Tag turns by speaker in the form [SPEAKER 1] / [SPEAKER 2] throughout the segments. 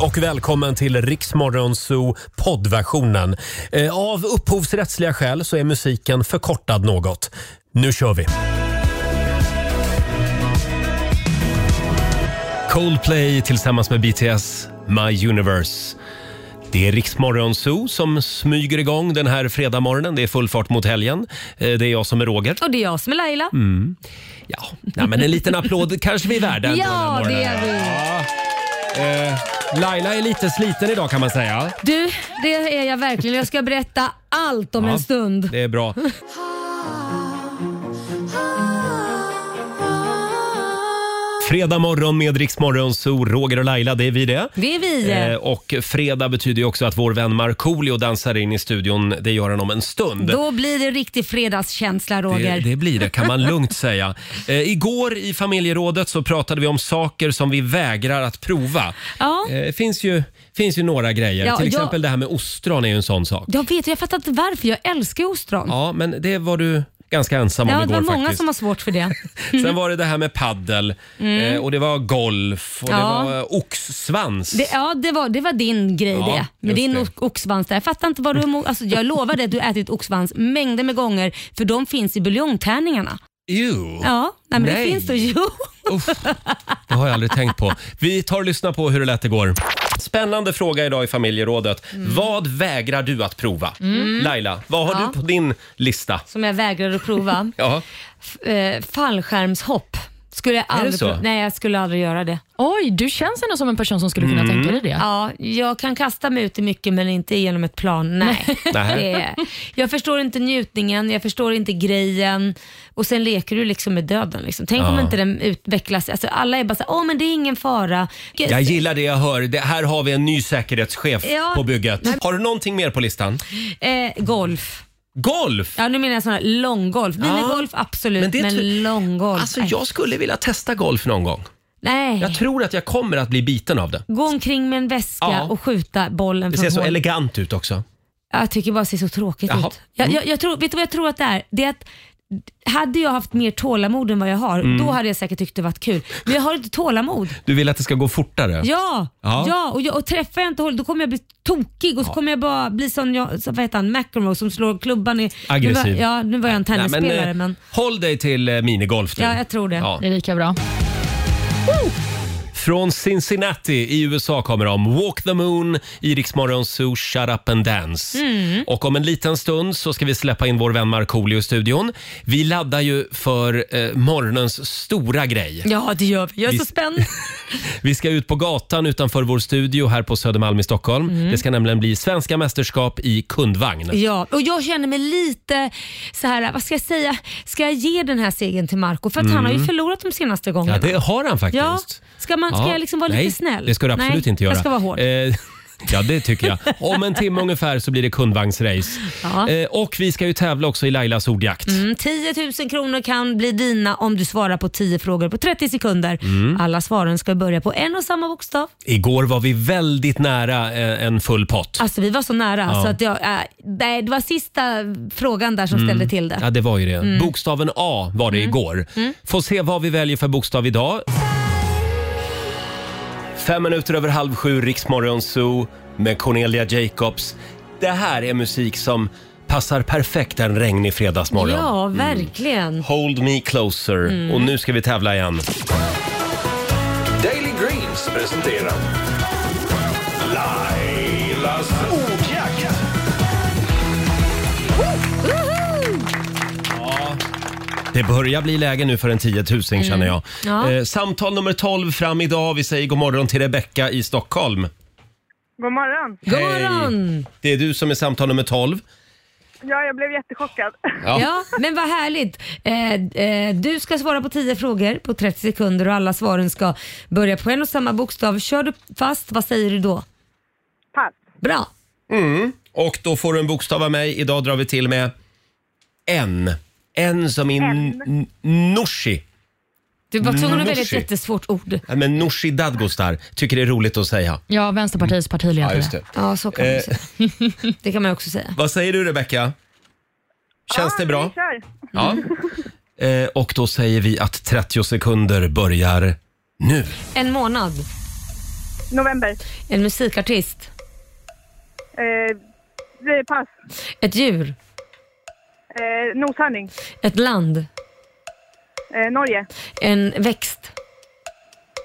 [SPEAKER 1] och välkommen till Riksmorgonzoo poddversionen. Eh, Av upphovsrättsliga skäl så är musiken förkortad något. Nu kör vi! Coldplay tillsammans med BTS, My Universe. Det är Riksmorgonzoo som smyger igång den här fredagmorgonen. Det är full fart mot helgen. Eh, Det är jag som är Roger.
[SPEAKER 2] Och det är jag som är Laila.
[SPEAKER 1] Mm. Ja, nej, men en liten applåd kanske vi är värda ändå den här
[SPEAKER 2] ja,
[SPEAKER 1] morgonen.
[SPEAKER 2] det är vi.
[SPEAKER 1] Eh, Laila är lite sliten idag kan man säga.
[SPEAKER 2] Du, det är jag verkligen. Jag ska berätta allt om
[SPEAKER 1] Ja.
[SPEAKER 2] en stund.
[SPEAKER 1] Det är bra. Fredag morgon med Rix Morgon, så Roger och Laila, det är vi det.
[SPEAKER 2] Det är vi.
[SPEAKER 1] Eh, och fredag betyder ju också att vår vän Markoolio dansar in i studion. Det gör han om en stund.
[SPEAKER 2] Då blir det riktig fredagskänsla Roger.
[SPEAKER 1] Det, det blir det, kan man lugnt säga. Eh, igår i familjerådet så pratade vi om saker som vi vägrar att prova.
[SPEAKER 2] Ja.
[SPEAKER 1] Eh, Det finns, ju, finns ju några grejer.
[SPEAKER 2] Ja,
[SPEAKER 1] Till
[SPEAKER 2] jag-
[SPEAKER 1] exempel det här med ostron är ju en sån sak.
[SPEAKER 2] Jag vet, jag fattar inte varför. Jag älskar ju ostron. Ja,
[SPEAKER 1] Ja, men det var du ganska ensam om
[SPEAKER 2] det var
[SPEAKER 1] igår
[SPEAKER 2] många
[SPEAKER 1] faktiskt.
[SPEAKER 2] som har svårt för det.
[SPEAKER 1] Sen var det det här med paddel eh, och det var golf och det
[SPEAKER 2] Mm. Ja.
[SPEAKER 1] var eh, oxsvans.
[SPEAKER 2] det ja, det var, det var din grej
[SPEAKER 1] Ja,
[SPEAKER 2] det. Med
[SPEAKER 1] just
[SPEAKER 2] din
[SPEAKER 1] det.
[SPEAKER 2] o- oxsvans där. Jag fattar inte vad du är emot. alltså, Jag lovar dig att du har ätit oxsvans mängder med gånger för de finns i buljongtärningarna.
[SPEAKER 1] Ew.
[SPEAKER 2] Ja, nej, men
[SPEAKER 1] Nej.
[SPEAKER 2] det finns då. Jo.
[SPEAKER 1] Uff, det har jag aldrig tänkt på. Vi tar och lyssnar på hur det lät igår. Spännande fråga idag i familjerådet. Vad vägrar du att prova? Laila, vad har
[SPEAKER 2] Mm. Ja.
[SPEAKER 1] du på din lista?
[SPEAKER 2] Som jag vägrar att prova.
[SPEAKER 1] Ja.
[SPEAKER 2] F- eh, fallskärmshopp. Skulle jag aldrig
[SPEAKER 1] så?
[SPEAKER 2] pro- Nej, jag skulle aldrig göra det.
[SPEAKER 3] Oj, du känns ändå som en person som skulle kunna
[SPEAKER 1] Mm.
[SPEAKER 3] tänka dig det.
[SPEAKER 2] Ja, jag kan kasta mig ut i mycket men inte genom ett plan. Nej.
[SPEAKER 1] Nej.
[SPEAKER 2] Det är- jag förstår inte njutningen, jag förstår inte grejen och sen leker du liksom med döden. Liksom. Tänk om
[SPEAKER 1] Ja.
[SPEAKER 2] inte den utvecklas. Alltså, alla är bara såhär, åh men det är ingen fara. Gud,
[SPEAKER 1] Jag gillar det jag hör. Det, här har vi en ny säkerhetschef
[SPEAKER 2] Ja.
[SPEAKER 1] på bygget. Har du någonting mer på listan?
[SPEAKER 2] eh, golf.
[SPEAKER 1] Golf!
[SPEAKER 2] Ja, nu menar jag sån här långgolf. Minigolf absolut, men,
[SPEAKER 1] Men det tror-
[SPEAKER 2] långgolf.
[SPEAKER 1] Alltså,
[SPEAKER 2] nej.
[SPEAKER 1] jag skulle vilja testa golf någon gång.
[SPEAKER 2] nej.
[SPEAKER 1] Jag tror att jag kommer att bli biten av det.
[SPEAKER 2] Gå omkring med en väska
[SPEAKER 1] Ja.
[SPEAKER 2] och skjuta bollen
[SPEAKER 1] Det
[SPEAKER 2] från
[SPEAKER 1] ser så
[SPEAKER 2] hål.
[SPEAKER 1] elegant ut också.
[SPEAKER 2] Jag tycker bara det ser så tråkigt
[SPEAKER 1] Jaha. Mm.
[SPEAKER 2] ut. Jag, jag, jag tror, vet du vad jag tror att det är? Det är att hade jag haft mer tålamod än vad jag har,
[SPEAKER 1] Mm.
[SPEAKER 2] då hade jag säkert tyckt det varit kul. Men jag har inte tålamod.
[SPEAKER 1] Du vill att det ska gå fortare?
[SPEAKER 2] Ja,
[SPEAKER 1] Ja.
[SPEAKER 2] ja. och, jag, och träffar jag inte håll, då kommer jag bli tokig och så kommer jag bara bli som, jag, som vad heter han, McEnroe som slår klubban i... Nu
[SPEAKER 1] Aggressiv.
[SPEAKER 2] var, ja, nu var jag en
[SPEAKER 1] Nej, men,
[SPEAKER 2] tennisspelare
[SPEAKER 1] eh,
[SPEAKER 2] men...
[SPEAKER 1] Håll dig till eh, minigolf nu.
[SPEAKER 2] Ja, jag tror det.
[SPEAKER 1] Ja.
[SPEAKER 3] Det är lika bra.
[SPEAKER 1] Från Cincinnati i USA kommer de. Walk the Moon, i Rix Morgon Zoo, Shut Up and Dance.
[SPEAKER 2] Mm.
[SPEAKER 1] Och om en liten stund så ska vi släppa in vår vän Markoolio i studion. Vi laddar ju för eh, morgonens stora grej.
[SPEAKER 2] Ja, det gör vi. Jag är
[SPEAKER 1] Vi-
[SPEAKER 2] så spänd.
[SPEAKER 1] Vi ska ut på gatan utanför vår studio här på Södermalm i Stockholm. Det ska nämligen bli svenska mästerskap i kundvagn.
[SPEAKER 2] Mm. Ja, och jag känner mig lite så här, vad ska jag säga? Ska jag ge den här segern till Marco För att han har
[SPEAKER 1] Mm.
[SPEAKER 2] ju förlorat de senaste gångerna.
[SPEAKER 1] Ja, det har han faktiskt.
[SPEAKER 2] Ja. Ska, man, ska
[SPEAKER 1] Ja.
[SPEAKER 2] jag liksom vara
[SPEAKER 1] Nej,
[SPEAKER 2] lite snäll?
[SPEAKER 1] det ska du absolut
[SPEAKER 2] Nej,
[SPEAKER 1] inte göra.
[SPEAKER 2] Jag ska vara hård.
[SPEAKER 1] Eh, ja, det tycker jag. Om en timme ungefär så blir det kundvagnsrace.
[SPEAKER 2] Ja.
[SPEAKER 1] Eh, och vi ska ju tävla också i Lailas ordjakt.
[SPEAKER 2] Mm, 10 000 kronor kan bli dina om du svarar på 10 frågor på 30 sekunder.
[SPEAKER 1] Mm.
[SPEAKER 2] Alla svaren ska börja på en och samma bokstav.
[SPEAKER 1] Igår var vi väldigt nära eh, en full pott.
[SPEAKER 2] Alltså vi var så nära.
[SPEAKER 1] Ja.
[SPEAKER 2] Så att jag, äh, nej, det var sista frågan där som ställde till det.
[SPEAKER 1] Mm. Ja, det var ju det. Bokstaven A var det igår. Får se vad vi väljer för bokstav idag. Fem minuter över halv sju, Riksmorgon Zoo med Cornelia Jacobs. Det här är musik som passar perfekt en regnig fredagsmorgon.
[SPEAKER 2] Ja, verkligen.
[SPEAKER 1] Hold me closer.
[SPEAKER 2] Mm.
[SPEAKER 1] Och nu ska vi tävla igen.
[SPEAKER 4] Daily Greens presenterar Lailas ordjakt.
[SPEAKER 1] Det börjar bli läge nu för en 10 000 känner jag.
[SPEAKER 2] Mm. Ja.
[SPEAKER 1] Eh, samtal nummer 12 fram idag. Vi säger god morgon till Rebecka i Stockholm.
[SPEAKER 5] God morgon.
[SPEAKER 2] God
[SPEAKER 1] Hej.
[SPEAKER 2] morgon!
[SPEAKER 1] Det är du som är samtal nummer 12.
[SPEAKER 5] Ja, jag blev jättechockad.
[SPEAKER 1] Ja.
[SPEAKER 2] Ja. men vad härligt. Eh, eh, du ska svara på 10 frågor på 30 sekunder och alla svaren ska börja på en och samma bokstav. Kör du fast, vad säger du då?
[SPEAKER 5] Pass.
[SPEAKER 2] Bra.
[SPEAKER 1] Och då får du en bokstav av mig. Idag drar vi till med N. N som i n- n- Nooshi.
[SPEAKER 2] Du var tvungen att välja ett
[SPEAKER 1] Nooshi.
[SPEAKER 2] jättesvårt ord.
[SPEAKER 1] Nej, Men Nooshi Dadgostar tycker det är roligt att säga.
[SPEAKER 3] Ja, Vänsterpartiets partiledare.
[SPEAKER 2] Ja, så kan man ju säga. Det kan man ju också säga.
[SPEAKER 1] Vad säger du Rebecka? Känns det bra?
[SPEAKER 5] Vi kör.
[SPEAKER 1] Ja. Eh, och då säger vi att 30 sekunder börjar nu.
[SPEAKER 2] En månad.
[SPEAKER 5] November.
[SPEAKER 2] En musikartist.
[SPEAKER 5] Eh, det- pass.
[SPEAKER 2] Ett djur.
[SPEAKER 5] Eh, noshörning.
[SPEAKER 2] Ett land.
[SPEAKER 5] Eh, Norge.
[SPEAKER 2] En växt.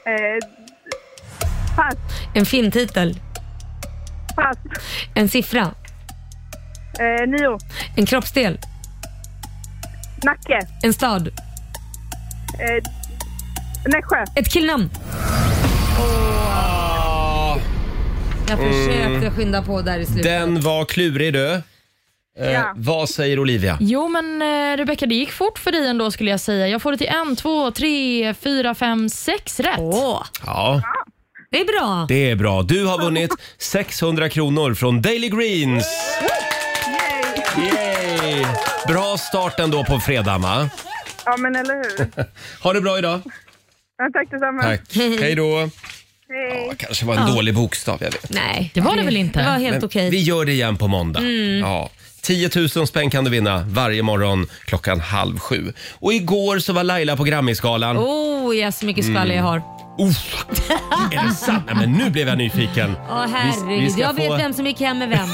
[SPEAKER 5] Eh, pass.
[SPEAKER 2] En filmtitel.
[SPEAKER 5] Pass.
[SPEAKER 2] En siffra.
[SPEAKER 5] Eh, nio.
[SPEAKER 2] En kroppsdel.
[SPEAKER 5] Nacke.
[SPEAKER 2] En stad.
[SPEAKER 5] Eh, Nässjö.
[SPEAKER 2] Ett killnamn. Jag försökte skynda på där i slutet.
[SPEAKER 1] Den var klurig du. Eh,
[SPEAKER 5] Ja.
[SPEAKER 1] Vad säger Olivia?
[SPEAKER 3] Jo, men eh, Rebecca, det gick fort för dig ändå skulle jag säga. Jag får det till en, två, tre, fyra, fem, sex rätt.
[SPEAKER 2] Åh,
[SPEAKER 1] Ja,
[SPEAKER 2] det är bra.
[SPEAKER 1] det är bra. Du har vunnit 600 kronor från Daily Greens.
[SPEAKER 5] Yay.
[SPEAKER 1] Yay! Bra start ändå på fredag, va?
[SPEAKER 5] Ja, men eller hur?
[SPEAKER 1] Ha det bra idag.
[SPEAKER 5] Ja, tack detsamma.
[SPEAKER 1] Hej då.
[SPEAKER 5] Hej.
[SPEAKER 1] Ja, kanske var en dålig bokstav, jag vet.
[SPEAKER 2] Nej.
[SPEAKER 3] Det var det väl inte?
[SPEAKER 2] Det var helt
[SPEAKER 1] Men
[SPEAKER 2] okej.
[SPEAKER 1] Vi gör det igen på måndag. Ja. 10 000 spänn kan du vinna varje morgon klockan halv sju. Och igår så var Laila på Grammisgalan.
[SPEAKER 2] Oh, ja, så mycket skvaller jag har.
[SPEAKER 1] Uff, är det sant? Nej, men nu blev jag nyfiken.
[SPEAKER 2] Åh,
[SPEAKER 1] vi
[SPEAKER 2] herregud.
[SPEAKER 1] ska
[SPEAKER 2] Jag
[SPEAKER 1] få-
[SPEAKER 2] vet vem som gick hem med vem.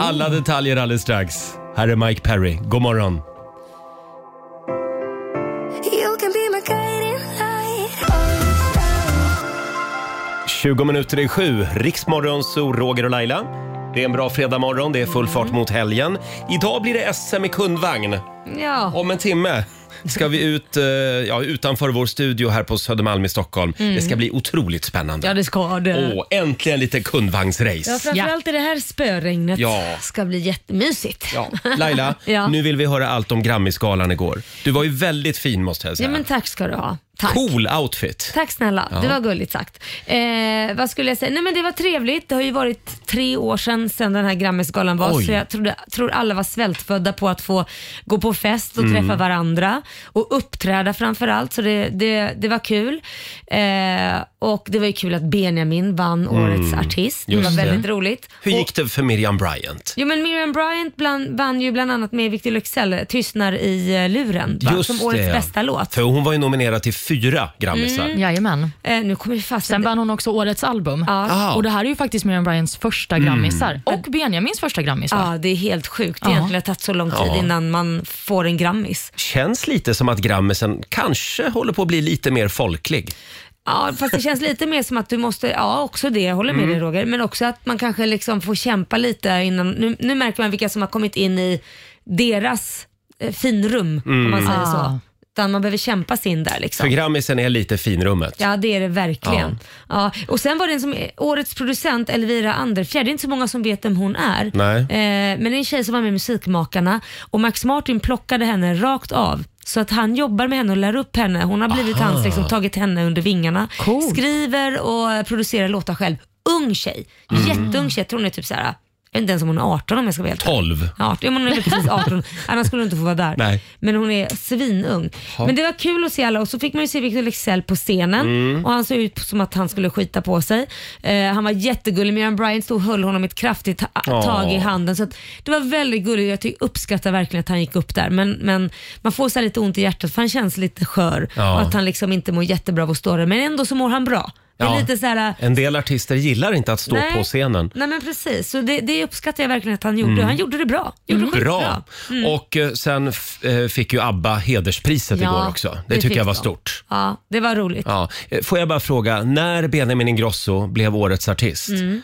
[SPEAKER 1] Alla detaljer alldeles strax. Här är Mike Perry. God morgon.
[SPEAKER 6] You can be my guiding light.
[SPEAKER 1] 20 minuter i sju. Riksmorgon, så Roger och Laila. Det är en bra fredagmorgon. Det är full fart mot helgen. Idag blir det SM i kundvagn.
[SPEAKER 2] Ja.
[SPEAKER 1] Om en timme ska vi ut eh, ja, utanför vår studio här på Södermalm i Stockholm. Det ska bli otroligt spännande.
[SPEAKER 2] Mm. Ja, det ska det.
[SPEAKER 1] Åh, äntligen lite kundvagnsrace.
[SPEAKER 2] Ja, framförallt i det här spöregnet.
[SPEAKER 1] Ja.
[SPEAKER 2] Ska bli jättemysigt.
[SPEAKER 1] Ja. Laila,
[SPEAKER 2] Ja.
[SPEAKER 1] nu vill vi höra allt om Grammisgalan igår. Du var ju väldigt fin måste jag
[SPEAKER 2] Ja,
[SPEAKER 1] säga.
[SPEAKER 2] men tack ska du ha. Tack.
[SPEAKER 1] Cool outfit.
[SPEAKER 2] Tack snälla, det var gulligt sagt. Eh, vad skulle jag säga? Nej men det var trevligt. Det har ju varit tre år sedan, sedan den här Grammisgalan var
[SPEAKER 1] Oj.
[SPEAKER 2] så jag trodde, tror alla var svältfödda på att få gå på fest och
[SPEAKER 1] Mm.
[SPEAKER 2] träffa varandra och uppträda framförallt så det, det, det var kul. Eh, och det var ju kul att Benjamin vann årets artist. Det var
[SPEAKER 1] Mm. Just det.
[SPEAKER 2] väldigt roligt.
[SPEAKER 1] Hur
[SPEAKER 2] Och-
[SPEAKER 1] gick det för Miriam Bryant?
[SPEAKER 2] Jo men Miriam Bryant bland, vann ju bland annat med Victor Luxell, Tystnar i eh, luren, va? som årets
[SPEAKER 1] det.
[SPEAKER 2] bästa låt.
[SPEAKER 1] För hon var ju nominerad till fyra Grammisar.
[SPEAKER 3] Jajamän.
[SPEAKER 2] Eh, nu kommer vi fast
[SPEAKER 3] Sen vann hon också årets album.
[SPEAKER 1] Ah.
[SPEAKER 3] Och Det här är ju faktiskt Miriam Bryants första
[SPEAKER 1] Mm.
[SPEAKER 3] Grammisar och Benjamins första Grammis. va?
[SPEAKER 2] Ja, det är helt sjukt egentligen. Det har tagit så lång tid
[SPEAKER 1] Ja.
[SPEAKER 2] innan man får en Grammis.
[SPEAKER 1] Känns lite som att Grammisen kanske håller på att bli lite mer folklig.
[SPEAKER 2] Ja, fast det känns lite mer som att du måste, ja också det, jag håller med
[SPEAKER 1] Mm.
[SPEAKER 2] dig Roger, men också att man kanske liksom får kämpa lite innan. Nu, nu märker man vilka som har kommit in i deras eh, finrum, om
[SPEAKER 1] Mm.
[SPEAKER 2] man säger
[SPEAKER 3] Ah.
[SPEAKER 2] så. Utan man behöver kämpa sig in där
[SPEAKER 1] För
[SPEAKER 2] liksom.
[SPEAKER 1] Grammisen är lite finrummet.
[SPEAKER 2] Ja, det är det verkligen. Ja. Och sen var det en som, årets producent, Elvira Anderfjärd. Det är inte så många som vet vem hon är.
[SPEAKER 1] Nej.
[SPEAKER 2] Eh, men det är en tjej som var med i Musikmakarna och Max Martin plockade henne rakt av. Så att han jobbar med henne och lär upp henne. Hon har blivit hans, liksom, tagit henne under vingarna.
[SPEAKER 3] Coolt.
[SPEAKER 2] Skriver och producerar låtar själv. Ung tjej. Jätteung tjej. Jag tror hon är typ såhär, jag vet inte ens om hon är 18 om jag ska vara helt
[SPEAKER 1] 12.
[SPEAKER 2] 18. Ja, men hon är väl precis 18, annars skulle hon inte få vara där.
[SPEAKER 1] Nej.
[SPEAKER 2] Men hon är svinung. Men det var kul att se alla och så fick man ju se Victor Leksell på scenen
[SPEAKER 1] Mm.
[SPEAKER 2] och han såg ut som att han skulle skita på sig. Eh, han var jättegullig, Miriam Bryant stod och höll honom ett kraftigt ta-
[SPEAKER 1] Ja.
[SPEAKER 2] tag i handen. Så att det var väldigt gulligt, jag tycker- uppskattar verkligen att han gick upp där. Men, men man får så här lite ont i hjärtat för han känns lite skör
[SPEAKER 1] Ja.
[SPEAKER 2] och att han liksom inte mår jättebra av att stå där. Men ändå så mår han bra. Det är
[SPEAKER 1] Ja.
[SPEAKER 2] lite så här,
[SPEAKER 1] En del artister gillar inte att stå
[SPEAKER 2] Nej.
[SPEAKER 1] på scenen. Mm.
[SPEAKER 2] Nej men precis, så det, det uppskattar jag verkligen att han gjorde. Han gjorde det bra. Gjorde det Mm. skitbra.
[SPEAKER 1] Bra! Och eh, sen f- eh, fick ju ABBA hederspriset
[SPEAKER 2] Ja,
[SPEAKER 1] igår också. Det,
[SPEAKER 2] det
[SPEAKER 1] tycker
[SPEAKER 2] fick
[SPEAKER 1] jag var
[SPEAKER 2] de.
[SPEAKER 1] stort.
[SPEAKER 2] Ja, det var roligt.
[SPEAKER 1] Ja. Eh, Får jag bara fråga, när Benjamin Ingrosso blev årets artist
[SPEAKER 2] Mm.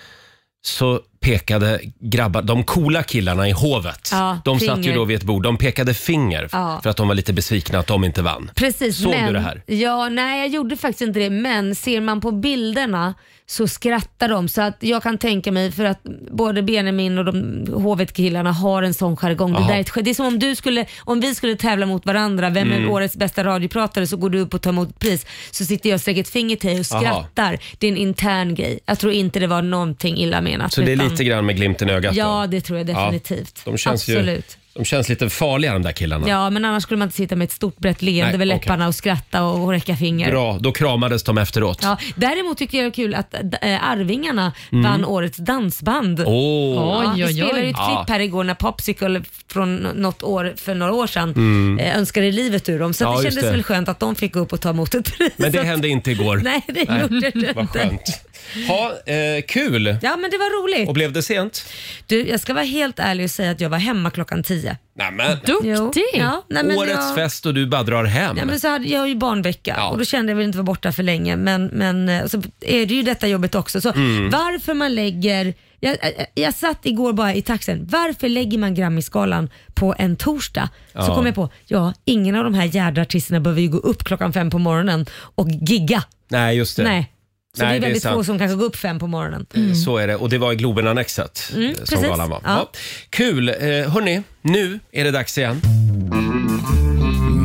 [SPEAKER 1] så pekade grabbar, de coola killarna i hovet,
[SPEAKER 2] Ja,
[SPEAKER 1] de satt ju
[SPEAKER 2] finger.
[SPEAKER 1] då vid ett bord, de pekade finger
[SPEAKER 2] Ja.
[SPEAKER 1] för att de var lite besvikna att de inte vann.
[SPEAKER 2] Precis,
[SPEAKER 1] Såg du
[SPEAKER 2] men,
[SPEAKER 1] det här?
[SPEAKER 2] Ja, nej jag gjorde faktiskt inte det, men ser man på bilderna så skrattar de. Så att jag kan tänka mig, för att både Benjamin och de hovetkillarna har en sån jargong. Det,
[SPEAKER 1] Jaha.
[SPEAKER 2] där är, ett sk- det är som om, du skulle, om vi skulle tävla mot varandra, vem
[SPEAKER 1] Mm.
[SPEAKER 2] är årets bästa radiopratare, så går du upp och tar emot pris. Så sitter jag och sträcker ett finger till dig och
[SPEAKER 1] Jaha.
[SPEAKER 2] skrattar. Det är en intern grej. Jag tror inte det var någonting illa menat.
[SPEAKER 1] Så det är
[SPEAKER 2] utan-
[SPEAKER 1] lite grann med glimten i ögat då.
[SPEAKER 2] Ja, det tror jag definitivt.
[SPEAKER 1] De känns ju,
[SPEAKER 2] Absolut.
[SPEAKER 1] de känns lite farliga de där killarna.
[SPEAKER 2] Ja, men annars skulle man inte sitta med ett stort brett
[SPEAKER 1] Nej,
[SPEAKER 2] leende vid
[SPEAKER 1] okej.
[SPEAKER 2] läpparna och skratta och, och räcka finger.
[SPEAKER 1] Bra, då kramades de efteråt.
[SPEAKER 2] Ja, däremot tycker jag det är kul att äh, Arvingarna
[SPEAKER 1] Mm.
[SPEAKER 2] vann årets dansband.
[SPEAKER 1] Åh.
[SPEAKER 2] Ja,
[SPEAKER 3] Oj,
[SPEAKER 2] vi
[SPEAKER 3] oj,
[SPEAKER 2] spelade ju
[SPEAKER 3] oj.
[SPEAKER 2] ett
[SPEAKER 1] Ja.
[SPEAKER 2] klipp här igår när Popsicle från något år, för några år sedan eh, önskade livet ur dem. Så att
[SPEAKER 1] Mm. Ja,
[SPEAKER 2] det
[SPEAKER 1] just
[SPEAKER 2] kändes
[SPEAKER 1] det.
[SPEAKER 2] väl skönt att de fick gå upp och ta emot ett pris.
[SPEAKER 1] Men det
[SPEAKER 2] Så att-
[SPEAKER 1] hände inte igår.
[SPEAKER 2] Nej, det gjorde det
[SPEAKER 1] Vad
[SPEAKER 2] inte.
[SPEAKER 1] skönt. Ha, eh, kul!
[SPEAKER 2] Ja men det var roligt.
[SPEAKER 1] Och blev det sent?
[SPEAKER 2] Du, jag ska vara helt ärlig och säga att jag var hemma klockan 10.
[SPEAKER 1] Nämen,
[SPEAKER 3] Duktig!
[SPEAKER 2] Ja, nej, men
[SPEAKER 1] årets
[SPEAKER 2] jag,
[SPEAKER 1] fest och du bara drar hem.
[SPEAKER 2] Ja, men så hade jag har ju barnvecka
[SPEAKER 1] Ja.
[SPEAKER 2] och då kände jag väl inte vara borta för länge. Men, men eh, så är det ju detta jobbet också. Så
[SPEAKER 1] Mm.
[SPEAKER 2] varför man lägger... Jag, jag, jag satt igår bara i taxen. Varför lägger man Grammisgalan på en torsdag? Så
[SPEAKER 1] Ja.
[SPEAKER 2] kom jag på, ja ingen av de här jädra artisterna behöver ju gå upp klockan fem på morgonen och gigga.
[SPEAKER 1] Nej, just det.
[SPEAKER 2] Nej. Så
[SPEAKER 1] Nej,
[SPEAKER 2] det är
[SPEAKER 1] det är
[SPEAKER 2] väldigt få
[SPEAKER 1] sant.
[SPEAKER 2] som kanske går upp fem på morgonen.
[SPEAKER 1] Så är det. Och det var i Globenannexet eh, som
[SPEAKER 2] Mm, precis.
[SPEAKER 1] galan var.
[SPEAKER 2] Ja.
[SPEAKER 1] Ja. Kul! Eh, hörni, nu är det dags igen.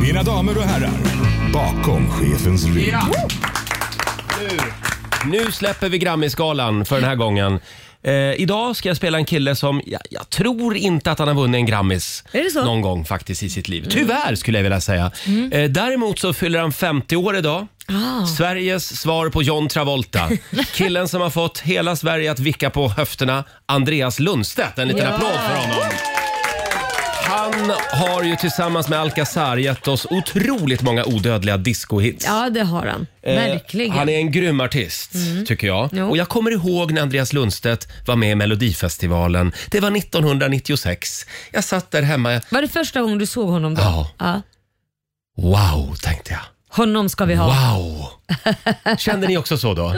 [SPEAKER 4] Mina damer och herrar, bakom chefens rygg.
[SPEAKER 1] Nu släpper vi Grammisgalan för den här gången. Eh, idag ska jag spela en kille som, jag, jag tror inte att han har vunnit en Grammis
[SPEAKER 2] Är det så? Mm.
[SPEAKER 1] någon gång faktiskt i sitt liv. Tyvärr skulle jag vilja säga. Eh, däremot så fyller han 50 år idag.
[SPEAKER 2] Ah.
[SPEAKER 1] Sveriges svar på John Travolta. Killen som har fått hela Sverige att vicka på höfterna, Andreas Lundstedt. En liten applåd för honom. Han har ju tillsammans med Alcazar gett oss otroligt många odödliga discohits.
[SPEAKER 2] Ja det har han.
[SPEAKER 1] Eh,
[SPEAKER 2] Verkligen.
[SPEAKER 1] Han är en grym artist, tycker jag.
[SPEAKER 2] Mm. Jo.
[SPEAKER 1] Och jag kommer ihåg när Andreas Lundstedt var med i Melodifestivalen. Det var 1996. Jag satt där hemma.
[SPEAKER 2] Var det första gången du såg honom då?
[SPEAKER 1] Ja.
[SPEAKER 2] Ja.
[SPEAKER 1] Wow, tänkte jag.
[SPEAKER 2] Honom ska vi ha.
[SPEAKER 1] Wow! Kände ni också så då?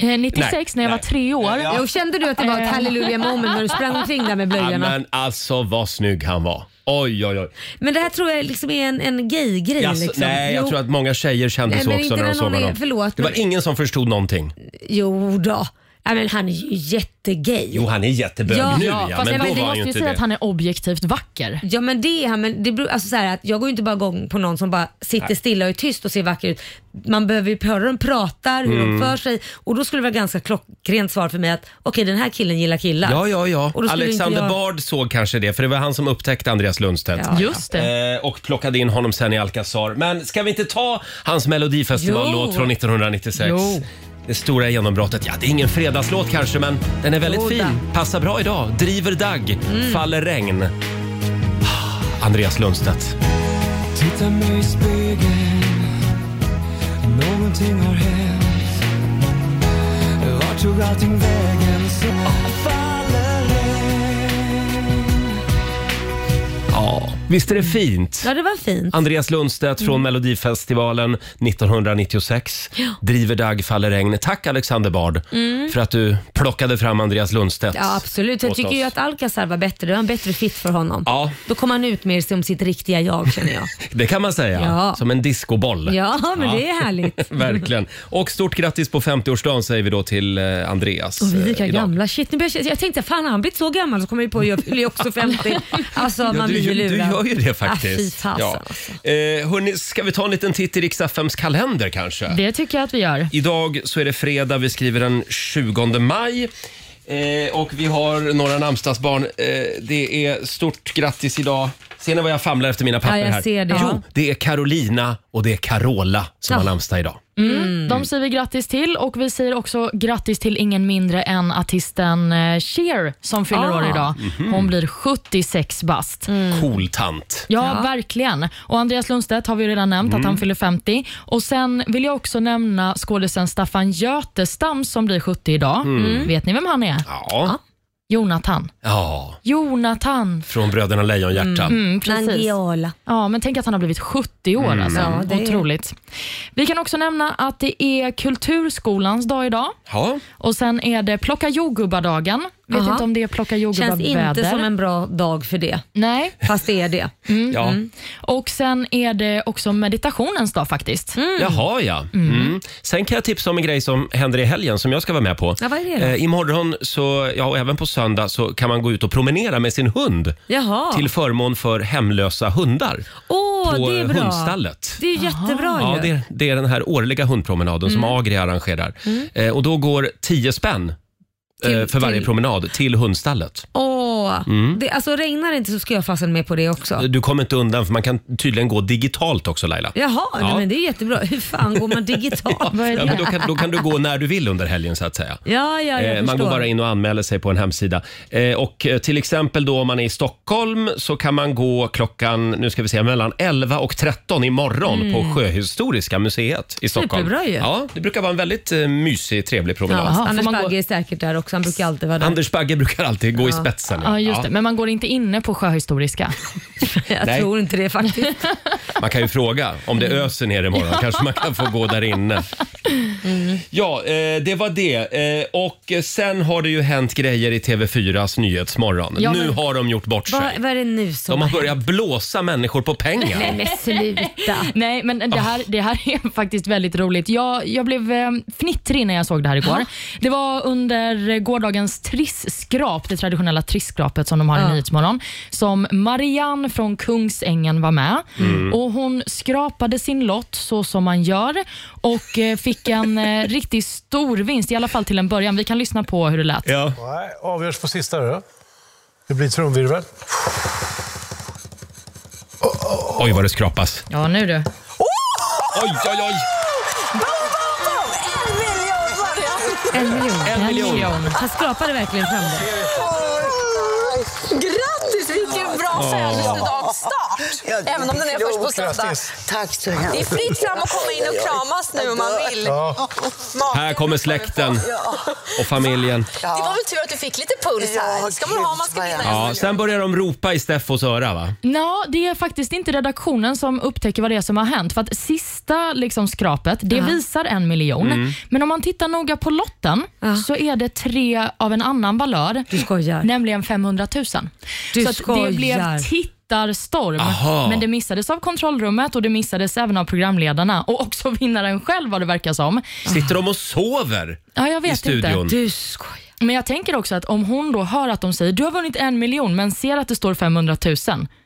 [SPEAKER 3] Eh, 96 när jag var tre år.
[SPEAKER 2] Jo, kände du att det var ett halleluja moment när du sprang omkring där med
[SPEAKER 1] Ja,
[SPEAKER 2] blöjorna?
[SPEAKER 1] men alltså vad snygg han var. Oj, oj, oj.
[SPEAKER 2] Men det här tror jag liksom är en, en gay-grej.
[SPEAKER 1] Jaså,
[SPEAKER 2] liksom.
[SPEAKER 1] nej, jag
[SPEAKER 2] jo,
[SPEAKER 1] tror att många tjejer kände
[SPEAKER 2] Nej,
[SPEAKER 1] så
[SPEAKER 2] men
[SPEAKER 1] också
[SPEAKER 2] inte
[SPEAKER 1] när de
[SPEAKER 2] när
[SPEAKER 1] såg
[SPEAKER 2] någon är-
[SPEAKER 1] honom.
[SPEAKER 2] förlåt,
[SPEAKER 1] det var
[SPEAKER 2] men-
[SPEAKER 1] ingen som förstod någonting.
[SPEAKER 2] jo då. Ja, men han är ju jättegay.
[SPEAKER 1] Jo, han är jättebög
[SPEAKER 2] Ja,
[SPEAKER 1] nu
[SPEAKER 2] ja,
[SPEAKER 1] ja,
[SPEAKER 3] Fast
[SPEAKER 1] men
[SPEAKER 3] jag
[SPEAKER 1] då
[SPEAKER 3] vi
[SPEAKER 1] var han ju
[SPEAKER 3] måste ju
[SPEAKER 1] inte
[SPEAKER 3] säga
[SPEAKER 1] det.
[SPEAKER 3] att han är objektivt vacker.
[SPEAKER 2] Ja men det är han, men det beror, alltså så här att jag går ju inte bara igång på någon som bara sitter stilla och är tyst och ser vacker ut. Man behöver ju höra hur de pratar, hur
[SPEAKER 1] Mm.
[SPEAKER 2] de för sig och då skulle det vara ganska klockrent svar för mig att okej den här killen gillar killar.
[SPEAKER 1] Ja, ja, ja.
[SPEAKER 2] Och då skulle
[SPEAKER 1] Alexander
[SPEAKER 2] inte jag-
[SPEAKER 1] Bard såg kanske det, för det var han som upptäckte Andreas Lundstedt.
[SPEAKER 2] Ja,
[SPEAKER 3] Just det.
[SPEAKER 1] Eh, och plockade in honom sen i Alcazar. Men ska vi inte ta hans melodifestivallåt
[SPEAKER 2] Jo.
[SPEAKER 1] från 1996?
[SPEAKER 3] Jo.
[SPEAKER 1] Det stora genombrottet. Ja, det är ingen fredagslåt kanske, men den är väldigt
[SPEAKER 2] Jodå.
[SPEAKER 1] fin. Passar bra idag. Driver dagg, faller regn. Ah, Andreas Lundstedt.
[SPEAKER 7] Titta mig i spegeln Någonting har hänt Vart tog allting vägen så faller regn
[SPEAKER 1] Ja, visst är det fint?
[SPEAKER 2] Ja det var fint.
[SPEAKER 1] Andreas Lundstedt
[SPEAKER 2] Mm.
[SPEAKER 1] från Melodifestivalen 1996. Driver dagg, faller regn. Tack Alexander Bard för att du plockade fram Andreas Lundstedt.
[SPEAKER 2] Mm. Ja absolut.
[SPEAKER 1] åt
[SPEAKER 2] Jag tycker ju
[SPEAKER 1] oss.
[SPEAKER 2] att Alcazar var bättre. Det var en bättre fit för honom.
[SPEAKER 1] Ja.
[SPEAKER 2] Då kom han ut mer som sitt riktiga jag känner jag.
[SPEAKER 1] Det kan man säga.
[SPEAKER 2] Ja.
[SPEAKER 1] Som en discoboll.
[SPEAKER 2] Ja men det är härligt.
[SPEAKER 1] Verkligen. Och stort grattis på 50-årsdagen säger vi då till eh, Andreas.
[SPEAKER 2] Och vi är lika
[SPEAKER 1] eh, idag.
[SPEAKER 2] gamla. Shit, nu börjar jag, jag tänkte fan har han blivit så gammal så kommer vi på att jag fyller ju också 50. Alltså
[SPEAKER 1] Ja,
[SPEAKER 2] man
[SPEAKER 1] du,
[SPEAKER 2] blir ju
[SPEAKER 1] du
[SPEAKER 2] lurad.
[SPEAKER 1] gör ju det
[SPEAKER 2] Ah, fy
[SPEAKER 1] faktiskt.
[SPEAKER 2] fasen,
[SPEAKER 1] ja.
[SPEAKER 2] alltså.
[SPEAKER 1] eh, hörni, ska vi ta en liten titt i riks kalender kanske?
[SPEAKER 3] Det tycker jag att vi gör.
[SPEAKER 1] Idag så är det fredag, vi skriver den 20 maj. Eh, och vi har några namnsdagsbarn. Eh, det är stort grattis idag. Ser ni vad jag famlar efter mina papper
[SPEAKER 2] Ja, jag
[SPEAKER 1] här?
[SPEAKER 2] ser det.
[SPEAKER 1] Jo, det är Carolina och det är Carola som har
[SPEAKER 2] Ja.
[SPEAKER 1] namnsdag idag.
[SPEAKER 2] Mm.
[SPEAKER 3] De säger vi grattis till och vi säger också grattis till ingen mindre än artisten eh, Cher som fyller
[SPEAKER 2] Ah. Mm.
[SPEAKER 3] år idag. Hon blir 76 bast.
[SPEAKER 1] Cool tant.
[SPEAKER 3] Ja, verkligen. Och Andreas Lundstedt har vi ju redan nämnt att
[SPEAKER 2] Mm.
[SPEAKER 3] han fyller 50. Och Sen vill jag också nämna skådisen Staffan Götestam som blir 70 idag.
[SPEAKER 2] Mm.
[SPEAKER 3] Vet ni vem han är?
[SPEAKER 1] Ja.
[SPEAKER 3] Jonathan.
[SPEAKER 1] ja.
[SPEAKER 3] Jonathan.
[SPEAKER 1] Från Bröderna Lejonhjärta.
[SPEAKER 3] Mm, precis.
[SPEAKER 2] Nangijala.
[SPEAKER 3] Ja, men tänk att han har blivit 70 år. Alltså.
[SPEAKER 2] Mm. Ja, det är-
[SPEAKER 3] Otroligt. Vi kan också nämna att det är Kulturskolans dag idag.
[SPEAKER 1] Ja.
[SPEAKER 3] Och Sen är det plocka jordgubbar-dagen. Vet
[SPEAKER 2] Aha.
[SPEAKER 3] inte om det är plocka
[SPEAKER 2] Känns inte
[SPEAKER 3] jordgubbar-väder.
[SPEAKER 2] som en bra dag för det.
[SPEAKER 3] Nej.
[SPEAKER 2] Fast det är det.
[SPEAKER 1] Ja.
[SPEAKER 2] Mm.
[SPEAKER 3] Och Sen är det också meditationens dag faktiskt.
[SPEAKER 2] Mm.
[SPEAKER 1] Jaha, ja. Mm. Sen kan jag tipsa om en grej som händer i helgen som jag ska vara med på.
[SPEAKER 2] Ja, vad är det då?
[SPEAKER 1] Eh, imorgon, så, ja, och även på söndag, så kan man gå ut och promenera med sin hund
[SPEAKER 2] Jaha.
[SPEAKER 1] till förmån för hemlösa hundar
[SPEAKER 2] Åh,
[SPEAKER 1] på
[SPEAKER 2] det är
[SPEAKER 1] eh,
[SPEAKER 2] bra.
[SPEAKER 1] hundstallet.
[SPEAKER 2] Det är ju jättebra
[SPEAKER 1] Ja,
[SPEAKER 2] ju. Mm.
[SPEAKER 1] det, det är den här årliga hundpromenaden som Agri arrangerar. Eh, och då går 10 spänn eh,
[SPEAKER 2] Till-
[SPEAKER 1] för varje
[SPEAKER 2] till-
[SPEAKER 1] promenad till hundstallet.
[SPEAKER 2] Åh,
[SPEAKER 1] Mm.
[SPEAKER 2] det, alltså regnar det inte så ska jag fasen med på det också.
[SPEAKER 1] Du kommer inte undan för man kan tydligen gå digitalt också Laila.
[SPEAKER 2] Jaha, nej,
[SPEAKER 1] Ja.
[SPEAKER 2] men det är jättebra. Hur fan går man digitalt?
[SPEAKER 3] Vad är
[SPEAKER 1] Ja,
[SPEAKER 3] det?
[SPEAKER 1] men då, kan, då kan du gå när du vill under helgen så att säga.
[SPEAKER 2] Ja, ja, jag
[SPEAKER 1] Eh, man
[SPEAKER 2] förstår.
[SPEAKER 1] går bara in och anmäler sig på en hemsida. Eh, och eh, till exempel då om man är i Stockholm så kan man gå klockan, nu ska vi se, mellan 11 och 13 imorgon på Sjöhistoriska museet i Stockholm.
[SPEAKER 2] Mm. Superbra ju.
[SPEAKER 1] Ja, det brukar vara en väldigt eh, mysig, trevlig promenad.
[SPEAKER 3] Jaha. får
[SPEAKER 2] Anders
[SPEAKER 3] man gå-
[SPEAKER 2] Bagge är säkert där också, han brukar alltid vara där.
[SPEAKER 1] Anders Bagge brukar alltid gå i spetsen.
[SPEAKER 3] Ja, just det. Men man går inte inne på Sjöhistoriska.
[SPEAKER 2] jag
[SPEAKER 1] nej.
[SPEAKER 2] tror inte det faktiskt.
[SPEAKER 1] Man kan ju fråga om det öser ner imorgon. Kanske man kan få gå där inne.
[SPEAKER 2] Mm.
[SPEAKER 1] Ja, eh, det var det. Eh, och sen har det ju hänt grejer i TV4s Nyhetsmorgon.
[SPEAKER 3] Ja,
[SPEAKER 1] nu
[SPEAKER 3] men-
[SPEAKER 1] har de gjort bort sig.
[SPEAKER 2] vad, vad är det nu som
[SPEAKER 1] De har
[SPEAKER 2] hänt?
[SPEAKER 1] börjat blåsa människor på pengar.
[SPEAKER 2] Nej men sluta.
[SPEAKER 3] Nej, men det här, det här är faktiskt väldigt roligt. Jag, jag blev eh, fnittrig när jag såg det här igår. Det var under eh, gårdagens trisskrap, det traditionella trisskrapet som de har i Nyhetsmorgon, som Marianne från Kungsängen var med. Och Hon skrapade sin lott så som man gör och eh, fick en eh, riktigt stor vinst, i alla fall till en början. Vi kan lyssna på hur det lät.
[SPEAKER 1] Ja.
[SPEAKER 8] Nej, avgörs på sista då. Det blir trumvirvel.
[SPEAKER 1] Oj, vad det skrapas.
[SPEAKER 3] Ja, nu du.
[SPEAKER 1] Oj, oj, oj!
[SPEAKER 2] En miljon.
[SPEAKER 1] En miljon.
[SPEAKER 2] Han skrapade verkligen fram det.
[SPEAKER 9] Grattis! Vilken bra födelsedagsstart! Även om den är först på söndag.
[SPEAKER 10] Tack så hemskt
[SPEAKER 9] Det är fritt fram att komma in och kramas nu om man vill. Maken.
[SPEAKER 1] Här kommer släkten och familjen.
[SPEAKER 9] Det var väl tur att du fick lite puls här. Det ska man ha om man ska vinna.
[SPEAKER 1] Ja, sen börjar de ropa i Steffos öra, va?
[SPEAKER 3] Ja, det är faktiskt inte redaktionen som upptäcker vad det är som har hänt. För att sista liksom, skrapet, det visar en miljon.
[SPEAKER 2] Mm.
[SPEAKER 3] Men om man tittar noga på lotten så är det tre av en annan valör.
[SPEAKER 2] Du skojar.
[SPEAKER 3] Nämligen 500 000.
[SPEAKER 2] Du
[SPEAKER 3] så att det blev
[SPEAKER 2] skojar.
[SPEAKER 3] tittarstorm.
[SPEAKER 1] Aha.
[SPEAKER 3] Men det missades av kontrollrummet och det missades även av programledarna och också vinnaren själv vad det verkar som.
[SPEAKER 1] Sitter de och sover
[SPEAKER 3] Ja, jag
[SPEAKER 1] i
[SPEAKER 3] vet inte.
[SPEAKER 1] studion?
[SPEAKER 2] Du skojar.
[SPEAKER 3] Men jag tänker också att om hon då hör att de säger du har vunnit en miljon men ser att det står 500 000,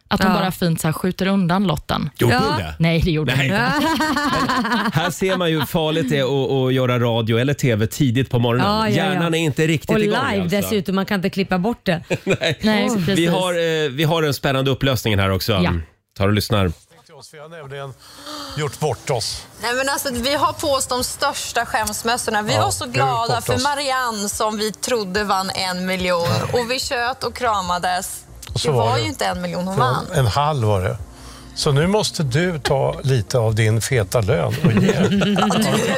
[SPEAKER 3] att hon
[SPEAKER 2] Ja.
[SPEAKER 3] bara fint så här skjuter undan lotten.
[SPEAKER 1] Gjorde
[SPEAKER 2] Ja.
[SPEAKER 1] det?
[SPEAKER 3] Nej, det gjorde hon
[SPEAKER 1] Nej.
[SPEAKER 3] inte.
[SPEAKER 1] Här ser man ju hur farligt det är att, att göra radio eller TV tidigt på morgonen.
[SPEAKER 2] Ja, ja, ja.
[SPEAKER 1] Hjärnan är inte riktigt
[SPEAKER 2] Och
[SPEAKER 1] igång.
[SPEAKER 2] live
[SPEAKER 1] alltså.
[SPEAKER 2] dessutom, man kan inte klippa bort det.
[SPEAKER 3] Nej, precis.
[SPEAKER 1] Vi har, eh, vi har en spännande upplösning här också.
[SPEAKER 3] Ja.
[SPEAKER 1] Tar och lyssnar.
[SPEAKER 8] Till oss, Vi har nämligen gjort bort oss.
[SPEAKER 9] Nej, men alltså, vi har på oss de största skämsmössorna. Vi
[SPEAKER 8] Ja,
[SPEAKER 9] var så
[SPEAKER 8] nu
[SPEAKER 9] glada
[SPEAKER 8] kortas.
[SPEAKER 9] för Marianne som vi trodde vann en miljon. Och vi tjöt och kramades.
[SPEAKER 8] Och så
[SPEAKER 9] Det
[SPEAKER 8] var
[SPEAKER 9] var
[SPEAKER 8] det.
[SPEAKER 9] ju inte en miljon hon vann.
[SPEAKER 8] En, en halv var det. Så nu måste du ta lite av din feta lön och ge.
[SPEAKER 9] Du,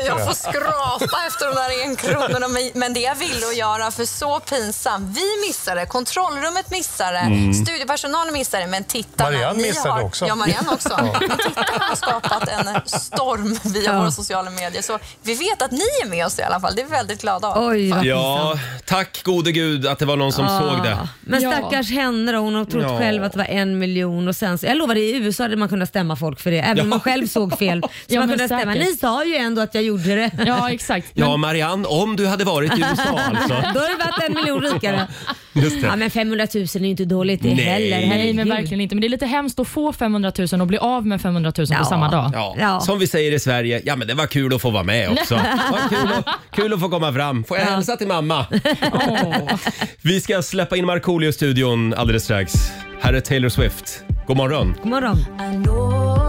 [SPEAKER 9] jag får skrapa efter de där enkronorna. men- Men det jag ville att göra, för så pinsamt. Vi missade, kontrollrummet missade, studiepersonalen missade, men tittarna.
[SPEAKER 8] Mm. Marianne
[SPEAKER 9] ni
[SPEAKER 8] missade
[SPEAKER 9] har,
[SPEAKER 8] också.
[SPEAKER 9] Ja, Marianne också. Men tittarna har skapat en storm via våra sociala medier. Så vi vet att ni är med oss i alla fall. Det är vi väldigt glada av.
[SPEAKER 2] Oj vad
[SPEAKER 1] Ja,
[SPEAKER 2] pinsamt.
[SPEAKER 1] tack gode gud att det var någon som
[SPEAKER 2] Ah.
[SPEAKER 1] såg det.
[SPEAKER 2] Men
[SPEAKER 3] Ja.
[SPEAKER 2] stackars henne då, hon har trott
[SPEAKER 1] Ja.
[SPEAKER 2] själv att det var en miljon och sen så, jag lovar i USA hade man kunnat stämma folk för det, även om man själv såg fel. Så
[SPEAKER 3] Ja,
[SPEAKER 2] man
[SPEAKER 3] men
[SPEAKER 2] kunde stämma,
[SPEAKER 3] säkert.
[SPEAKER 2] ni sa ju ändå att jag gjorde det.
[SPEAKER 3] Ja, exakt. Men,
[SPEAKER 1] Ja, Marianne, om du hade varit i USA alltså.
[SPEAKER 2] Då hade det varit en miljon rikare.
[SPEAKER 1] Just det.
[SPEAKER 2] Ja men 500 000 är ju inte dåligt det
[SPEAKER 1] Nej.
[SPEAKER 2] heller.
[SPEAKER 3] nej,
[SPEAKER 2] herregud.
[SPEAKER 3] men verkligen inte. Men det är lite hemskt att få 500 000 och bli av med 500 000
[SPEAKER 2] Ja.
[SPEAKER 3] på samma dag.
[SPEAKER 1] Ja,
[SPEAKER 2] Ja.
[SPEAKER 1] Som vi säger i Sverige, ja men det var kul att få vara med också. Vad kul, att, kul att få komma fram. Får jag hälsa till mamma? Vi ska släppa in Markoolio i studion alldeles strax. Här är Taylor Swift. God morgon.
[SPEAKER 2] God morgon.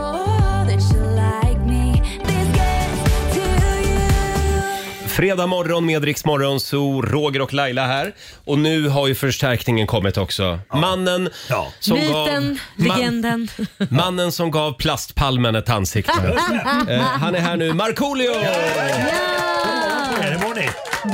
[SPEAKER 1] Fredag morgon med Rix Morgon, så Roger och Laila här. Och nu har ju förstärkningen kommit också. Mannen
[SPEAKER 4] Ja.
[SPEAKER 1] som
[SPEAKER 2] Myten,
[SPEAKER 1] gav...
[SPEAKER 2] legenden.
[SPEAKER 1] mannen som gav plastpalmen ett ansikte. eh, han är här nu, Markoolio!
[SPEAKER 4] Ja, det var ni.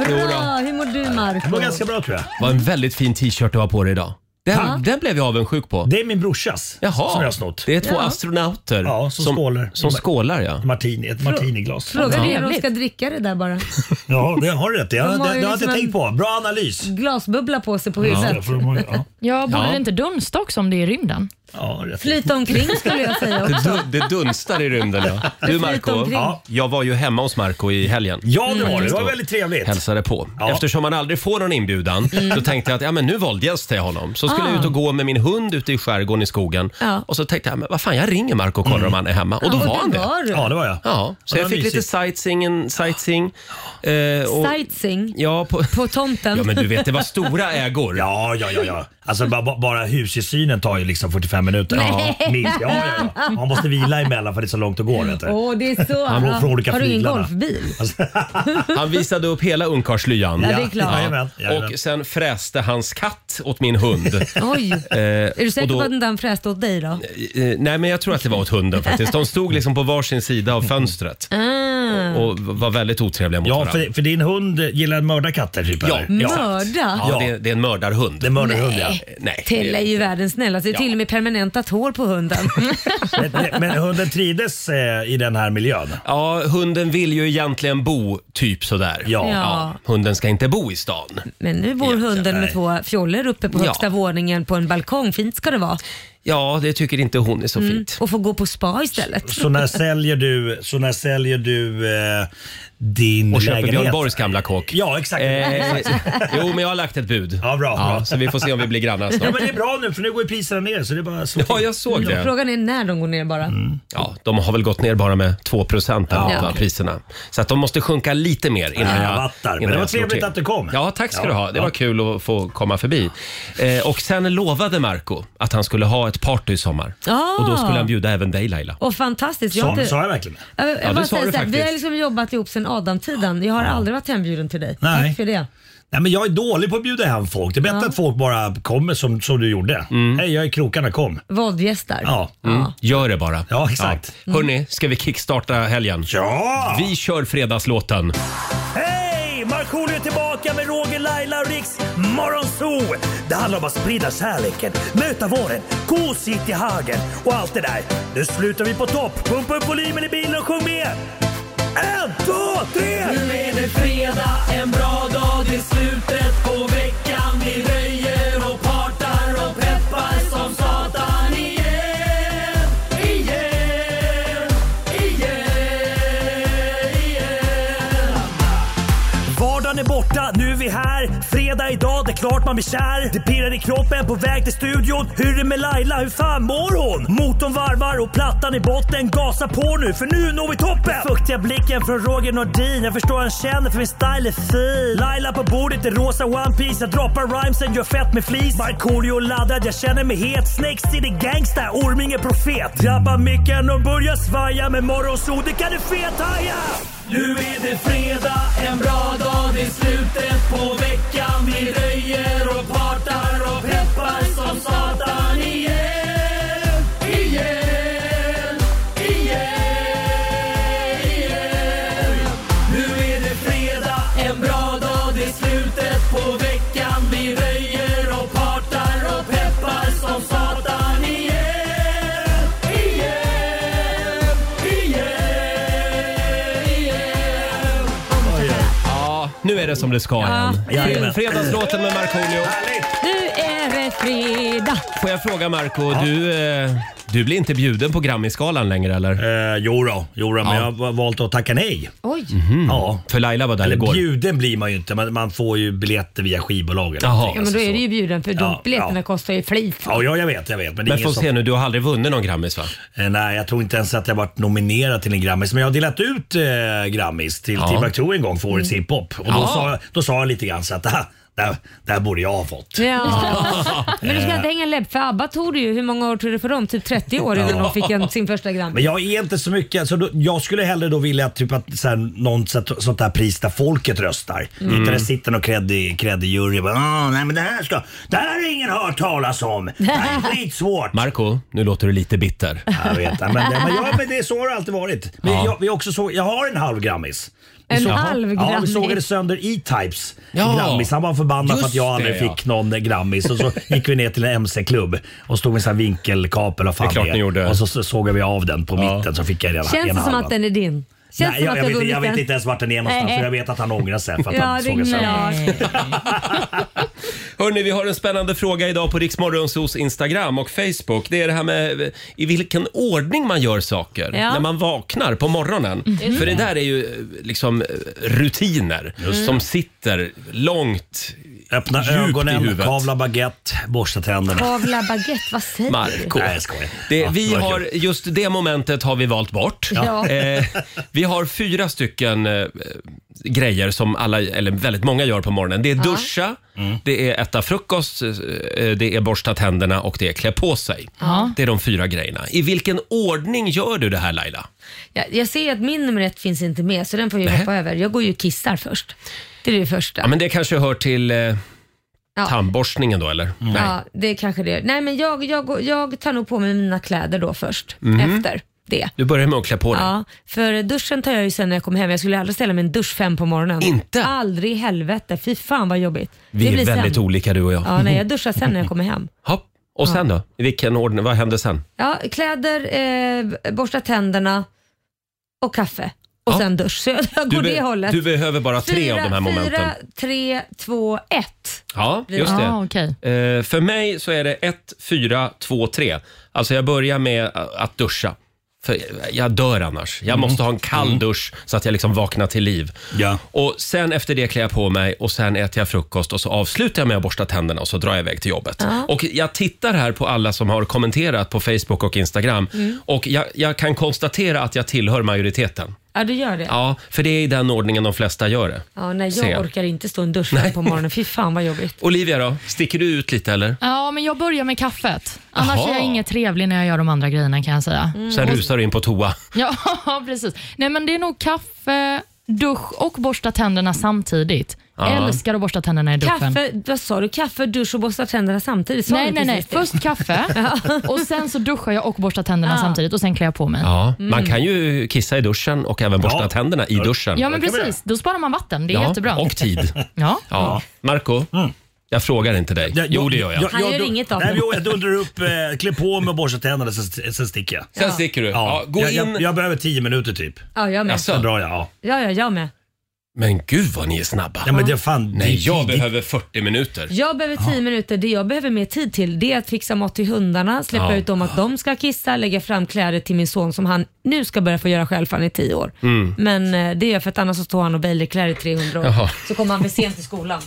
[SPEAKER 2] Bra, hur mår du Marco?
[SPEAKER 4] Det var ganska bra tror jag.
[SPEAKER 1] Vad en väldigt fin t-shirt du har på dig idag. Den, den blev jag avundsjuk på.
[SPEAKER 4] Det är min brorsas
[SPEAKER 1] Jaha,
[SPEAKER 4] som jag har snott.
[SPEAKER 1] det är två astronauter
[SPEAKER 4] Ja, som skålar.
[SPEAKER 1] som skålar. Ja.
[SPEAKER 4] Martini, ett martiniglas.
[SPEAKER 2] Fråga
[SPEAKER 3] Ja.
[SPEAKER 2] dig om de ska dricka det där bara.
[SPEAKER 4] Ja, det har du rätt i. Ja,
[SPEAKER 2] De
[SPEAKER 4] det,
[SPEAKER 2] har
[SPEAKER 4] det
[SPEAKER 2] ju
[SPEAKER 4] har jag
[SPEAKER 2] liksom
[SPEAKER 4] inte
[SPEAKER 2] en-
[SPEAKER 4] tänkt på. Bra analys.
[SPEAKER 2] Glasbubbla på sig på huvudet.
[SPEAKER 4] Ja, för de har- ja.
[SPEAKER 3] Ja, borde
[SPEAKER 1] Ja.
[SPEAKER 3] det inte dunsta också om det är i rymden?
[SPEAKER 4] Ja, rätt.
[SPEAKER 2] Flyta omkring skulle jag säga
[SPEAKER 1] Det,
[SPEAKER 2] också.
[SPEAKER 1] dun, det dunstar i rymden. Ja. Du Marco,
[SPEAKER 2] omkring.
[SPEAKER 1] ja. jag var ju hemma hos Marco i helgen.
[SPEAKER 4] Ja, det
[SPEAKER 7] Mm.
[SPEAKER 4] var det. Det var väldigt trevligt.
[SPEAKER 1] Hälsade på.
[SPEAKER 4] Ja. Mm.
[SPEAKER 1] Eftersom man aldrig får någon inbjudan så tänkte jag att ja, men nu våldgästar jag honom. Så
[SPEAKER 4] Ah.
[SPEAKER 1] skulle jag ut och gå med min hund ute i skärgården i skogen.
[SPEAKER 2] Ja.
[SPEAKER 1] Och så tänkte jag, men vad fan jag ringer Marco och kollar om han är hemma. Och då var
[SPEAKER 2] och
[SPEAKER 1] han
[SPEAKER 2] det
[SPEAKER 1] det.
[SPEAKER 2] var du.
[SPEAKER 4] Mm. Ja, det var jag.
[SPEAKER 1] Ja, så
[SPEAKER 4] det
[SPEAKER 1] jag
[SPEAKER 4] var
[SPEAKER 1] fick lite
[SPEAKER 4] mysigt.
[SPEAKER 1] sightseeing. en- sightseeing eh, och,
[SPEAKER 2] Sightseeing
[SPEAKER 1] ja, på,
[SPEAKER 2] på tomten.
[SPEAKER 1] ja, men du vet det var stora ägor.
[SPEAKER 4] Ja, ja, ja. ja. Alltså ba- ba- bara husysynen tar ju liksom 45 minuter.
[SPEAKER 2] Nej. Mm.
[SPEAKER 4] Ja, minst. Ja, ja, ja. Man måste vila emellan för det är så långt att gå. Vet du.
[SPEAKER 2] Åh, det är så.
[SPEAKER 4] Han var från olika
[SPEAKER 2] Har du ingen
[SPEAKER 4] flyglarna.
[SPEAKER 2] golfbil?
[SPEAKER 4] Alltså,
[SPEAKER 1] Han visade upp hela ungkarlslyan.
[SPEAKER 2] Ja, det är klart.
[SPEAKER 4] Jajamän, jajamän.
[SPEAKER 1] Och sen fräste hans katt åt min hund. Eh,
[SPEAKER 2] Oj. Är du säker
[SPEAKER 1] och då-
[SPEAKER 2] på att den där fräste åt dig då?
[SPEAKER 1] Eh, Nej, men jag tror att det var åt hunden faktiskt. De stod liksom på varsin sida av fönstret Eh,
[SPEAKER 2] Ah.
[SPEAKER 1] och var väldigt otrevliga mot
[SPEAKER 4] ja,
[SPEAKER 1] varandra.
[SPEAKER 4] för, för din hund gillar att mörda katter typ?
[SPEAKER 1] Ja.
[SPEAKER 4] eller?
[SPEAKER 2] Mörda?
[SPEAKER 1] Ja,
[SPEAKER 4] Ja.
[SPEAKER 1] det, det är en mördarhund.
[SPEAKER 4] Det är mördarhund ja.
[SPEAKER 1] Eh, Nej.
[SPEAKER 2] Telle är ju världens snällaste. Det är
[SPEAKER 1] Ja.
[SPEAKER 2] till och med permanentat hår på hunden.
[SPEAKER 4] Men, men- men hunden trides eh, i den här miljön?
[SPEAKER 1] Ja, hunden vill ju egentligen bo typ sådär.
[SPEAKER 4] Ja.
[SPEAKER 2] Ja.
[SPEAKER 1] Hunden ska inte bo i stan.
[SPEAKER 2] Men nu bor hunden med
[SPEAKER 4] nej.
[SPEAKER 2] två fjoller uppe på
[SPEAKER 1] Ja.
[SPEAKER 2] högsta våningen på en balkong. Fint ska det vara.
[SPEAKER 1] Ja, det tycker inte hon är så fint.
[SPEAKER 2] Och få gå på spa istället.
[SPEAKER 4] Så när säljer du, så när säljer du eh, din
[SPEAKER 1] Och köper
[SPEAKER 4] lägenhet?
[SPEAKER 1] Björn Borgs gamla kåk.
[SPEAKER 4] Ja, exakt.
[SPEAKER 1] Eh, jo, men jag har lagt ett bud.
[SPEAKER 4] Ja, bra, bra.
[SPEAKER 1] så vi får se om vi blir grannar snart.
[SPEAKER 4] Ja, men det är bra nu för nu går ju priserna ner så det är bara så.
[SPEAKER 1] Ja, jag såg det.
[SPEAKER 2] Mm,
[SPEAKER 1] Mm.
[SPEAKER 2] Frågan är när de går ner bara.
[SPEAKER 1] Ja, de har väl gått ner bara med 2 procent
[SPEAKER 2] Ja.
[SPEAKER 1] ja. priserna. Så att de måste sjunka lite mer innan
[SPEAKER 4] Ja,
[SPEAKER 1] jag
[SPEAKER 4] vattar. Men
[SPEAKER 1] innan
[SPEAKER 4] det var
[SPEAKER 1] jag slår
[SPEAKER 4] trevligt
[SPEAKER 1] till.
[SPEAKER 4] att du kom.
[SPEAKER 1] Ja, tack ska
[SPEAKER 4] Ja,
[SPEAKER 1] du ha. Det
[SPEAKER 4] ja.
[SPEAKER 1] var kul att få komma förbi. Eh, och sen lovade Marco att han skulle ha ett party i sommar.
[SPEAKER 2] Ah.
[SPEAKER 1] Och då skulle han bjuda även dig Laila.
[SPEAKER 2] Och fantastiskt. Jag har
[SPEAKER 4] Sa,
[SPEAKER 2] inte-
[SPEAKER 4] sa jag verkligen det?
[SPEAKER 2] Jag, jag
[SPEAKER 1] det
[SPEAKER 2] bara
[SPEAKER 1] sa du
[SPEAKER 2] säger så här, vi har
[SPEAKER 1] faktiskt.
[SPEAKER 2] liksom jobbat ihop sedan Adam-tiden. Jag har aldrig varit hembjuden till dig.
[SPEAKER 4] Nej.
[SPEAKER 2] Tack för det.
[SPEAKER 4] Nej, men jag är dålig på att bjuda hem folk. Det är bättre att folk bara kommer som, som du gjorde. Hej, jag är i krokarna, kom.
[SPEAKER 2] Våldgästar.
[SPEAKER 4] Ja.
[SPEAKER 1] Mm. Gör det bara.
[SPEAKER 4] Ja, exakt.
[SPEAKER 1] Ja. Hörni, ska vi kickstarta helgen?
[SPEAKER 4] Ja!
[SPEAKER 1] Vi kör fredagslåten.
[SPEAKER 4] Hej! Markoolio är tillbaka med Roger, Laila och Riks Morgonzoo! Det handlar om att sprida kärleken, möta våren, gosigt i hagen och allt det där. Nu slutar vi på topp! Pumpa upp volymen i bilen och sjung med! En, två, tre! Nu är det fredag, en bra dag, det är slutet på veckan. Vi röjer och partar och peppar som satan igen, igen, igen, igen. Vardagen är borta, nu är vi här. Fredag idag, det är klart man blir kär. Det pirrar i kroppen på väg till studion. Hur är det med Laila, hur fan mår hon? Motorn varvar och plattan i botten. Gasa på nu, för nu når vi toppen! Den Fuktiga blicken från Roger Nordin. Jag förstår han känner för min style är fin. Laila på bordet i rosa One Piece Jag droppar rhymesen, gör fett med flis. Markoolio laddad, jag känner mig het. Snake City gangsta, Orminge profet. Drabbar micken och börjar svaja. Med morgonsol, det kan du fethaja! Nu är det fredag, en bra dag, det är slutet på veckan. Vi röjer och partar och peppar som satan igen. Igen, igen, igen. Nu är det fredag, en bra dag, det är slutet på veckan. Vi röjer och partar och peppar som satan igen. Igen, igen, igen.
[SPEAKER 1] Ja, nu är det som det ska igen.
[SPEAKER 4] Jajamän.
[SPEAKER 1] Fredagslåten med Markoolio.
[SPEAKER 2] Nu är det fredag.
[SPEAKER 1] Får jag fråga Marco, du, eh, du blir inte bjuden på Grammisgalan längre eller?
[SPEAKER 4] Eh, jo då, jo då, men jag har valt att tacka nej.
[SPEAKER 2] Oj.
[SPEAKER 4] Ja.
[SPEAKER 1] För Laila var där
[SPEAKER 4] Mm. Eller
[SPEAKER 1] igår.
[SPEAKER 4] bjuden blir man ju inte, man, man får ju biljetter via skivbolag. eller
[SPEAKER 1] Jaha.
[SPEAKER 4] någonting,
[SPEAKER 2] Ja, men
[SPEAKER 4] alltså
[SPEAKER 2] då är
[SPEAKER 4] så.
[SPEAKER 2] du ju bjuden för
[SPEAKER 4] Ja,
[SPEAKER 2] de biljetterna
[SPEAKER 4] ja.
[SPEAKER 2] kostar ju flit.
[SPEAKER 4] Ja, ja, jag vet, jag vet. Men, det är
[SPEAKER 1] Men
[SPEAKER 4] ingen
[SPEAKER 1] får
[SPEAKER 4] som...
[SPEAKER 1] se nu, du har aldrig vunnit någon Grammis va?
[SPEAKER 4] Eh, Nej, jag tror inte ens att jag varit nominerad till en Grammis. Men jag har delat ut eh, Grammis till
[SPEAKER 1] Ja. Mm.
[SPEAKER 4] Tim McToe en gång för årets hiphop. Och då,
[SPEAKER 1] Ja.
[SPEAKER 4] sa, jag- då sa jag lite grann så att "Ah, det här, det här borde jag ha fått.
[SPEAKER 2] Ja. Men du ska inte hänga läpp för ABBA tog det ju, hur många år tog det för dem? Typ 30 år innan de fick en, sin första Grammy.
[SPEAKER 4] Men jag är inte så mycket, alltså, då, jag skulle hellre då vilja typ att så här, någon så- sånt där pris där folket röstar.
[SPEAKER 1] Mm.
[SPEAKER 4] Inte där sitter någon kreddig kreddig jury och bara, "Ah, nej men det här ska, det här har ingen hört talas om. Det här är skitsvårt.
[SPEAKER 1] Marco, nu låter du lite bitter.
[SPEAKER 4] Jag vet, men, men, ja, men det är så har det alltid varit. Men
[SPEAKER 1] Ja.
[SPEAKER 4] jag, vi också såg, jag har en halv grammis. Vi
[SPEAKER 2] En
[SPEAKER 4] såg-
[SPEAKER 2] halv
[SPEAKER 4] Ja, vi
[SPEAKER 2] grammis.
[SPEAKER 4] sågade sönder E-Types
[SPEAKER 1] Ja.
[SPEAKER 4] grammis. Han var förbannad för att jag
[SPEAKER 1] Just
[SPEAKER 4] aldrig
[SPEAKER 1] det, ja.
[SPEAKER 4] fick någon grammis. Och så gick vi ner till en MC-klubb och stod med en sån här vinkelkapel och fan
[SPEAKER 1] Det är klart ni gjorde.
[SPEAKER 4] Och så, så sågade vi av den på
[SPEAKER 1] Ja.
[SPEAKER 4] mitten så fick jag redan
[SPEAKER 2] Känns
[SPEAKER 4] en
[SPEAKER 2] det som
[SPEAKER 4] halva.
[SPEAKER 2] att den är din? Känns
[SPEAKER 4] Nej,
[SPEAKER 2] som
[SPEAKER 4] jag,
[SPEAKER 2] att
[SPEAKER 4] jag,
[SPEAKER 2] du har
[SPEAKER 4] vet, jag
[SPEAKER 2] vunnit
[SPEAKER 4] vet
[SPEAKER 2] den.
[SPEAKER 4] inte ens vart den är någonstans
[SPEAKER 2] Nej.
[SPEAKER 4] för jag vet att han ångrar sig för att han
[SPEAKER 2] Ja, det
[SPEAKER 4] såg
[SPEAKER 2] är
[SPEAKER 4] sig.
[SPEAKER 2] klart.
[SPEAKER 1] Hörni, vi har en spännande fråga idag på Riksmorgonsos Instagram och Facebook. Det är det här med i vilken ordning man gör saker
[SPEAKER 2] Ja.
[SPEAKER 1] när man vaknar på morgonen.
[SPEAKER 2] Mhm.
[SPEAKER 1] För det där är ju eh, liksom eh, rutiner
[SPEAKER 4] Just
[SPEAKER 1] som sitter långt
[SPEAKER 4] Öppna
[SPEAKER 1] djupt i
[SPEAKER 4] ögonen,
[SPEAKER 1] huvudet.
[SPEAKER 4] kavla baguette, borsta tänderna.
[SPEAKER 2] Kavla baguette, vad säger
[SPEAKER 1] Marco.
[SPEAKER 4] Nej, jag skojar.
[SPEAKER 1] Det,
[SPEAKER 4] Ja,
[SPEAKER 1] vi
[SPEAKER 4] det var
[SPEAKER 1] har, just det momentet har vi valt bort.
[SPEAKER 2] Ja.
[SPEAKER 1] Eh, vi har fyra stycken eh, grejer som alla, eller väldigt många gör på morgonen. Det är duscha,
[SPEAKER 2] Mm.
[SPEAKER 1] det är äta frukost, eh, det är borsta tänderna och det är klä på sig.
[SPEAKER 2] Ja.
[SPEAKER 1] Det är de fyra grejerna. I vilken ordning gör du det här Laila?
[SPEAKER 2] Jag, jag ser ju att min nummer ett finns inte med så den får jag ju hoppa över. Jag går ju och kissar först. Det är det första.
[SPEAKER 1] Ja, men det kanske hör till eh,
[SPEAKER 2] Ja. Mm.
[SPEAKER 1] tandborstningen då eller? Nej.
[SPEAKER 2] Ja, det är kanske det. Nej, men jag, jag, går- jag tar nog på mig mina kläder då först,
[SPEAKER 1] Mhm.
[SPEAKER 2] efter det.
[SPEAKER 1] Du börjar med att klä på dig.
[SPEAKER 2] Ja, för duschen tar jag ju sen när jag kommer hem. Jag skulle aldrig ställa mig i en dusch fem på morgonen.
[SPEAKER 1] Inte?
[SPEAKER 2] Aldrig i helvete. Fy fan vad jobbigt.
[SPEAKER 1] Vi
[SPEAKER 2] det
[SPEAKER 1] är
[SPEAKER 2] blir
[SPEAKER 1] väldigt
[SPEAKER 2] sen.
[SPEAKER 1] olika du och jag.
[SPEAKER 2] Ja, nej, jag duschar sen när jag kommer hem.
[SPEAKER 1] Hopp. Och sen då? I vilken ordning? Vad hände sen?
[SPEAKER 2] Ja, kläder, eh, borsta tänderna och kaffe. Och sen dusch. Så jag, jag
[SPEAKER 1] Du,
[SPEAKER 2] går
[SPEAKER 1] be-
[SPEAKER 2] det hållet.
[SPEAKER 1] du behöver bara tre av de här momenten.
[SPEAKER 2] Fyra, tre, två, ett.
[SPEAKER 1] Ja, just det.
[SPEAKER 3] Ah, okej.
[SPEAKER 1] Eh, för mig så är det 1, 4, 2, 3. Alltså jag börjar med eh, att duscha. För jag dör annars. Jag måste ha en kall dusch så att jag liksom vaknar till liv.
[SPEAKER 4] Ja.
[SPEAKER 1] Och sen efter det klär jag på mig och sen äter jag frukost och så avslutar jag med att borsta tänderna och så drar jag iväg till jobbet. Och jag tittar här på alla som har kommenterat på Facebook och Instagram
[SPEAKER 2] Mm.
[SPEAKER 1] och jag, jag kan konstatera att jag tillhör majoriteten.
[SPEAKER 2] Ja, du gör det. Ja.
[SPEAKER 1] Ja, för det är i den ordningen de flesta gör det.
[SPEAKER 2] nej, jag
[SPEAKER 1] Ser.
[SPEAKER 2] orkar inte stå i en dusch fem på morgonen. Fy fan vad jobbigt.
[SPEAKER 1] Olivia då, sticker du ut lite eller?
[SPEAKER 3] Ja, men jag börjar med kaffet. Annars
[SPEAKER 1] Aha.
[SPEAKER 3] är jag inget trevlig när jag gör de andra grejerna kan jag säga.
[SPEAKER 1] Sen rusar du in på toa.
[SPEAKER 3] Ja, precis. Nej, men det är nog kaffe, dusch och borsta tänderna samtidigt.
[SPEAKER 1] Ja.
[SPEAKER 3] Älskar att borsta tänderna i duschen.
[SPEAKER 2] Kaffe, vad sa du? Kaffe, dusch och borsta tänderna samtidigt? Sa
[SPEAKER 3] Nej,
[SPEAKER 2] du
[SPEAKER 3] nej, nej.
[SPEAKER 2] precis det?
[SPEAKER 3] Först kaffe och sen så duschar jag och borstar tänderna
[SPEAKER 2] Ah.
[SPEAKER 3] samtidigt och sen klär jag på mig. Ja,
[SPEAKER 1] Ja, man kan ju kissa i duschen och även borsta
[SPEAKER 4] Ja.
[SPEAKER 1] tänderna i duschen.
[SPEAKER 3] men
[SPEAKER 4] kan vi
[SPEAKER 3] precis. Då sparar man vatten. Det är
[SPEAKER 1] Ja,
[SPEAKER 3] jättebra.
[SPEAKER 1] Och tid.
[SPEAKER 3] Ja.
[SPEAKER 1] Ja. Marco, jag frågar inte dig.
[SPEAKER 4] Ja,
[SPEAKER 1] Jo, det gör jag.
[SPEAKER 2] Han gör inget av
[SPEAKER 4] nej,
[SPEAKER 2] det.
[SPEAKER 4] jo, Jag dundrar upp, eh, klä på mig och borsta tänderna sen, sen sticker jag.
[SPEAKER 1] Sen sticker du. Ja, gå
[SPEAKER 4] jag,
[SPEAKER 1] in.
[SPEAKER 4] jag, jag behöver tio minuter typ.
[SPEAKER 2] Ja, jag med.
[SPEAKER 1] Jaså?
[SPEAKER 4] Sen drar jag. Ja.
[SPEAKER 2] Ja, ja, jag med.
[SPEAKER 1] Men gud vad ni är snabba.
[SPEAKER 4] Ja, men det är fan,
[SPEAKER 1] Nej,
[SPEAKER 4] det,
[SPEAKER 1] jag
[SPEAKER 4] det,
[SPEAKER 1] behöver 40 minuter.
[SPEAKER 2] Jag behöver tio minuter. Det jag behöver mer tid till det är att fixa mat till hundarna, släppa
[SPEAKER 1] Ja.
[SPEAKER 2] ut dem att de ska kissa, lägga fram kläder till min son som han nu ska börja få göra själv för han är tio år. Men eh, det gör jag för att annars så står han och bailar kläder i 300 år.
[SPEAKER 1] Mm. Jaha.
[SPEAKER 2] Så kommer han för sent till skolan.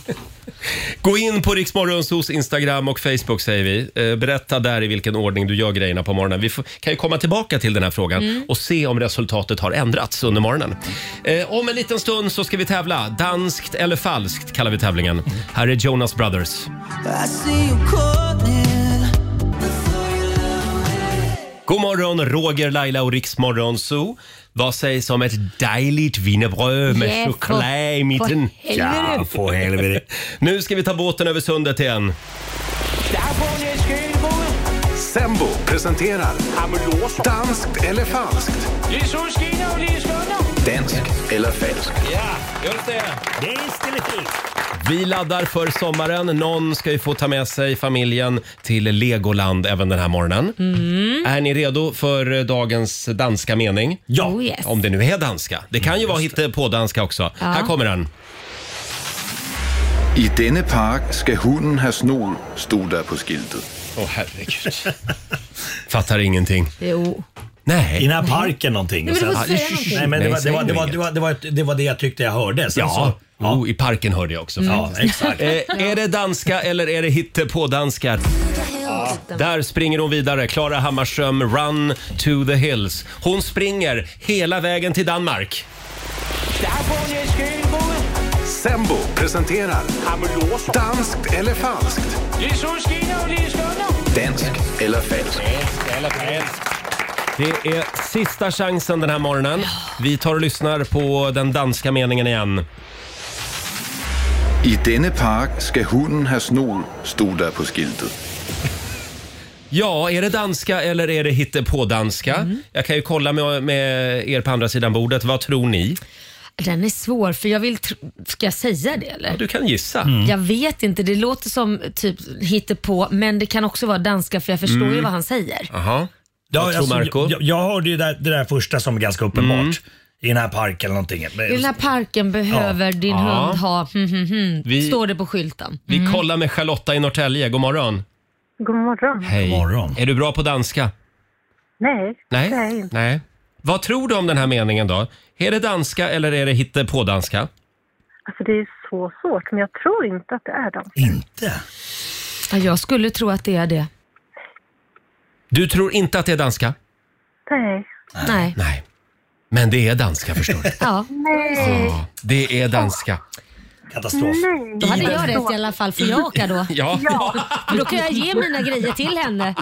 [SPEAKER 1] Gå in på Riksmorgonsos Instagram och Facebook säger vi. Eh, Berätta där i vilken ordning du gör grejerna på morgonen. Vi får, kan ju komma tillbaka till den här frågan och se om resultatet har ändrats under morgonen. Eh, Om en liten stund så ska vi tävla. Danskt eller falskt kallar vi tävlingen. Här är Jonas Brothers. God morgon, Roger, Laila och Riksmorgon Zoo. Vad sägs om ett dejligt wienerbröd med
[SPEAKER 2] Yeah,
[SPEAKER 1] choklad i mitten?
[SPEAKER 2] för helvete.
[SPEAKER 1] Ja, för helvete. Nu ska vi ta båten över sundet igen.
[SPEAKER 10] Sembo presenterar Danskt eller falskt? Danskt eller falskt?
[SPEAKER 1] Just det.
[SPEAKER 4] det är still it.
[SPEAKER 1] Vi laddar för sommaren. Någon ska ju få ta med sig familjen till Legoland även den här morgonen. Är ni redo för dagens danska mening?
[SPEAKER 4] Ja.
[SPEAKER 2] Oh Mm. yes.
[SPEAKER 1] Om det nu är danska. Det kan
[SPEAKER 4] Mm,
[SPEAKER 1] ju vara hittepådanska också. Här kommer den.
[SPEAKER 10] I denne park ska hunden ha snor, stod där på skyltet.
[SPEAKER 1] Åh herregud. Fattar ingenting.
[SPEAKER 2] Jo.
[SPEAKER 4] I
[SPEAKER 1] Nej.
[SPEAKER 4] den här parken någonting.
[SPEAKER 2] Nej, men du
[SPEAKER 4] Och
[SPEAKER 2] får säga någonting.
[SPEAKER 4] Ah, nej, men det,
[SPEAKER 1] Nej,
[SPEAKER 4] var, det,
[SPEAKER 1] säg
[SPEAKER 4] var,
[SPEAKER 1] nu
[SPEAKER 4] det, var,
[SPEAKER 1] inget.
[SPEAKER 4] det, var, det, var, ett- det var det jag tyckte jag hörde. Sen
[SPEAKER 1] Ja,
[SPEAKER 4] Så, ja. Mm.
[SPEAKER 1] Oh, i parken hörde jag också.
[SPEAKER 4] ja, exakt.
[SPEAKER 1] Eh, är det danska eller är det hittepådanska? Där springer hon vidare. Klara Hammarström, Run to the Hills. Hon springer hela vägen till Danmark.
[SPEAKER 10] Sembo presenterar Danskt eller falskt? Danskt eller falskt?
[SPEAKER 1] Det är sista chansen den här morgonen. Vi tar och lyssnar på den danska meningen igen.
[SPEAKER 10] I denne park ska hunden ha snor, stod där på skyltet.
[SPEAKER 1] Ja, är det danska eller är det hittepådanska? Jag kan ju kolla med, med er på andra sidan bordet. Vad tror ni?
[SPEAKER 2] Den är svår för jag vill... Tr- ska jag säga det eller?
[SPEAKER 1] Ja, du kan gissa.
[SPEAKER 2] Jag vet inte, det låter som typ hittepå men det kan också vara danska för jag förstår
[SPEAKER 1] Mm.
[SPEAKER 2] ju vad han säger.
[SPEAKER 1] Aha.
[SPEAKER 4] Ja,
[SPEAKER 1] tror Marco?
[SPEAKER 11] alltså,
[SPEAKER 1] Mm.
[SPEAKER 4] Jag, jag hörde ju det, det där första som är ganska uppenbart.
[SPEAKER 11] i den här parken eller någonting. alltså,
[SPEAKER 2] I den här parken behöver din
[SPEAKER 1] Ja.
[SPEAKER 2] hund ha... Hmm, hmm, hmm,
[SPEAKER 1] Vi-
[SPEAKER 2] står det på skylten.
[SPEAKER 1] Vi
[SPEAKER 5] Mm.
[SPEAKER 1] kollar med Charlotta i Norrtälje. God morgon.
[SPEAKER 5] God morgon.
[SPEAKER 1] Hej. Är du bra på danska?
[SPEAKER 5] Nej,
[SPEAKER 1] Nej.
[SPEAKER 5] det är jag inte.
[SPEAKER 1] Nej. Vad tror du om den här meningen då? Är det danska eller är det hittepådanska?
[SPEAKER 5] Alltså det är så svårt, men jag tror inte att det är dem.
[SPEAKER 11] Inte?
[SPEAKER 2] Ja, jag skulle tro att det är det.
[SPEAKER 1] Du tror inte att det är danska?
[SPEAKER 5] Nej.
[SPEAKER 2] Nej.
[SPEAKER 1] Nej. Men det är danska förstår du.
[SPEAKER 2] Ja.
[SPEAKER 5] Nej.
[SPEAKER 1] Ja, det är danska.
[SPEAKER 11] Katastrof.
[SPEAKER 2] Då hade jag rätt i alla fall, får jag åka då?
[SPEAKER 1] Ja.
[SPEAKER 2] För Då kan jag ge mina grejer till henne.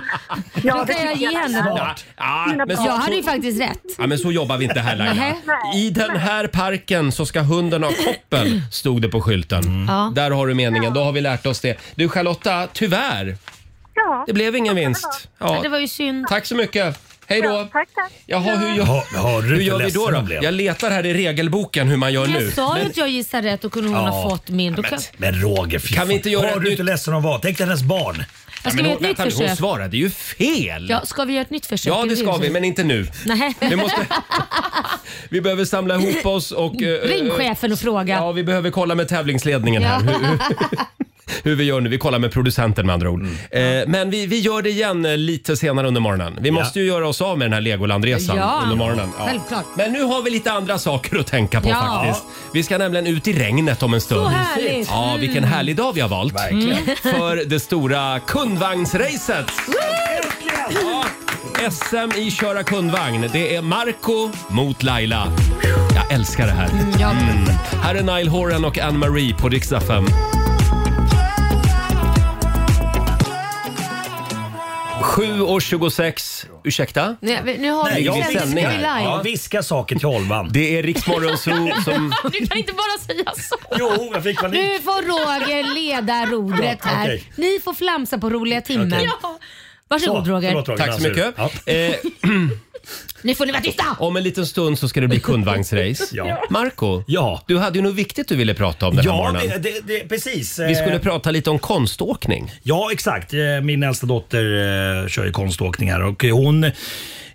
[SPEAKER 2] Då kan jag ge henne
[SPEAKER 1] Ja, ja, men,
[SPEAKER 2] Jag hade
[SPEAKER 1] så,
[SPEAKER 2] ju faktiskt rätt.
[SPEAKER 1] ja, men så jobbar vi inte här Laila.
[SPEAKER 2] Nej.
[SPEAKER 1] I den här parken så ska hunden ha koppel, stod det på skylten.
[SPEAKER 11] Mm.
[SPEAKER 2] Ja.
[SPEAKER 1] Där har du meningen, då har vi lärt oss det. Du Charlotta, tyvärr.
[SPEAKER 5] Ja.
[SPEAKER 1] Det blev ingen vinst. Ja.
[SPEAKER 2] Det var ju synd.
[SPEAKER 1] Tack så mycket. Hej då.
[SPEAKER 2] Ja,
[SPEAKER 5] tack, tack.
[SPEAKER 1] Jaha, hur gör,
[SPEAKER 11] Hör- hörde
[SPEAKER 1] hur
[SPEAKER 11] du inte
[SPEAKER 1] gör vi
[SPEAKER 11] ledsen
[SPEAKER 1] då? då?
[SPEAKER 11] jag blev?
[SPEAKER 1] Jag letar här i regelboken hur man gör nu.
[SPEAKER 2] Jag sa ju att jag gissade rätt, då kunde hon ha
[SPEAKER 11] Ja.
[SPEAKER 2] fått min. Då kan...
[SPEAKER 11] Men Roger, fy
[SPEAKER 1] Kan vi
[SPEAKER 11] fan.
[SPEAKER 1] inte göra
[SPEAKER 11] Hör
[SPEAKER 1] ett
[SPEAKER 11] du
[SPEAKER 1] nytt-
[SPEAKER 11] inte ledsen hon var? Tänk dig hennes barn.
[SPEAKER 2] Jag ska vi göra ett nytt
[SPEAKER 1] vänta nu, hon
[SPEAKER 2] försök?
[SPEAKER 1] svarade ju fel.
[SPEAKER 2] Ja, ska vi göra ett nytt försök?
[SPEAKER 1] Ja, det ska vi, men inte nu.
[SPEAKER 2] Nej.
[SPEAKER 1] Vi måste- Vi behöver samla ihop oss och... eh,
[SPEAKER 2] Ring
[SPEAKER 1] eh,
[SPEAKER 2] chefen och fråga.
[SPEAKER 1] Ja, vi behöver kolla med tävlingsledningen här. Hur, hur, hur vi gör nu. Vi kollar med producenten med andra ord. Eh, men vi, vi gör det igen eh, lite senare under morgonen. Vi måste ju göra oss av med den här Legolandresan
[SPEAKER 2] Ja,
[SPEAKER 1] under morgonen. Ja.
[SPEAKER 2] självklart.
[SPEAKER 1] Men nu har vi lite andra saker att tänka på
[SPEAKER 2] Ja.
[SPEAKER 1] faktiskt. Vi ska nämligen ut i regnet om en stund.
[SPEAKER 2] Så härligt. Mm.
[SPEAKER 1] Ja, vilken härlig dag vi har valt. Mm.
[SPEAKER 11] Verkligen.
[SPEAKER 1] För det stora kundvagnsracet. Ja, SM i köra kundvagn. Det är Marco mot Laila. Jag älskar det här. Mm. Här är Nile Horan och Anne-Marie på Dix FM. 7.26. Ursäkta?
[SPEAKER 2] Nej, vi- nu har vi
[SPEAKER 1] jag vill
[SPEAKER 2] sändning
[SPEAKER 1] sändning här.
[SPEAKER 2] live.
[SPEAKER 11] Ja, viska saker till Holman.
[SPEAKER 1] Det är Riksmorgonzoo som...
[SPEAKER 3] Du kan inte bara säga så.
[SPEAKER 11] Jo, jag fick panik.
[SPEAKER 2] Nu får Roger leda rodret
[SPEAKER 11] Ja,
[SPEAKER 2] här.
[SPEAKER 11] okej.
[SPEAKER 2] Ni får flamsa på roliga timmen.
[SPEAKER 11] Okej.
[SPEAKER 2] Varsågod
[SPEAKER 11] Så,
[SPEAKER 2] Roger.
[SPEAKER 11] förlåt, Roger.
[SPEAKER 1] Tack så mycket.
[SPEAKER 11] Ja.
[SPEAKER 1] Eh,
[SPEAKER 2] Nu får ni vara tysta!
[SPEAKER 1] om en liten stund så ska det bli kundvagnsrace.
[SPEAKER 11] Ja.
[SPEAKER 1] Marco,
[SPEAKER 11] Ja.
[SPEAKER 1] du hade ju något viktigt du ville prata om den här
[SPEAKER 11] Ja,
[SPEAKER 1] morgonen.
[SPEAKER 11] det, det, det, precis.
[SPEAKER 1] Vi skulle
[SPEAKER 11] Eh,
[SPEAKER 1] prata lite om konståkning.
[SPEAKER 11] Ja, exakt. Eh, Min äldsta dotter eh, kör ju konståkning här och eh, hon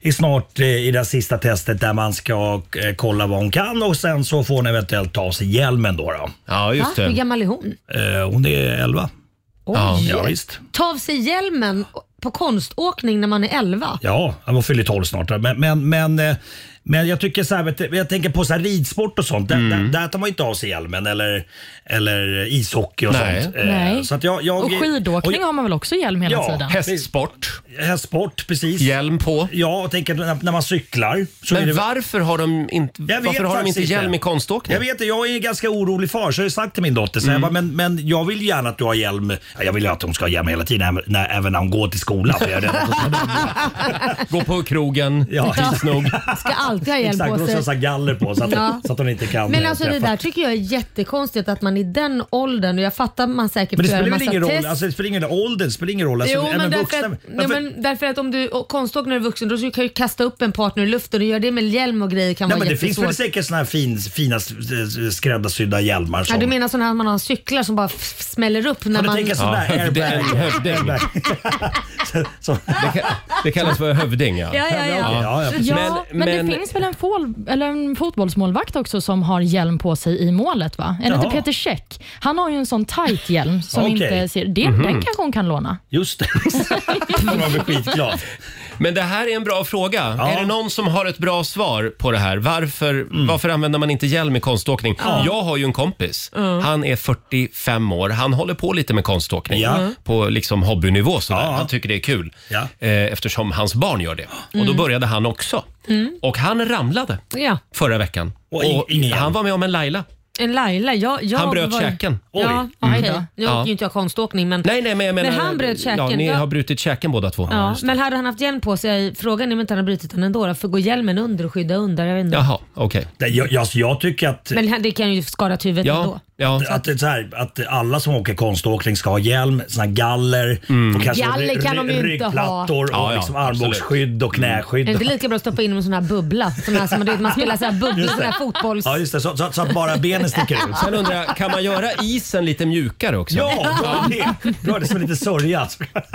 [SPEAKER 11] är snart eh, i det här sista testet där man ska eh, kolla vad hon kan och sen så får hon eventuellt ta av sig hjälmen då. då.
[SPEAKER 1] Ja,
[SPEAKER 2] Va?
[SPEAKER 1] just
[SPEAKER 2] Hur
[SPEAKER 1] det.
[SPEAKER 2] gammal är hon?
[SPEAKER 11] Eh, Hon är 11.
[SPEAKER 2] Oj.
[SPEAKER 1] Ja.
[SPEAKER 11] Ja, visst.
[SPEAKER 2] Ta av sig hjälmen på konståkning när man är 11.
[SPEAKER 11] Ja, hon fyller 12 snart. Men, men, men, eh, men jag tycker så här, vet du, jag tänker på så här ridsport och sånt. Där, där, där tar man inte av sig hjälmen eller, eller ishockey och
[SPEAKER 1] Nej.
[SPEAKER 11] sånt. Eh,
[SPEAKER 3] Nej.
[SPEAKER 11] Så att jag, jag,
[SPEAKER 3] Och skidåkning
[SPEAKER 11] och-
[SPEAKER 3] har man väl också hjälm hela
[SPEAKER 11] Ja.
[SPEAKER 3] tiden?
[SPEAKER 1] Hästsport,
[SPEAKER 11] Hästsport, precis.
[SPEAKER 1] hjälm på.
[SPEAKER 11] Ja, och tänker när, när man cyklar. Så är
[SPEAKER 1] Men
[SPEAKER 11] det,
[SPEAKER 1] varför har de inte,
[SPEAKER 11] Jag vet
[SPEAKER 1] varför har de
[SPEAKER 11] faktiskt
[SPEAKER 1] inte hjälm
[SPEAKER 11] inte.
[SPEAKER 1] i konståkning?
[SPEAKER 11] Jag vet inte, jag är en ganska orolig far så jag har sagt till min dotter så
[SPEAKER 2] Mm.
[SPEAKER 11] jag bara, men, men jag vill gärna att du har hjälm. Ja, Jag vill ju att hon ska ha hjälm hela tiden, även- när, även när hon går till skolan. För jag är rädd att hon ska
[SPEAKER 1] Gå på krogen,
[SPEAKER 11] Ja.
[SPEAKER 1] tids nog.
[SPEAKER 2] Ska alltid ha hjälm
[SPEAKER 11] Exakt,
[SPEAKER 2] på
[SPEAKER 11] hon ska
[SPEAKER 2] sig.
[SPEAKER 11] ha galler på så att,
[SPEAKER 2] Ja.
[SPEAKER 11] så att hon inte kan
[SPEAKER 2] Men
[SPEAKER 11] eh,
[SPEAKER 2] alltså det
[SPEAKER 11] träffa.
[SPEAKER 2] där tycker jag är jättekonstigt att man i den åldern, och jag fattar man säkert
[SPEAKER 11] Men det
[SPEAKER 2] får göra
[SPEAKER 11] spelar
[SPEAKER 2] en
[SPEAKER 11] väl
[SPEAKER 2] massa
[SPEAKER 11] ingen roll,
[SPEAKER 2] test.
[SPEAKER 11] alltså, det spelar ingen roll, åldern spelar ingen roll. Alltså,
[SPEAKER 2] jo men
[SPEAKER 11] även
[SPEAKER 2] därför,
[SPEAKER 11] vuxna-
[SPEAKER 2] att, ja,
[SPEAKER 11] varför-
[SPEAKER 2] men därför att om du och konståkning är vuxen då kan du kasta upp en partner i luften och göra det med hjälm och grejer kan
[SPEAKER 11] Nej,
[SPEAKER 2] vara
[SPEAKER 11] men det finns väl
[SPEAKER 2] jättesvårt.
[SPEAKER 11] säkert såna här fin, fina s- s- skräddarsydda hjälmar som...
[SPEAKER 2] Ja, du menar sådana här man har cyklar som bara f- f- smäller upp när
[SPEAKER 11] Kan du
[SPEAKER 2] man...
[SPEAKER 11] tänka sån där
[SPEAKER 1] hövding,
[SPEAKER 11] airbag?
[SPEAKER 1] hövding.
[SPEAKER 11] airbag. Så- så-
[SPEAKER 1] Det, ka- det kallas för hövding ja.
[SPEAKER 2] Ja, ja, ja.
[SPEAKER 11] Ja, ja,
[SPEAKER 3] Ja,
[SPEAKER 1] Men-
[SPEAKER 3] men,
[SPEAKER 1] men-
[SPEAKER 3] det finns väl en, fol, eller en fotbollsmålvakt också som har hjälm på sig i målet va? Är det inte
[SPEAKER 11] Jaha.
[SPEAKER 3] Peter Käck? Han har ju en sån tight hjälm som
[SPEAKER 11] Okej.
[SPEAKER 3] inte ser... Det, Den kanske hon kan låna.
[SPEAKER 11] Just det. Man blir skitglad.
[SPEAKER 1] Men det här är en bra fråga.
[SPEAKER 11] Ja. Mm.
[SPEAKER 1] Är det någon som har ett bra svar på det här? Varför, varför använder man inte hjälm i konståkning? Jag har ju en kompis.
[SPEAKER 2] Mm.
[SPEAKER 1] Han är 45 år. Han håller på lite med konståkning
[SPEAKER 11] Ja. Mm.
[SPEAKER 1] på liksom hobbynivå. Sådär.
[SPEAKER 11] Ja.
[SPEAKER 1] Han tycker det är kul
[SPEAKER 11] Ja.
[SPEAKER 1] eh, eftersom hans barn gör det. Och
[SPEAKER 2] Mm.
[SPEAKER 1] då började han också. Och han ramlade
[SPEAKER 2] Ja,
[SPEAKER 1] förra veckan.
[SPEAKER 11] Och in- ingen hjälm.
[SPEAKER 1] han var med om en Laila.
[SPEAKER 2] en Laila. Jag, jag
[SPEAKER 1] Han bröt
[SPEAKER 2] var...
[SPEAKER 1] käken.
[SPEAKER 2] Ja,
[SPEAKER 11] Oj.
[SPEAKER 2] okej.
[SPEAKER 3] Mm.
[SPEAKER 2] Nu
[SPEAKER 1] Ja.
[SPEAKER 2] åker ju inte jag konståkning men...
[SPEAKER 1] Nej, nej, men jag menar...
[SPEAKER 2] Men han bröt
[SPEAKER 1] Ja,
[SPEAKER 2] käken.
[SPEAKER 1] ni
[SPEAKER 2] Ja.
[SPEAKER 1] har brutit käken båda två.
[SPEAKER 2] Ja, men hade han haft hjälm på sig, frågan är om inte han har brutit den ändå. då, För gå hjälmen under och skydda under? Jag vet inte.
[SPEAKER 1] Jaha, okej.
[SPEAKER 11] Nej, Jag, jag, alltså, jag tycker att...
[SPEAKER 2] Men han- det kan ju skada huvudet
[SPEAKER 1] Ja,
[SPEAKER 2] ändå.
[SPEAKER 11] Att, det är så här, att alla som åker konståkning ska ha hjälm, såna här galler, och kanske
[SPEAKER 2] Galler
[SPEAKER 11] ry-
[SPEAKER 2] kan
[SPEAKER 11] ry-
[SPEAKER 2] de ju inte
[SPEAKER 11] ryggplattor
[SPEAKER 2] ha.
[SPEAKER 11] och
[SPEAKER 2] Ja, ja,
[SPEAKER 11] liksom
[SPEAKER 2] absolut.
[SPEAKER 11] armbågsskydd och
[SPEAKER 2] Är
[SPEAKER 11] knäskydd.
[SPEAKER 2] det inte lika bra att stoppa in dem i sån här bubbla? Sån här, som, man- du vet, man spelar så här bubblor,
[SPEAKER 11] Just
[SPEAKER 2] sån
[SPEAKER 11] det.
[SPEAKER 2] här fotbolls...
[SPEAKER 11] Ja, just det. Så, så, så att bara benen sticker ut.
[SPEAKER 1] Sen undrar jag, kan man göra isen lite mjukare också?
[SPEAKER 11] Ja, bra idé. Bra, det är som lite sörja.
[SPEAKER 1] Ja, det,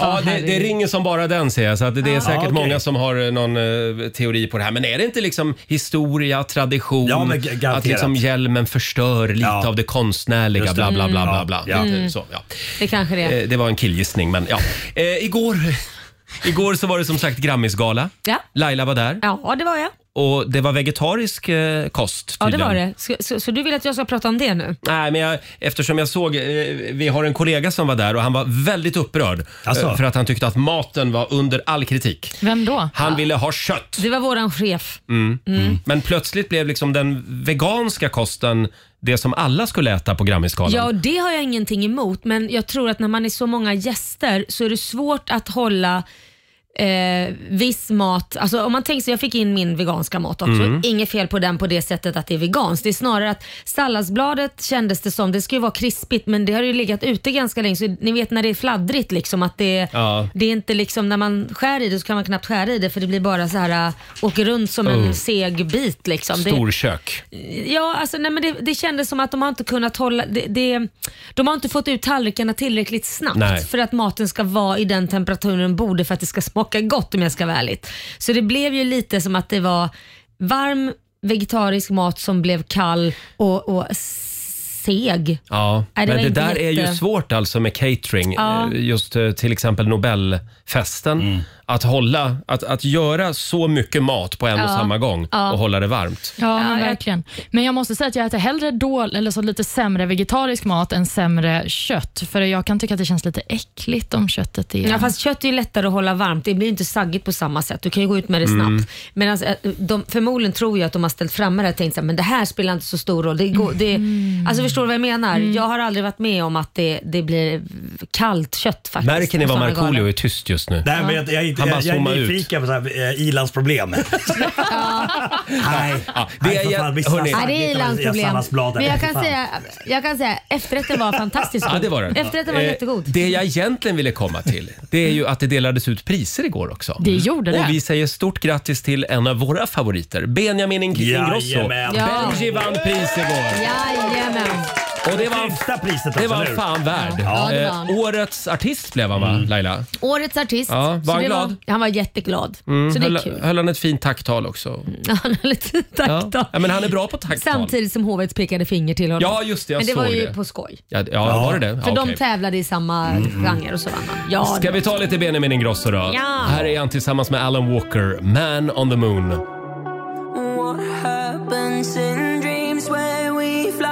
[SPEAKER 1] det
[SPEAKER 11] herregud.
[SPEAKER 1] ringer som bara den ser jag, så att det är
[SPEAKER 11] Ja.
[SPEAKER 1] säkert
[SPEAKER 11] Ja, okej.
[SPEAKER 1] många som har eh, någon eh, teori på det här. Men är det inte liksom historia, tradition,
[SPEAKER 11] Ja, men g- garanterat.
[SPEAKER 1] att liksom hjälmen förstör lite av det konstnärliga,
[SPEAKER 11] Just det.
[SPEAKER 1] bla bla bla bla
[SPEAKER 11] Mm.
[SPEAKER 1] bla.
[SPEAKER 11] Ja.
[SPEAKER 1] Lite
[SPEAKER 2] Mm.
[SPEAKER 1] Så, ja.
[SPEAKER 2] Det kanske det är.
[SPEAKER 1] Eh, Det var en killgissning, men ja. Eh, igår, igår så var det som sagt Grammisgala.
[SPEAKER 2] Ja.
[SPEAKER 1] Laila var där
[SPEAKER 2] ja, det var jag.
[SPEAKER 1] och det var vegetarisk eh, kost
[SPEAKER 2] Ja, det
[SPEAKER 1] tydligen.
[SPEAKER 2] var det. Så, så, så du vill att jag ska prata om det nu?
[SPEAKER 1] Nej, men jag, eftersom jag såg, eh, vi har en kollega som var där och han var väldigt upprörd.
[SPEAKER 11] Alltså?
[SPEAKER 1] eh, För att han tyckte att maten var under all kritik.
[SPEAKER 3] Vem då?
[SPEAKER 1] Han ville ha kött.
[SPEAKER 2] Det var våran chef.
[SPEAKER 1] Mm.
[SPEAKER 2] Ah. Mm.
[SPEAKER 1] Men plötsligt blev liksom den veganska kosten det som alla skulle äta på Grammisgalan.
[SPEAKER 2] Ja, och det har jag ingenting emot, men jag tror att när man är så många gäster så är det svårt att hålla Eh, viss mat, alltså om man tänker sig, jag fick in min veganska mat också.
[SPEAKER 12] Mm.
[SPEAKER 2] Inget fel på den på det sättet att det är veganskt. Det är snarare att salladsbladet kändes det som, det ska ju vara krispigt men det har ju legat ute ganska länge så ni vet när det är fladdrigt liksom att det är
[SPEAKER 1] Ja.
[SPEAKER 2] Det är inte liksom när man skär i det så kan man knappt skära i det för det blir bara så här äh, åker runt som
[SPEAKER 1] Oh.
[SPEAKER 2] en seg bit liksom. Det-
[SPEAKER 1] Storkök.
[SPEAKER 2] Ja, alltså, nej, men det, det kändes som att de har inte kunnat hålla... Det, det, de har inte fått ut tallrikarna tillräckligt snabbt
[SPEAKER 12] Nej.
[SPEAKER 2] för att maten ska vara i den temperaturen den borde för att det ska smaka gott om jag ska vara ärlig. Så det blev ju lite som att det var varm vegetarisk mat som blev kall och, och seg.
[SPEAKER 1] Ja,
[SPEAKER 2] Nej, det
[SPEAKER 1] men
[SPEAKER 2] var
[SPEAKER 1] det
[SPEAKER 2] inte
[SPEAKER 1] där är ju
[SPEAKER 2] jätte-
[SPEAKER 1] svårt alltså med catering.
[SPEAKER 2] Ja. Mm.
[SPEAKER 1] Eh, Just eh, till exempel Nobelfesten. Att, hålla, att, att göra så mycket mat på en och
[SPEAKER 3] Ja.
[SPEAKER 1] samma gång
[SPEAKER 3] Ja.
[SPEAKER 1] och hålla det varmt.
[SPEAKER 3] Ja, men
[SPEAKER 2] Eh,
[SPEAKER 3] verkligen. Men jag måste säga att jag äter hellre dål, eller så lite sämre vegetarisk mat än sämre kött. För jag kan tycka att det känns lite äckligt om köttet är...
[SPEAKER 2] Ja, fast kött är ju lättare att hålla varmt. Det blir ju inte saggigt på samma sätt. Du kan ju gå ut med det
[SPEAKER 3] Mm.
[SPEAKER 2] snabbt. Men alltså, eh, de, förmodligen tror jag att de har ställt fram det här och tänkt så här, men det här spelar inte så stor roll. Det går, det, alltså förstår du vad jag menar? Jag har aldrig varit med om att det, det blir kallt kött faktiskt.
[SPEAKER 1] Märker ni
[SPEAKER 2] på
[SPEAKER 1] vad
[SPEAKER 2] sådana galor.
[SPEAKER 1] Markoolio är tyst just nu?
[SPEAKER 11] Nej, men jag, jag, jag,
[SPEAKER 1] Han bara
[SPEAKER 11] jag, jag
[SPEAKER 1] zoomar
[SPEAKER 11] är
[SPEAKER 1] ut.
[SPEAKER 11] nyfiken på så här, eh, i-landsproblem. Nej,
[SPEAKER 1] Ja,
[SPEAKER 11] Nej,
[SPEAKER 1] det
[SPEAKER 11] för
[SPEAKER 1] är,
[SPEAKER 11] fan, vi
[SPEAKER 1] hörni,
[SPEAKER 2] Ja,
[SPEAKER 11] snackar-
[SPEAKER 2] det är
[SPEAKER 11] Jag
[SPEAKER 2] landsproblem.
[SPEAKER 11] salladsblad där.
[SPEAKER 2] Men jag kan,
[SPEAKER 11] Fan.
[SPEAKER 2] säga, jag kan säga efterrätten var fantastisk.
[SPEAKER 1] Ja, det var den.
[SPEAKER 2] Efterrätten var
[SPEAKER 1] Eh,
[SPEAKER 2] jättegod.
[SPEAKER 1] Det jag egentligen ville komma till, det är ju att det delades ut priser igår också.
[SPEAKER 2] Det gjorde det.
[SPEAKER 1] Och vi säger stort grattis till en av våra favoriter, Benjamin Ing- Ingrosso.
[SPEAKER 11] Jajamän.
[SPEAKER 2] Ja.
[SPEAKER 1] Benji vann pris igår.
[SPEAKER 2] Jajamän.
[SPEAKER 1] Och det var, det
[SPEAKER 11] också,
[SPEAKER 1] var
[SPEAKER 11] alltså, eller hur? Mm.
[SPEAKER 1] fan värd.
[SPEAKER 2] Ja, det var han.
[SPEAKER 1] Eh, årets artist blev han va, Laila?
[SPEAKER 2] Årets artist.
[SPEAKER 1] Ja, var
[SPEAKER 2] Så
[SPEAKER 1] han
[SPEAKER 2] det
[SPEAKER 1] glad?
[SPEAKER 2] han var jätteglad.
[SPEAKER 1] Mm,
[SPEAKER 2] Så det är
[SPEAKER 1] höll,
[SPEAKER 2] kul.
[SPEAKER 1] höll han ett fint tacktal också?
[SPEAKER 2] Han har lite tacktal.
[SPEAKER 1] Ja. ja, men han är bra på tacktal.
[SPEAKER 2] Samtidigt som hovet pekade finger till honom.
[SPEAKER 1] Ja, just det, jag
[SPEAKER 2] Men det
[SPEAKER 1] såg
[SPEAKER 2] var ju
[SPEAKER 1] det.
[SPEAKER 2] på skoj.
[SPEAKER 1] Ja, ja, var det det?
[SPEAKER 2] För
[SPEAKER 1] Ja,
[SPEAKER 2] de
[SPEAKER 1] okej. Mm.
[SPEAKER 2] tävlade i samma genre och så vann han. Ja, det
[SPEAKER 1] Ska vi ta lite Benjamin Ingrosso då?
[SPEAKER 2] Ja.
[SPEAKER 1] Här är han tillsammans med Alan Walker, Man on the Moon.
[SPEAKER 7] What happens in dreams where we fly?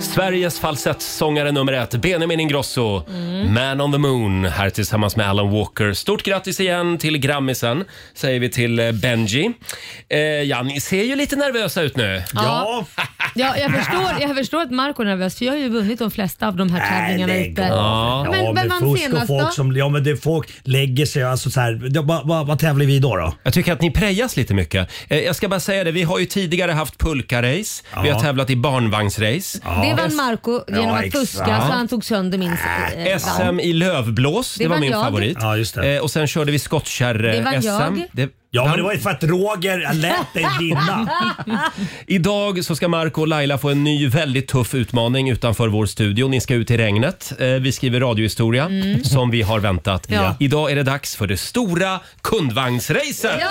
[SPEAKER 1] Sveriges falsettsångare nummer ett, Benjamin Ingrosso. Man on the Moon, här tillsammans med Alan Walker. Stort grattis igen till grammisen, säger vi till eh, Benji. Eh, ja, ni ser ju lite nervösa ut nu.
[SPEAKER 2] Ja. Ja, jag, förstår, jag förstår att Marco är nervös för jag har ju vunnit de flesta av de här tävlingarna ute.
[SPEAKER 11] Ja,
[SPEAKER 2] Men
[SPEAKER 11] men,
[SPEAKER 2] vem vann
[SPEAKER 11] fusk och
[SPEAKER 2] senast då?
[SPEAKER 11] folk som, ja, men det är folk lägger sig. Alltså, så här, det, vad, vad, vad tävlar vi då? då?
[SPEAKER 1] Jag tycker att ni prejas lite mycket. Eh, jag ska bara säga det, vi har ju tidigare haft pulkarace, vi har tävlat i barnvagnsrace.
[SPEAKER 2] Det vann Marco genom
[SPEAKER 1] Ja,
[SPEAKER 2] att fuska
[SPEAKER 1] exakt.
[SPEAKER 2] så han tog sönder min eh,
[SPEAKER 1] Eh, SM i lövblås, det,
[SPEAKER 2] Det
[SPEAKER 1] var
[SPEAKER 2] vann
[SPEAKER 1] min
[SPEAKER 2] jag.
[SPEAKER 1] favorit. Eh, och sen körde vi
[SPEAKER 2] Det vann
[SPEAKER 1] skottkärre-SM.
[SPEAKER 2] jag.
[SPEAKER 11] Ja, men det var ju för att Roger lät dig vinna.
[SPEAKER 1] Idag så ska Marco och Laila få en ny väldigt tuff utmaning utanför vår studio. Ni ska ut i regnet. Eh, Vi skriver radiohistoria som vi har väntat.
[SPEAKER 2] Mm. Ja.
[SPEAKER 1] Idag är det dags för det stora kundvagnsracet.
[SPEAKER 2] Ja!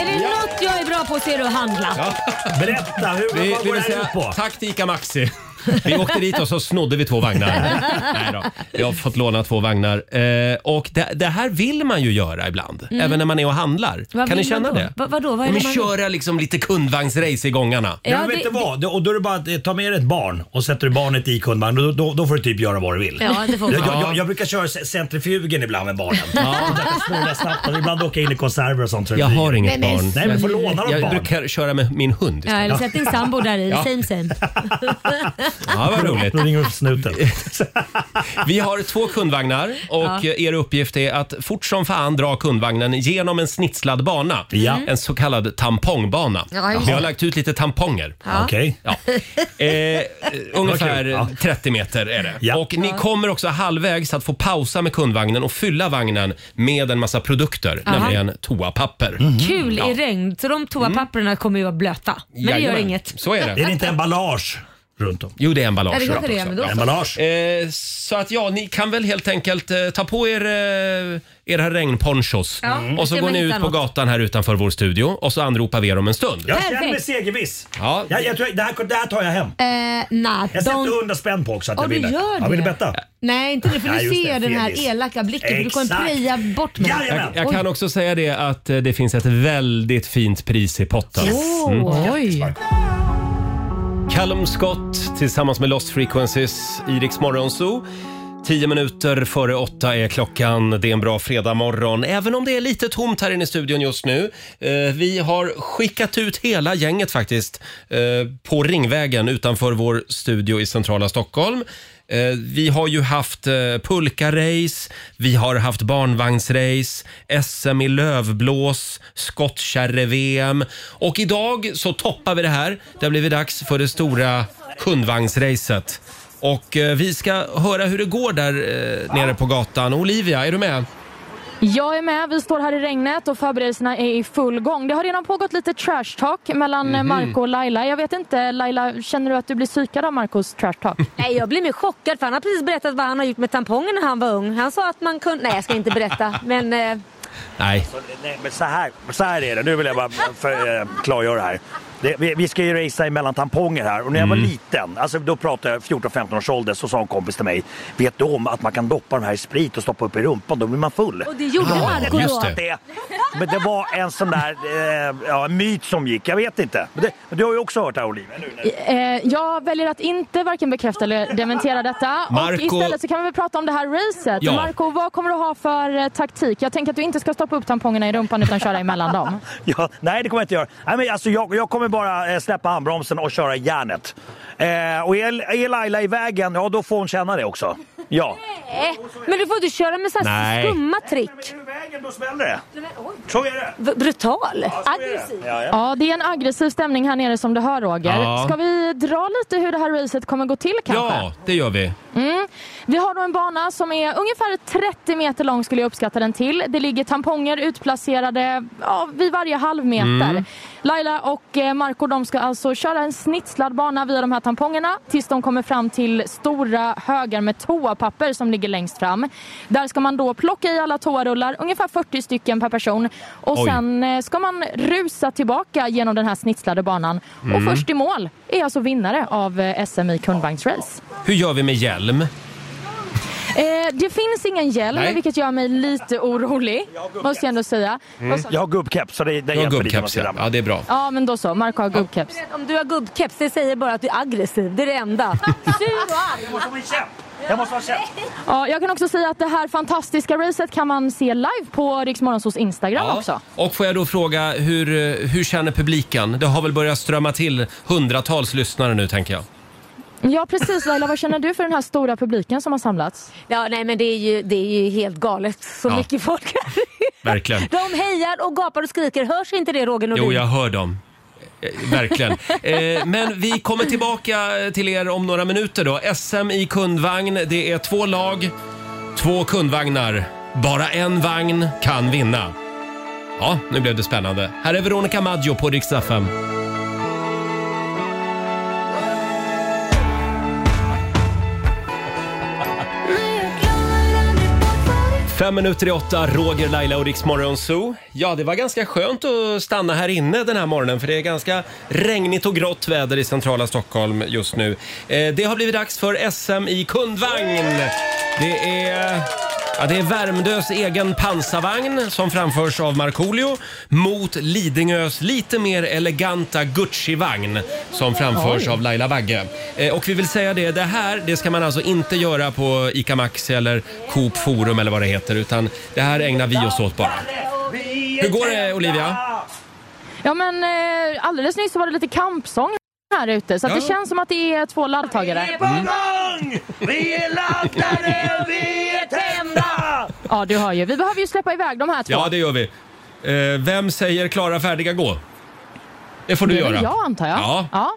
[SPEAKER 2] Är det något jag är bra på så är det att handla.
[SPEAKER 11] Berätta, hur,
[SPEAKER 1] Vi,
[SPEAKER 11] vad
[SPEAKER 1] vi
[SPEAKER 11] går
[SPEAKER 1] vill
[SPEAKER 11] det här
[SPEAKER 1] säga
[SPEAKER 11] ut på?
[SPEAKER 1] tack till Ica Maxi. Vi åkte dit och så snodde vi två vagnar. Nej då, vi har fått låna två vagnar. Eh, och det, det här vill man ju göra ibland,
[SPEAKER 2] Mm.
[SPEAKER 1] även när man är och handlar.
[SPEAKER 2] Vad
[SPEAKER 1] kan ni
[SPEAKER 2] vill man
[SPEAKER 1] känna
[SPEAKER 2] då?
[SPEAKER 1] det?
[SPEAKER 2] Va, vadå? Vad är
[SPEAKER 1] Men
[SPEAKER 2] det man...
[SPEAKER 1] köra liksom lite kundvagnsrace i gångarna.
[SPEAKER 11] Ja, men vet du vad? Och då är det bara att eh, ta med dig ett barn och sätter du barnet i kundvagn. Då, då, då får du typ göra vad du vill.
[SPEAKER 2] Ja, det får man.
[SPEAKER 11] jag, jag, jag, jag brukar köra ce- centrifugen ibland med barnen. Ja. Snurra snabbt och ibland åka in i konserver och sånt. så det
[SPEAKER 1] Jag
[SPEAKER 11] flyger.
[SPEAKER 1] har inget barn.
[SPEAKER 11] Nej, men får låna något
[SPEAKER 1] Jag
[SPEAKER 11] barn.
[SPEAKER 1] brukar köra med min hund. Mm.
[SPEAKER 2] Ja, eller sätt din sambo där i.
[SPEAKER 1] Ja.
[SPEAKER 2] Same same.
[SPEAKER 1] Ja, vad roligt.
[SPEAKER 11] Då ringer vi upp snuten.
[SPEAKER 1] Vi har två kundvagnar och
[SPEAKER 2] Ja.
[SPEAKER 1] er uppgift är att fort som fan dra kundvagnen genom en snitslad bana. Mm. En så kallad tampongbana.
[SPEAKER 2] Ja, just
[SPEAKER 1] Vi har
[SPEAKER 2] det.
[SPEAKER 1] lagt ut lite tamponger.
[SPEAKER 2] Ja. Okej.
[SPEAKER 1] Ja. Eh, ungefär
[SPEAKER 11] kul. Ja.
[SPEAKER 1] 30 meter är det. Och ni kommer också halvvägs att få pausa med kundvagnen och fylla vagnen med en massa produkter,
[SPEAKER 2] Aha.
[SPEAKER 1] nämligen toapapper.
[SPEAKER 11] Mhm.
[SPEAKER 2] Kul
[SPEAKER 1] Ja. Mm.
[SPEAKER 2] i regn, så de toapapperna kommer ju vara blöta. Men det gör
[SPEAKER 1] Jajamän.
[SPEAKER 2] inget.
[SPEAKER 1] Så är det. emballage runt om? Jo, det är emballage.
[SPEAKER 2] Ja, det kanske
[SPEAKER 1] runt
[SPEAKER 2] det är, men
[SPEAKER 1] också.
[SPEAKER 2] då så.
[SPEAKER 1] Ja. Eh, så att ja, ni kan väl helt enkelt eh, ta på er eh, era regnponchos
[SPEAKER 11] Ja, Mm.
[SPEAKER 1] och så
[SPEAKER 11] se om
[SPEAKER 1] går
[SPEAKER 11] jag
[SPEAKER 1] ni ut
[SPEAKER 11] hittar
[SPEAKER 1] på
[SPEAKER 11] något.
[SPEAKER 1] gatan här utanför vår studio och så anropar vi er om en stund.
[SPEAKER 11] Jag känner mig segerviss.
[SPEAKER 1] Ja.
[SPEAKER 11] Jag, jag tror, det, här, det här tar jag hem.
[SPEAKER 2] Eh, nej, don't-
[SPEAKER 11] Jag sätter 100 spänn på också att
[SPEAKER 2] Ja,
[SPEAKER 11] jag
[SPEAKER 2] du
[SPEAKER 11] ville.
[SPEAKER 2] gör
[SPEAKER 11] Jag ville
[SPEAKER 2] det.
[SPEAKER 11] betta.
[SPEAKER 2] Nej, inte det. För
[SPEAKER 1] Nej,
[SPEAKER 2] nu
[SPEAKER 1] just
[SPEAKER 2] ser
[SPEAKER 1] det,
[SPEAKER 2] jag den här
[SPEAKER 1] fegis.
[SPEAKER 2] elaka blicken. för Du kommer
[SPEAKER 11] Exakt.
[SPEAKER 2] preja bort mig.
[SPEAKER 1] Jag, jag kan också säga det att eh, det finns ett väldigt fint pris i potten. Mm.
[SPEAKER 3] Oj.
[SPEAKER 1] Callum Scott tillsammans med Lost Frequencies i Rix Morgon Zoo. Tio minuter före åtta är klockan. Det är en bra fredagmorgon, även om det är lite tomt här inne i studion just nu. Eh, vi har skickat ut hela gänget faktiskt eh, på Ringvägen utanför vår studio i centrala Stockholm. Eh, vi har ju haft eh, pulkarace, vi har haft barnvagnsrace, SM i lövblås, skottkärre-VM och idag så toppar vi det här. Det har blivit dags för det stora kundvagnsracet. Och eh, vi ska höra hur det går där eh, nere på gatan. Olivia, är du med?
[SPEAKER 3] Jag är med. Vi står här i regnet och förberedelserna är i full gång. Det har redan pågått lite trash talk mellan
[SPEAKER 1] Mhm.
[SPEAKER 3] Marco och Laila. Jag vet inte, Laila, känner du att du blir psykad av Marcos trash talk?
[SPEAKER 2] Nej, jag blir mer chockad för han har precis berättat vad han har gjort med tampongen när han var ung. Han sa att man kunde... Nej, jag ska inte berätta. Men eh,
[SPEAKER 1] Nej.
[SPEAKER 11] Så, nej men så här, så här är det. Nu vill jag bara för, eh, klargöra här. Det, vi, vi ska ju racea emellan tamponger här och när jag var liten, alltså då pratade jag 14-15 års ålder, så sa en kompis till mig, vet du om att man kan doppa de här i sprit och stoppa upp i rumpan, då blir man full.
[SPEAKER 2] Och det gjorde Marco då.
[SPEAKER 11] just det. Men det var en sån där eh, ja, en myt som gick, jag vet inte. Men det, men du har ju också hört det här Olivia. eller hur?
[SPEAKER 3] Eh, jag väljer att inte varken bekräfta eller dementera detta. Och
[SPEAKER 11] Marco-
[SPEAKER 3] istället så kan vi väl prata om det här racet.
[SPEAKER 11] Ja.
[SPEAKER 3] Marco, vad kommer du ha för eh, taktik? Jag tänker att du inte ska stoppa upp tampongerna i rumpan utan köra emellan dem.
[SPEAKER 11] Ja, nej, det kommer jag inte göra. Nej, men alltså, jag, jag kommer bara eh, släppa handbromsen och köra järnet. Eh, och är, är Laila i vägen, ja då får hon känna det också. Ja.
[SPEAKER 2] eh, men du får inte köra med så här
[SPEAKER 11] Nej.
[SPEAKER 2] skumma trick.
[SPEAKER 11] Smäller det? Så är det.
[SPEAKER 2] V- Brutal.
[SPEAKER 11] Aggressiv. Ja, ja.
[SPEAKER 3] Ja, det är en aggressiv stämning här nere som du hör Roger.
[SPEAKER 1] Ja.
[SPEAKER 3] Ska vi dra lite hur det här racet kommer gå till kanske?
[SPEAKER 1] Ja, det gör vi.
[SPEAKER 3] Mm. Vi har då en bana som är ungefär 30 meter lång skulle jag uppskatta den till. Det ligger tamponger utplacerade ja, vid varje halvmeter.
[SPEAKER 12] Mm.
[SPEAKER 3] Laila och eh, Marco de ska alltså köra en snitslad bana via de här tampongerna tills de kommer fram till stora högar med toapapper som ligger längst fram. Där ska man då plocka i alla toarullar, ungefär 40 stycken per person. Och
[SPEAKER 12] Oj.
[SPEAKER 3] sen eh, ska man rusa tillbaka genom den här snitslade banan.
[SPEAKER 1] Mm.
[SPEAKER 3] Och först i mål är alltså vinnare av eh, SM i kundvagnsrace.
[SPEAKER 1] Hur gör vi med hjälm?
[SPEAKER 3] Eh, det finns ingen hjälm,
[SPEAKER 1] Nej.
[SPEAKER 3] vilket gör mig lite orolig. Måste jag ändå säga.
[SPEAKER 1] Mm.
[SPEAKER 3] Vad sa-
[SPEAKER 11] Jag har gubbkeps så det, det
[SPEAKER 1] Jag har
[SPEAKER 11] hjälper lite.
[SPEAKER 1] gubbkeps, ja. ja. Det är bra.
[SPEAKER 3] Ja, men då så. Marco har gubbkeps.
[SPEAKER 2] Om du har gubbkeps, det säger bara att du är aggressiv. Det är det enda.
[SPEAKER 11] Jag måste ha min käpp. Jag måste ha en käpp.
[SPEAKER 3] Ja, jag kan också säga att det här fantastiska racet kan man se live på Riksmorgonsos Instagram också.
[SPEAKER 1] Och får jag då fråga, hur, eh, hur känner publiken? Det har väl börjat strömma till hundratals lyssnare nu tänker jag.
[SPEAKER 3] Ja, precis. Laila, vad känner du för den här stora publiken som har samlats?
[SPEAKER 2] Ja, nej men det är ju, det är ju helt galet. Så
[SPEAKER 1] Ja.
[SPEAKER 2] mycket folk.
[SPEAKER 1] Verkligen.
[SPEAKER 2] De hejar och gapar och skriker. Hörs inte det Roger Nordin?
[SPEAKER 1] Jo, jag hör dem. Eh, Verkligen. Eh, men vi kommer tillbaka till er om några minuter då. SM i kundvagn. Det är två lag, två kundvagnar. Bara en vagn kan vinna. Ja, nu blev det spännande. Här är Veronica Maggio på riksdag 5. Fem minuter i åtta, Roger, Laila och Riksmorgon Zoo. Ja, det var ganska skönt att stanna här inne den här morgonen för det är ganska regnigt och grått väder i centrala Stockholm just nu. Eh, det har blivit dags för SM i kundvagn. Det är... Ja, det är Värmdös egen pansarvagn som framförs av Markoolio mot Lidingös lite mer eleganta Gucci-vagn som framförs
[SPEAKER 13] Oj.
[SPEAKER 1] av Laila Bagge. Eh, och vi vill säga det, det här det ska man alltså inte göra på ICA Maxi eller Coop Forum eller vad det heter utan det här ägnar vi oss åt bara. Hur går det Olivia?
[SPEAKER 3] Ja, men eh, alldeles nyss så var det lite kampsång här ute, så att det känns som att det är två laddtagare.
[SPEAKER 11] gång! Mm. Vi är laddade, vi är tända!
[SPEAKER 3] Ja, du hör ju. Vi behöver ju släppa iväg de här två.
[SPEAKER 1] Ja, det gör vi. Eh, vem säger klara, färdiga, gå? Det får du
[SPEAKER 3] det är
[SPEAKER 1] göra.
[SPEAKER 3] väl jag antar jag.
[SPEAKER 1] Ja.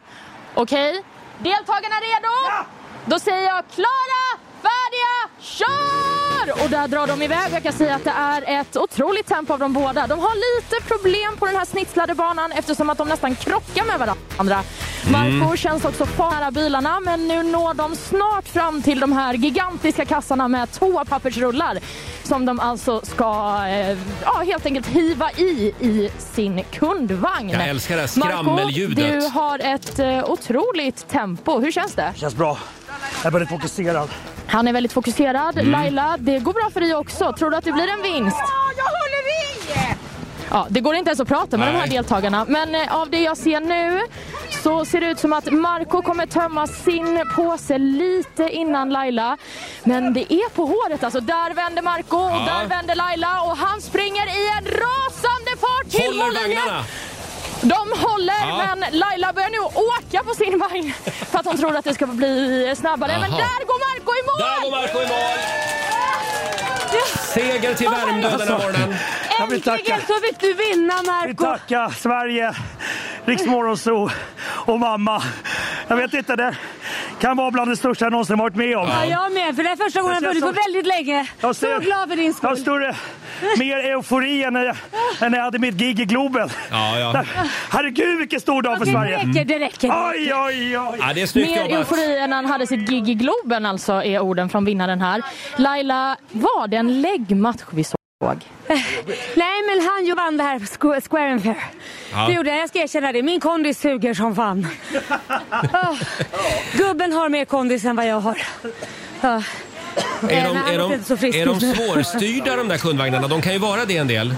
[SPEAKER 3] Okej. Deltagarna redo? Då säger jag klara, färdiga, kör! Och där drar de iväg. Jag kan säga att det är ett otroligt tempo av de båda. De har lite problem på den här snitslade banan eftersom att de nästan krockar med varandra.
[SPEAKER 7] Mm.
[SPEAKER 3] Marco känns också fara bilarna men nu når de snart fram till de här gigantiska kassarna med toapappersrullar som de alltså ska eh, ja, helt enkelt hiva i i sin kundvagn.
[SPEAKER 1] Jag älskar det här skramelljudet.
[SPEAKER 3] Marco, du har ett eh, otroligt tempo. Hur känns det?
[SPEAKER 11] Känns bra. Jag är väldigt fokuserad.
[SPEAKER 3] Han är väldigt fokuserad.
[SPEAKER 11] Mm.
[SPEAKER 3] Laila, det går bra för dig också. Tror du att det blir en vinst?
[SPEAKER 7] jag håller i!
[SPEAKER 3] Ja, det går inte ens att prata med de här
[SPEAKER 7] Nej.
[SPEAKER 3] deltagarna. Men eh, av det jag ser nu så ser det ut som att Marco kommer tömma sin påse lite innan Laila. Men det är på håret alltså. Där vänder Marco och
[SPEAKER 7] Ja.
[SPEAKER 3] där vänder Laila och han springer i en rasande fart till
[SPEAKER 7] Håller
[SPEAKER 3] mållinjen.
[SPEAKER 7] vagnarna!
[SPEAKER 3] De håller,
[SPEAKER 7] Ja.
[SPEAKER 3] men Laila börjar nu åka på sin vagn för att hon tror att det ska bli snabbare. Men
[SPEAKER 1] Jaha.
[SPEAKER 3] där går Marco i mål!
[SPEAKER 1] Där går Marco i mål! Seger till Värmdö den
[SPEAKER 3] alltså.
[SPEAKER 1] här morgonen.
[SPEAKER 11] Jag vill tacka.
[SPEAKER 2] så fick du vinna
[SPEAKER 11] Jag vill tacka Sverige, Rix Morgonzoo och mamma. Jag vet inte, det kan vara bland det största jag någonsin varit med om.
[SPEAKER 2] Ja, jag med. För det är första gången jag vunnit på väldigt länge.
[SPEAKER 11] Jag
[SPEAKER 2] Så glad för din skull.
[SPEAKER 11] Jag har större, mer eufori än när, jag, än när jag hade mitt gig i Globen.
[SPEAKER 1] Ja, ja.
[SPEAKER 11] Herregud vilken stor dag för
[SPEAKER 3] det
[SPEAKER 11] Sverige.
[SPEAKER 3] räcker, det räcker, det
[SPEAKER 11] Oj,
[SPEAKER 3] räcker.
[SPEAKER 11] oj, oj.
[SPEAKER 1] Ja, det är snyggt
[SPEAKER 3] Mer
[SPEAKER 1] jobbat.
[SPEAKER 3] eufori än han hade sitt gig i Globen alltså är orden från vinnaren här. Laila, var det en läggmatch vi såg?
[SPEAKER 2] Nej, men han ju vann det här squ- square and fair.
[SPEAKER 3] Ja.
[SPEAKER 2] Det gjorde jag. Jag ska erkänna det. Min kondis suger som fan. Ah, Gubben har mer kondis än vad jag har. Ah.
[SPEAKER 1] Är
[SPEAKER 2] Eh,
[SPEAKER 1] de,
[SPEAKER 2] men han
[SPEAKER 1] är, de,
[SPEAKER 2] låter inte så frisk
[SPEAKER 1] är de
[SPEAKER 2] just nu.
[SPEAKER 1] svårstyrda de där kundvagnarna? De kan ju vara det en del.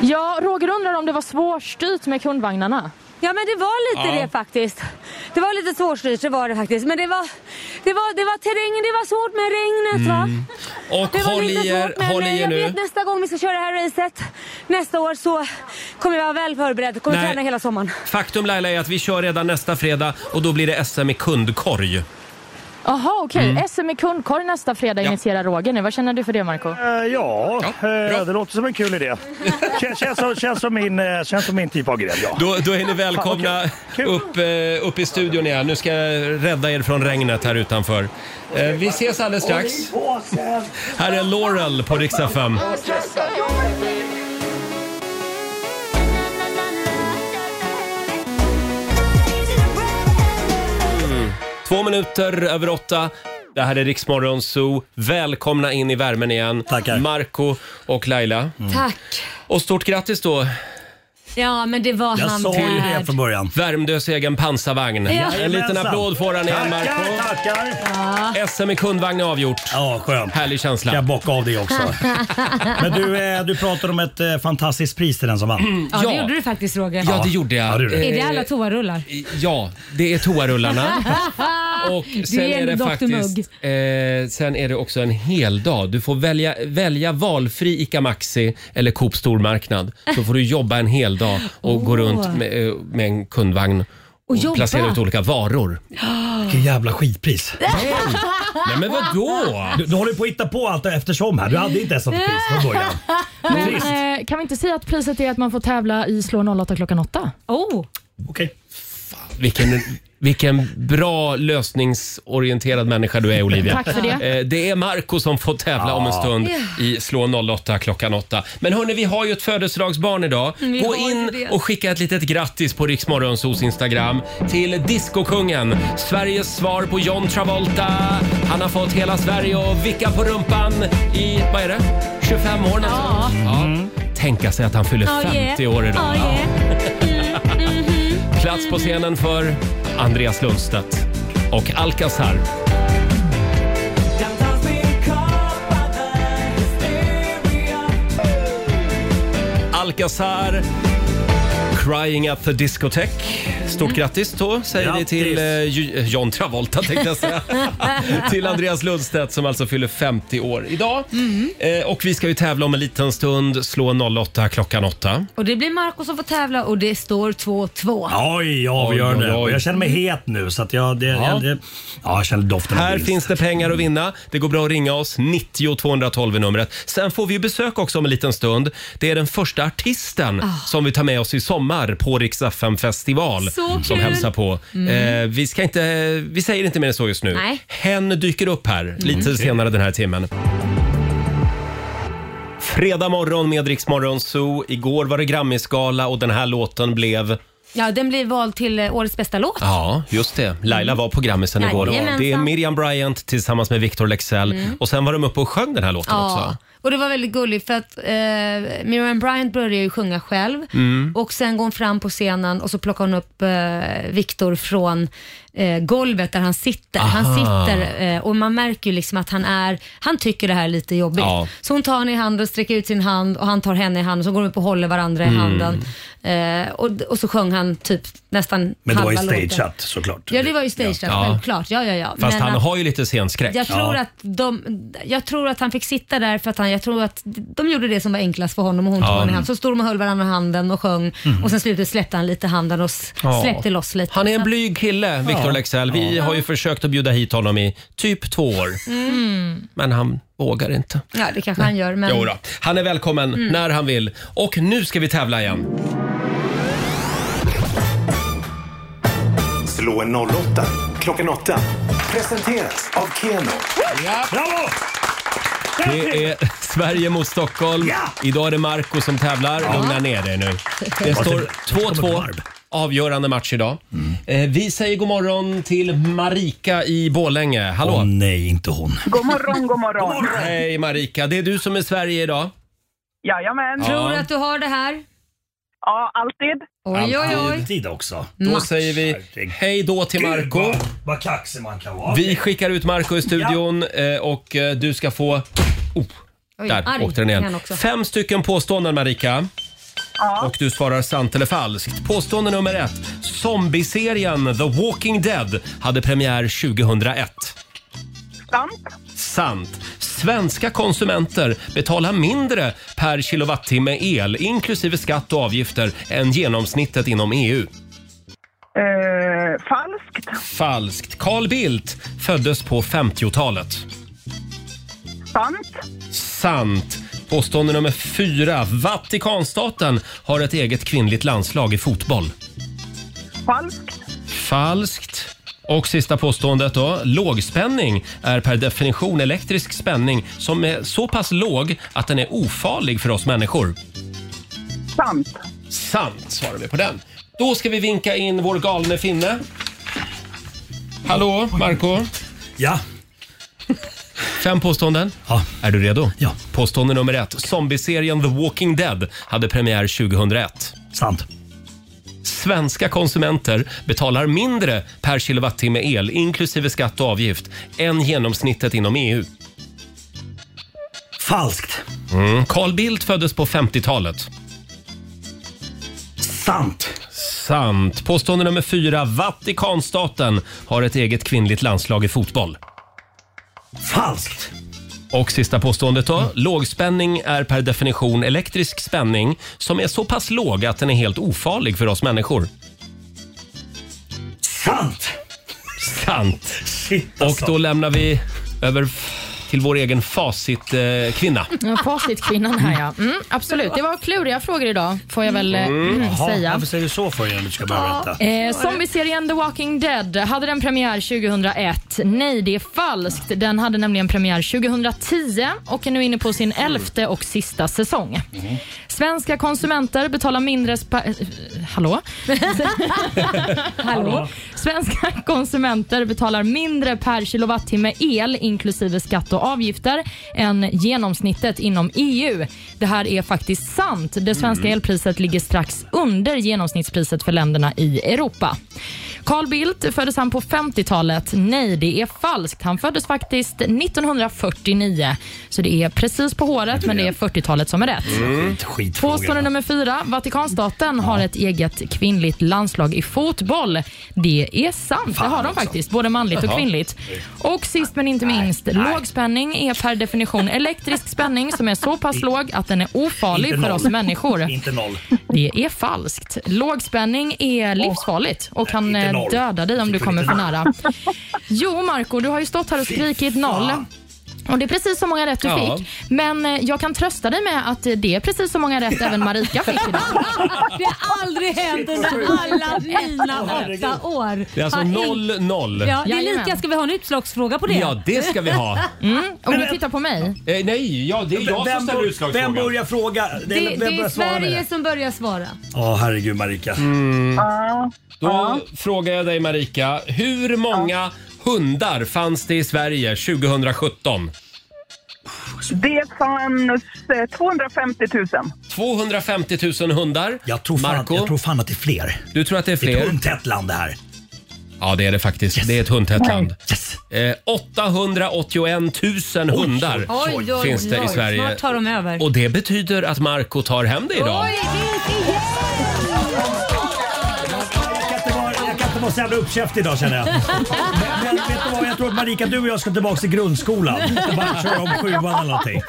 [SPEAKER 3] Ja, Roger undrar om det var svårstyrt med kundvagnarna.
[SPEAKER 2] Ja men det var lite
[SPEAKER 3] Ja.
[SPEAKER 2] det faktiskt. Det var lite svårstyrt, det var det faktiskt. Men det var, det var, det var terrängen, det var svårt med regnet va.
[SPEAKER 1] Och
[SPEAKER 2] Det var
[SPEAKER 1] Mm. håll
[SPEAKER 2] lite
[SPEAKER 1] i er,
[SPEAKER 2] svårt men
[SPEAKER 1] håll
[SPEAKER 2] eh,
[SPEAKER 1] i er
[SPEAKER 2] jag
[SPEAKER 1] nu.
[SPEAKER 2] vet nästa gång vi ska köra det här racet nästa år så kommer jag vara väl förberedd. Kommer
[SPEAKER 1] Nej.
[SPEAKER 2] träna hela sommaren.
[SPEAKER 1] Faktum Laila är att vi kör redan nästa fredag och då blir det SM i kundkorg.
[SPEAKER 3] Jaha, okej.
[SPEAKER 1] Mm.
[SPEAKER 3] SM i kundkorg nästa fredag initierar Roger nu. Vad känner du för det, Marco?
[SPEAKER 11] Eh, Ja, eh, det låter som en kul idé. Kän- Känns som, känns som, min, eh, känns som min typ av grej. Ja.
[SPEAKER 1] Då, då är ni välkomna upp, eh, upp i studion igen. Nu ska jag rädda er från regnet här utanför. Eh, Vi ses alldeles strax. Här är Laurel på Rix FM. Mm. Två minuter över åtta. Det här är Riksmorgon Zoo. Välkomna in i värmen igen. Tackar. Marco och Laila.
[SPEAKER 2] Mm. Tack.
[SPEAKER 1] Och stort grattis då
[SPEAKER 2] Ja men det var han värd.
[SPEAKER 1] början. Värmdös egen pansarvagn.
[SPEAKER 2] Ja.
[SPEAKER 1] En liten
[SPEAKER 2] Jajamensan.
[SPEAKER 1] applåd får han igen
[SPEAKER 2] Tackar,
[SPEAKER 1] Marco.
[SPEAKER 2] Ja.
[SPEAKER 1] SM i kundvagn är avgjort.
[SPEAKER 11] Ja, skönt.
[SPEAKER 1] Härlig känsla.
[SPEAKER 11] Jag bockar av det också. Men du, eh, du pratade om ett eh, fantastiskt pris till den som vann.
[SPEAKER 2] Ja, det gjorde du faktiskt Roger.
[SPEAKER 1] Ja, det gjorde jag.
[SPEAKER 2] Är det alla
[SPEAKER 1] Eh,
[SPEAKER 2] toarullar?
[SPEAKER 1] Ja, det är toarullarna. Och sen
[SPEAKER 2] det
[SPEAKER 1] är,
[SPEAKER 2] är
[SPEAKER 1] det
[SPEAKER 2] Dr.
[SPEAKER 1] faktiskt,
[SPEAKER 2] Mugg.
[SPEAKER 1] eh, sen är det också en hel dag. Du får välja, välja valfri ICA Maxi eller Coop stormarknad. Så får du jobba en hel dag och gå
[SPEAKER 2] Åh.
[SPEAKER 1] runt med, eh, med en kundvagn
[SPEAKER 2] Och
[SPEAKER 1] och,
[SPEAKER 2] jobba.
[SPEAKER 1] placera ut olika varor.
[SPEAKER 11] Vilket jävla skitpris.
[SPEAKER 1] Nej men vadå?
[SPEAKER 11] Du, du håller på att hitta på allt eftersom här. Du hade inte ens ett pris från början.
[SPEAKER 3] Men
[SPEAKER 11] Trist.
[SPEAKER 3] eh, kan vi inte säga att priset är att man får tävla i Slå 08 klockan 8?
[SPEAKER 2] Oh.
[SPEAKER 11] Okej.
[SPEAKER 1] Vilken, vilken bra lösningsorienterad människa du är Olivia.
[SPEAKER 3] Tack för det.
[SPEAKER 1] Eh, Det är Marco som får tävla om en stund i Slå 08 klockan 8. Men hörni, vi har ju ett födelsedagsbarn idag.
[SPEAKER 7] Mm, vi
[SPEAKER 1] Gå
[SPEAKER 7] har ju
[SPEAKER 1] in
[SPEAKER 7] det.
[SPEAKER 1] och skicka ett litet grattis på Riksmorgonsos Instagram till discokungen, Sveriges svar på John Travolta. Han har fått hela Sverige och vicka på rumpan i, vad är det, 25 år någonstans. Ja. Tänka sig att han fyller
[SPEAKER 2] Oh,
[SPEAKER 1] 50
[SPEAKER 2] yeah.
[SPEAKER 1] år idag.
[SPEAKER 2] Oh, yeah.
[SPEAKER 1] Plats på scenen för Andreas Lundstedt och Alcazar. Alcazar Crying at the discotheque. Stort grattis då säger vi till eh, Ju- eh, John Travolta tänkte jag säga. till Andreas Lundstedt som alltså fyller 50 år idag. Eh, och vi ska ju tävla om en liten stund. Slå 08 klockan 8.
[SPEAKER 2] Och det blir Marco som får tävla och det står 2-2.
[SPEAKER 11] Oj, avgörande.
[SPEAKER 1] Oj, oj, oj.
[SPEAKER 11] Och Jag känner mig het nu så att jag, det,
[SPEAKER 1] Ja.
[SPEAKER 11] jag, det, ja, jag känner doften av
[SPEAKER 1] Här
[SPEAKER 11] vinst.
[SPEAKER 1] finns det pengar att vinna. Det går bra att ringa oss. 90 212 är numret. Sen får vi ju besök också om en liten stund. Det är den första artisten
[SPEAKER 12] Ah.
[SPEAKER 1] som vi tar med oss i sommar på Rix FM festival
[SPEAKER 12] Så
[SPEAKER 1] som
[SPEAKER 12] kul!
[SPEAKER 1] hälsar på.
[SPEAKER 12] Mm.
[SPEAKER 1] Eh, vi, ska inte, vi säger inte mer än så just nu.
[SPEAKER 12] Nej. Mm.
[SPEAKER 1] Hen dyker upp här lite
[SPEAKER 12] Okej.
[SPEAKER 1] senare den här timmen. Fredag morgon med Rix Morgon Zoo. Igår var det Grammisgala och den här låten blev
[SPEAKER 2] Ja, den blir vald till eh, årets bästa låt.
[SPEAKER 1] Ja, just det. Laila var på Grammisen igår.
[SPEAKER 2] Mm. Jajamensan.
[SPEAKER 1] Det är Miriam Bryant tillsammans med Victor Lexell.
[SPEAKER 2] Mm.
[SPEAKER 1] Och sen var de uppe och sjöng den här låten också.
[SPEAKER 2] Och det var väldigt gulligt för att eh, Miriam Bryant började ju sjunga själv
[SPEAKER 1] Mm.
[SPEAKER 2] och sen går hon fram på scenen och så plockar hon upp eh, Viktor från eh, golvet där han sitter. Han
[SPEAKER 13] Aha.
[SPEAKER 2] sitter eh, och man märker ju liksom att han är, han tycker det här är lite jobbigt.
[SPEAKER 13] Ja.
[SPEAKER 2] Så hon tar honom i handen, sträcker ut sin hand och han tar henne i handen. Så går de upp och håller varandra i
[SPEAKER 11] Mm.
[SPEAKER 2] handen. Eh, och, och så sjöng han typ nästan
[SPEAKER 11] Men det var ju
[SPEAKER 2] halva låten.
[SPEAKER 11] stageat såklart.
[SPEAKER 2] Ja, det var ju stageat,
[SPEAKER 1] Ja.
[SPEAKER 2] självklart. Ja, ja, ja.
[SPEAKER 1] Fast
[SPEAKER 2] Men
[SPEAKER 1] han
[SPEAKER 2] att-
[SPEAKER 1] har ju lite scenskräck.
[SPEAKER 2] jag tror, att de, jag tror att han fick sitta där för att han, jag tror att de gjorde det som var enklast för honom och hon
[SPEAKER 1] Ja.
[SPEAKER 2] tog honom i hand. Så stod de och höll varandra i handen och sjöng
[SPEAKER 1] Mm.
[SPEAKER 2] och sen slutet släppte han lite handen och s-
[SPEAKER 1] Ja.
[SPEAKER 2] släppte loss lite.
[SPEAKER 1] Han är en blyg kille, Victor Lexell. Vi har ju försökt att bjuda hit honom i typ två år.
[SPEAKER 2] Mm.
[SPEAKER 1] Men han vågar inte.
[SPEAKER 2] Ja, det kanske han gör. Men...
[SPEAKER 1] Jo då. Han är välkommen
[SPEAKER 2] Mm.
[SPEAKER 1] när han vill. Och nu ska vi tävla igen.
[SPEAKER 14] Slå en 08 klockan 8. Presenteras av Keno.
[SPEAKER 11] Ja. Bravo!
[SPEAKER 1] Det är Sverige mot Stockholm. Idag är det Marco som tävlar. Lugna ner dig nu. Det
[SPEAKER 11] Varför-
[SPEAKER 1] står
[SPEAKER 11] varför kommer Mm.
[SPEAKER 1] 2-2. Avgörande match idag. Eh, Vi säger god morgon till Marika i Borlänge. Hallå!
[SPEAKER 11] Åh, nej, inte hon.
[SPEAKER 7] God morgon, god morgon.
[SPEAKER 1] Hej Marika, det är du som är Sverige idag.
[SPEAKER 7] Jajamän.
[SPEAKER 1] Tror du Ja. att
[SPEAKER 2] du har det här?
[SPEAKER 7] Ja, alltid.
[SPEAKER 2] Oj, oj, oj.
[SPEAKER 11] Alltid också.
[SPEAKER 1] Då
[SPEAKER 2] Mm.
[SPEAKER 1] säger vi hej då till Marco.
[SPEAKER 11] Vad kaxig man kan vara.
[SPEAKER 1] Vi skickar ut Marco i studion eh, och eh, du ska få... Oh,
[SPEAKER 11] Oj,
[SPEAKER 1] där
[SPEAKER 11] arg
[SPEAKER 1] åkte den
[SPEAKER 11] är han
[SPEAKER 1] igen.
[SPEAKER 11] också.
[SPEAKER 1] Fem stycken påståenden Marika. Och du svarar sant eller falskt. Påstående nummer ett. Zombieserien The Walking Dead hade premiär 2001.
[SPEAKER 7] Sant.
[SPEAKER 1] Sant. Svenska konsumenter betalar mindre per kilowattimme el inklusive skatt och avgifter än genomsnittet inom E EU.
[SPEAKER 7] Eh, falskt.
[SPEAKER 1] Falskt. Carl Bildt föddes på 50-talet.
[SPEAKER 7] Sant.
[SPEAKER 1] Sant. Påstående nummer fyra. Vatikanstaten har ett eget kvinnligt landslag i fotboll.
[SPEAKER 7] Falskt.
[SPEAKER 1] Falskt. Och sista påståendet då. Lågspänning är per definition elektrisk spänning som är så pass låg att den är ofarlig för oss människor.
[SPEAKER 7] Sant.
[SPEAKER 1] Sant svarar vi på den. Då ska vi vinka in vår galne finne. Hallå, Marco.
[SPEAKER 11] Ja.
[SPEAKER 1] Fem påståenden.
[SPEAKER 11] Ja.
[SPEAKER 1] Är du redo?
[SPEAKER 11] Ja.
[SPEAKER 1] Påstående nummer ett. Zombieserien The Walking Dead hade premiär 2001.
[SPEAKER 11] Sant.
[SPEAKER 1] Svenska konsumenter betalar mindre per kilowattimme el inklusive skatt och avgift än genomsnittet inom E EU.
[SPEAKER 11] Falskt.
[SPEAKER 1] Mm. Carl Bildt föddes på 50-talet.
[SPEAKER 11] Sant.
[SPEAKER 1] Sant. Påstående nummer fyra. Vatikanstaten har ett eget kvinnligt landslag i fotboll.
[SPEAKER 11] Falskt.
[SPEAKER 1] Och sista påståendet då. Lågspänning är per definition elektrisk spänning som är så pass låg att den är helt ofarlig för oss människor.
[SPEAKER 11] Sant!
[SPEAKER 1] Sant. Och
[SPEAKER 11] Alltså.
[SPEAKER 1] då lämnar vi över f- till vår egen facitkvinna. Eh, kvinna.
[SPEAKER 3] Ja, Facitkvinnan här ja. Mm, absolut, det var kluriga frågor idag får jag väl eh, mm. säga.
[SPEAKER 11] Varför säger du så för innan du ska börja berätta?
[SPEAKER 3] Eh, zombieserien The Walking Dead hade den premiär 2001. Nej, det är falskt. Den hade nämligen premiär 2010 och är nu inne på sin elfte och sista säsong. Svenska konsumenter betalar mindre... Spa- eh, hallå? hallå? Svenska konsumenter betalar mindre per kilowattimme el inklusive skatt och avgifter än genomsnittet inom EU. Det här är faktiskt sant. Det svenska
[SPEAKER 13] Mm.
[SPEAKER 3] elpriset ligger strax under genomsnittspriset för länderna i Europa. Carl Bildt föddes han på 50-talet. Nej, det är falskt. Han föddes faktiskt 1949. Så det är precis på håret, men det är 40-talet som är rätt. Påstående nummer fyra. Vatikanstaten har ett eget kvinnligt landslag i fotboll. Det är sant. det har de
[SPEAKER 11] alltså.
[SPEAKER 3] faktiskt, både manligt och
[SPEAKER 12] Jaha.
[SPEAKER 3] kvinnligt. Och sist men inte minst, låg spänning är per definition elektrisk spänning som är så pass låg att den är ofarlig
[SPEAKER 11] Inte
[SPEAKER 3] för
[SPEAKER 11] noll.
[SPEAKER 3] oss människor.
[SPEAKER 11] Inte noll.
[SPEAKER 3] Det är falskt. Lågspänning är livsfarligt och kan
[SPEAKER 11] inte
[SPEAKER 3] eh,
[SPEAKER 11] noll.
[SPEAKER 3] döda dig om du
[SPEAKER 11] Fick
[SPEAKER 3] kommer
[SPEAKER 11] inte
[SPEAKER 3] för
[SPEAKER 11] noll.
[SPEAKER 3] nära. Jo, Marco, du har ju stått här och skrikit noll. Och Det är precis så många rätt du
[SPEAKER 12] Ja.
[SPEAKER 3] fick. Men eh, jag kan trösta dig med att eh, det är precis så många rätt även Marika fick idag.
[SPEAKER 2] Det har aldrig hänt under alla mina åtta år.
[SPEAKER 1] Det är alltså
[SPEAKER 2] Har ing-
[SPEAKER 1] 0-0.
[SPEAKER 2] Ja, det är lika. Ska vi ha en utslagsfråga på det?
[SPEAKER 1] Ja, det ska vi ha.
[SPEAKER 3] Mm, och du tittar på mig.
[SPEAKER 1] Eh, nej, ja, det är jag som ställer utslagsfrågan.
[SPEAKER 11] Vem börjar fråga?
[SPEAKER 2] Det,
[SPEAKER 11] Eller
[SPEAKER 2] det,
[SPEAKER 11] vem
[SPEAKER 2] är
[SPEAKER 11] börjar svara med
[SPEAKER 2] Sverige som börjar svara.
[SPEAKER 11] Ja, herregud Marika.
[SPEAKER 1] Mm. Då frågar jag dig Marika, hur många hundar fanns det i Sverige 2017?
[SPEAKER 7] Det fanns eh, 250 000.
[SPEAKER 1] 250 000 hundar. Jag tror, fan, Marco, jag tror
[SPEAKER 11] fan att det är fler.
[SPEAKER 1] Du tror att det är fler?
[SPEAKER 11] Det är ett hundtätt land det här.
[SPEAKER 1] Ja, det är det faktiskt. Det är ett hundtätt land. Eh, 881 000 hundar
[SPEAKER 2] Oj, oj, oj.
[SPEAKER 1] finns det i Sverige.
[SPEAKER 2] Snart tar de över.
[SPEAKER 1] Och det betyder att Marco tar hem det idag.
[SPEAKER 2] Oj, det är igen!
[SPEAKER 11] Jag kan inte vara så jävla uppkäftig idag känner jag. Men vet du vad, jag tror att Marika, du och jag ska tillbaka till grundskolan.
[SPEAKER 1] Mm.
[SPEAKER 11] Och bara köra om sjuan eller någonting.